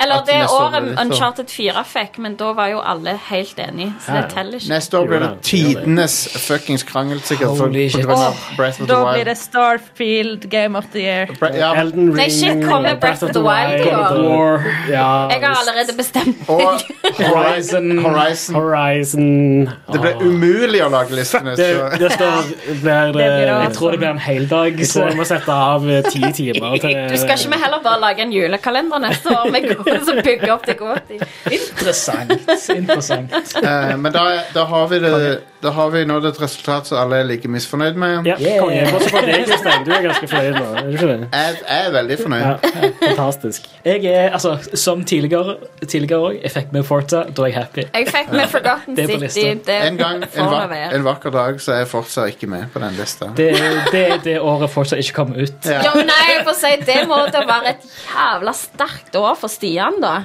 Speaker 3: Eller
Speaker 1: At
Speaker 3: det
Speaker 1: neste år blir
Speaker 3: året
Speaker 1: mitt år.
Speaker 3: Uncharted 4 fikk, men da var jo alle helt enige, så
Speaker 2: Ja,
Speaker 3: det
Speaker 2: ja.
Speaker 3: teller ikke.
Speaker 1: Neste år blir det
Speaker 2: Jo da, det gjør det.
Speaker 1: tidenes fuckings krangel, sikkert. For,
Speaker 4: Holy
Speaker 1: på
Speaker 4: shit.
Speaker 1: grunn av Breath of the
Speaker 5: Da blir
Speaker 1: Wild.
Speaker 5: det Starfield Game of the Year.
Speaker 1: Bre ja,
Speaker 2: Elden Ring
Speaker 3: Nei, shit, kommer Breath of the Wild i
Speaker 4: God of
Speaker 3: år?
Speaker 4: War,
Speaker 2: Ja,
Speaker 3: Jeg har allerede bestemt
Speaker 1: og
Speaker 4: Horizon.
Speaker 1: Horizon.
Speaker 2: Horizon
Speaker 1: Det ble
Speaker 2: Åh.
Speaker 1: umulig å lage listene,
Speaker 2: Ah. det,
Speaker 1: så
Speaker 2: det står blir,
Speaker 5: blir
Speaker 2: eh,
Speaker 5: rart.
Speaker 4: Jeg tror det blir en heldag.
Speaker 2: Jeg tror jeg må sette av eh, ti timer til
Speaker 3: Du skal ikke vi heller bare lage en julekalender neste år med gode som bygger opp til godt i?
Speaker 4: Interessant. interessant.
Speaker 1: Eh, Men da, da, har vi det, da har vi nådd et resultat som alle er like misfornøyd med.
Speaker 2: Ja,
Speaker 4: Yeah.
Speaker 2: konge. Bortsett fra deg, Jostein. Du er ganske fornøyd nå. Er du ikke det?
Speaker 1: Jeg, jeg er veldig fornøyd.
Speaker 2: Ja, fantastisk.
Speaker 4: Jeg er, altså, Som tidligere tidligere også, jeg fikk med Forza, da er jeg happy.
Speaker 3: Jeg fikk med Forgotten
Speaker 4: Det er på
Speaker 3: City.
Speaker 4: lista.
Speaker 3: Det
Speaker 1: En gang,
Speaker 3: får
Speaker 1: en,
Speaker 3: det
Speaker 1: va
Speaker 3: være.
Speaker 1: en vakker dag, så er jeg fortsatt ikke med på den lista.
Speaker 4: Det det, det året Forza ikke kom ut.
Speaker 1: Ja.
Speaker 3: Jo, nei, jeg får si det må da være et jævla sterkt år for Stian, da.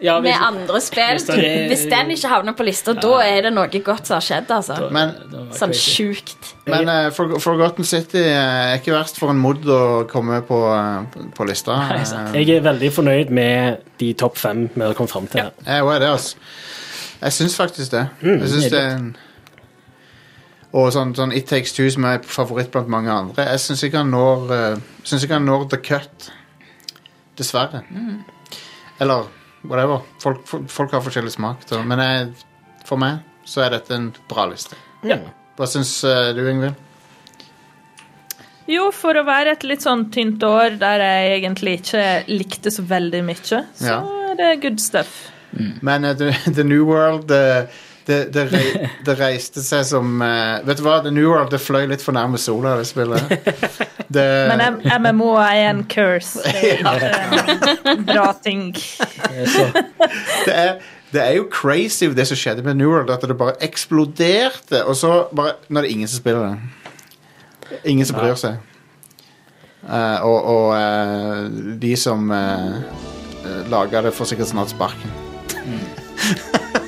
Speaker 4: Ja,
Speaker 3: Med
Speaker 4: hvis-
Speaker 3: andre spill.
Speaker 4: Hvis det-
Speaker 3: Hvis den ikke havner på lista, da er det noe godt som har skjedd, altså.
Speaker 1: Men,
Speaker 4: det var
Speaker 3: Sånn
Speaker 4: crazy.
Speaker 3: sjukt.
Speaker 1: men eh, For Forgotten City eh, er ikke verst for en mod å komme på, eh, på lista. Eh,
Speaker 2: Jeg er veldig fornøyd med de topp fem vi har kommet fram til. her.
Speaker 1: Jeg er det, altså. Jeg syns faktisk det. Jeg synes det er en Og sånn, sånn It Takes Two, som er favoritt blant mange andre. Jeg syns ikke han når eh, synes ikke han når The Cut. Dessverre. Eller whatever. Folk, folk har forskjellig smak. Så, men jeg, for meg så er dette en bra liste.
Speaker 4: Ja.
Speaker 1: Hva syns eh, du, Ingvild?
Speaker 5: Jo, for å være et litt sånn tynt år der jeg egentlig ikke likte så veldig mye, så
Speaker 1: Ja.
Speaker 5: er det good stuff.
Speaker 1: Men eh, the, the New World eh, det, det, rei, det reiste seg som eh, Vet du hva, The New World det fløy litt for nærme sola, det spillet. Det,
Speaker 5: Men eh, M- MMO er en curse. Det er ikke en bra ting.
Speaker 4: Så,
Speaker 1: det, er, det er jo crazy det som skjedde med New World, at det bare eksploderte, og så bare Nå er det ingen som spiller det. Ingen som bryr seg. Eh, og og eh, de som uh, laga det, får sikkert snart sparken.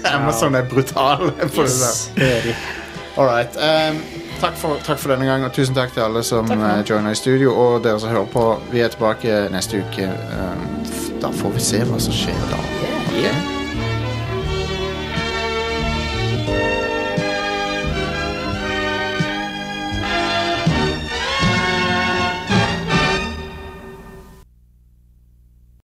Speaker 1: Amazon er brutal på det der.
Speaker 2: Det er de.
Speaker 1: All right. ehm, takk, for, takk for denne gang, og tusen takk til alle som uh, joina i studio, og dere som hører på. um, Vi er tilbake neste uke. ehm, f- da får vi se hva som skjer da. Ok?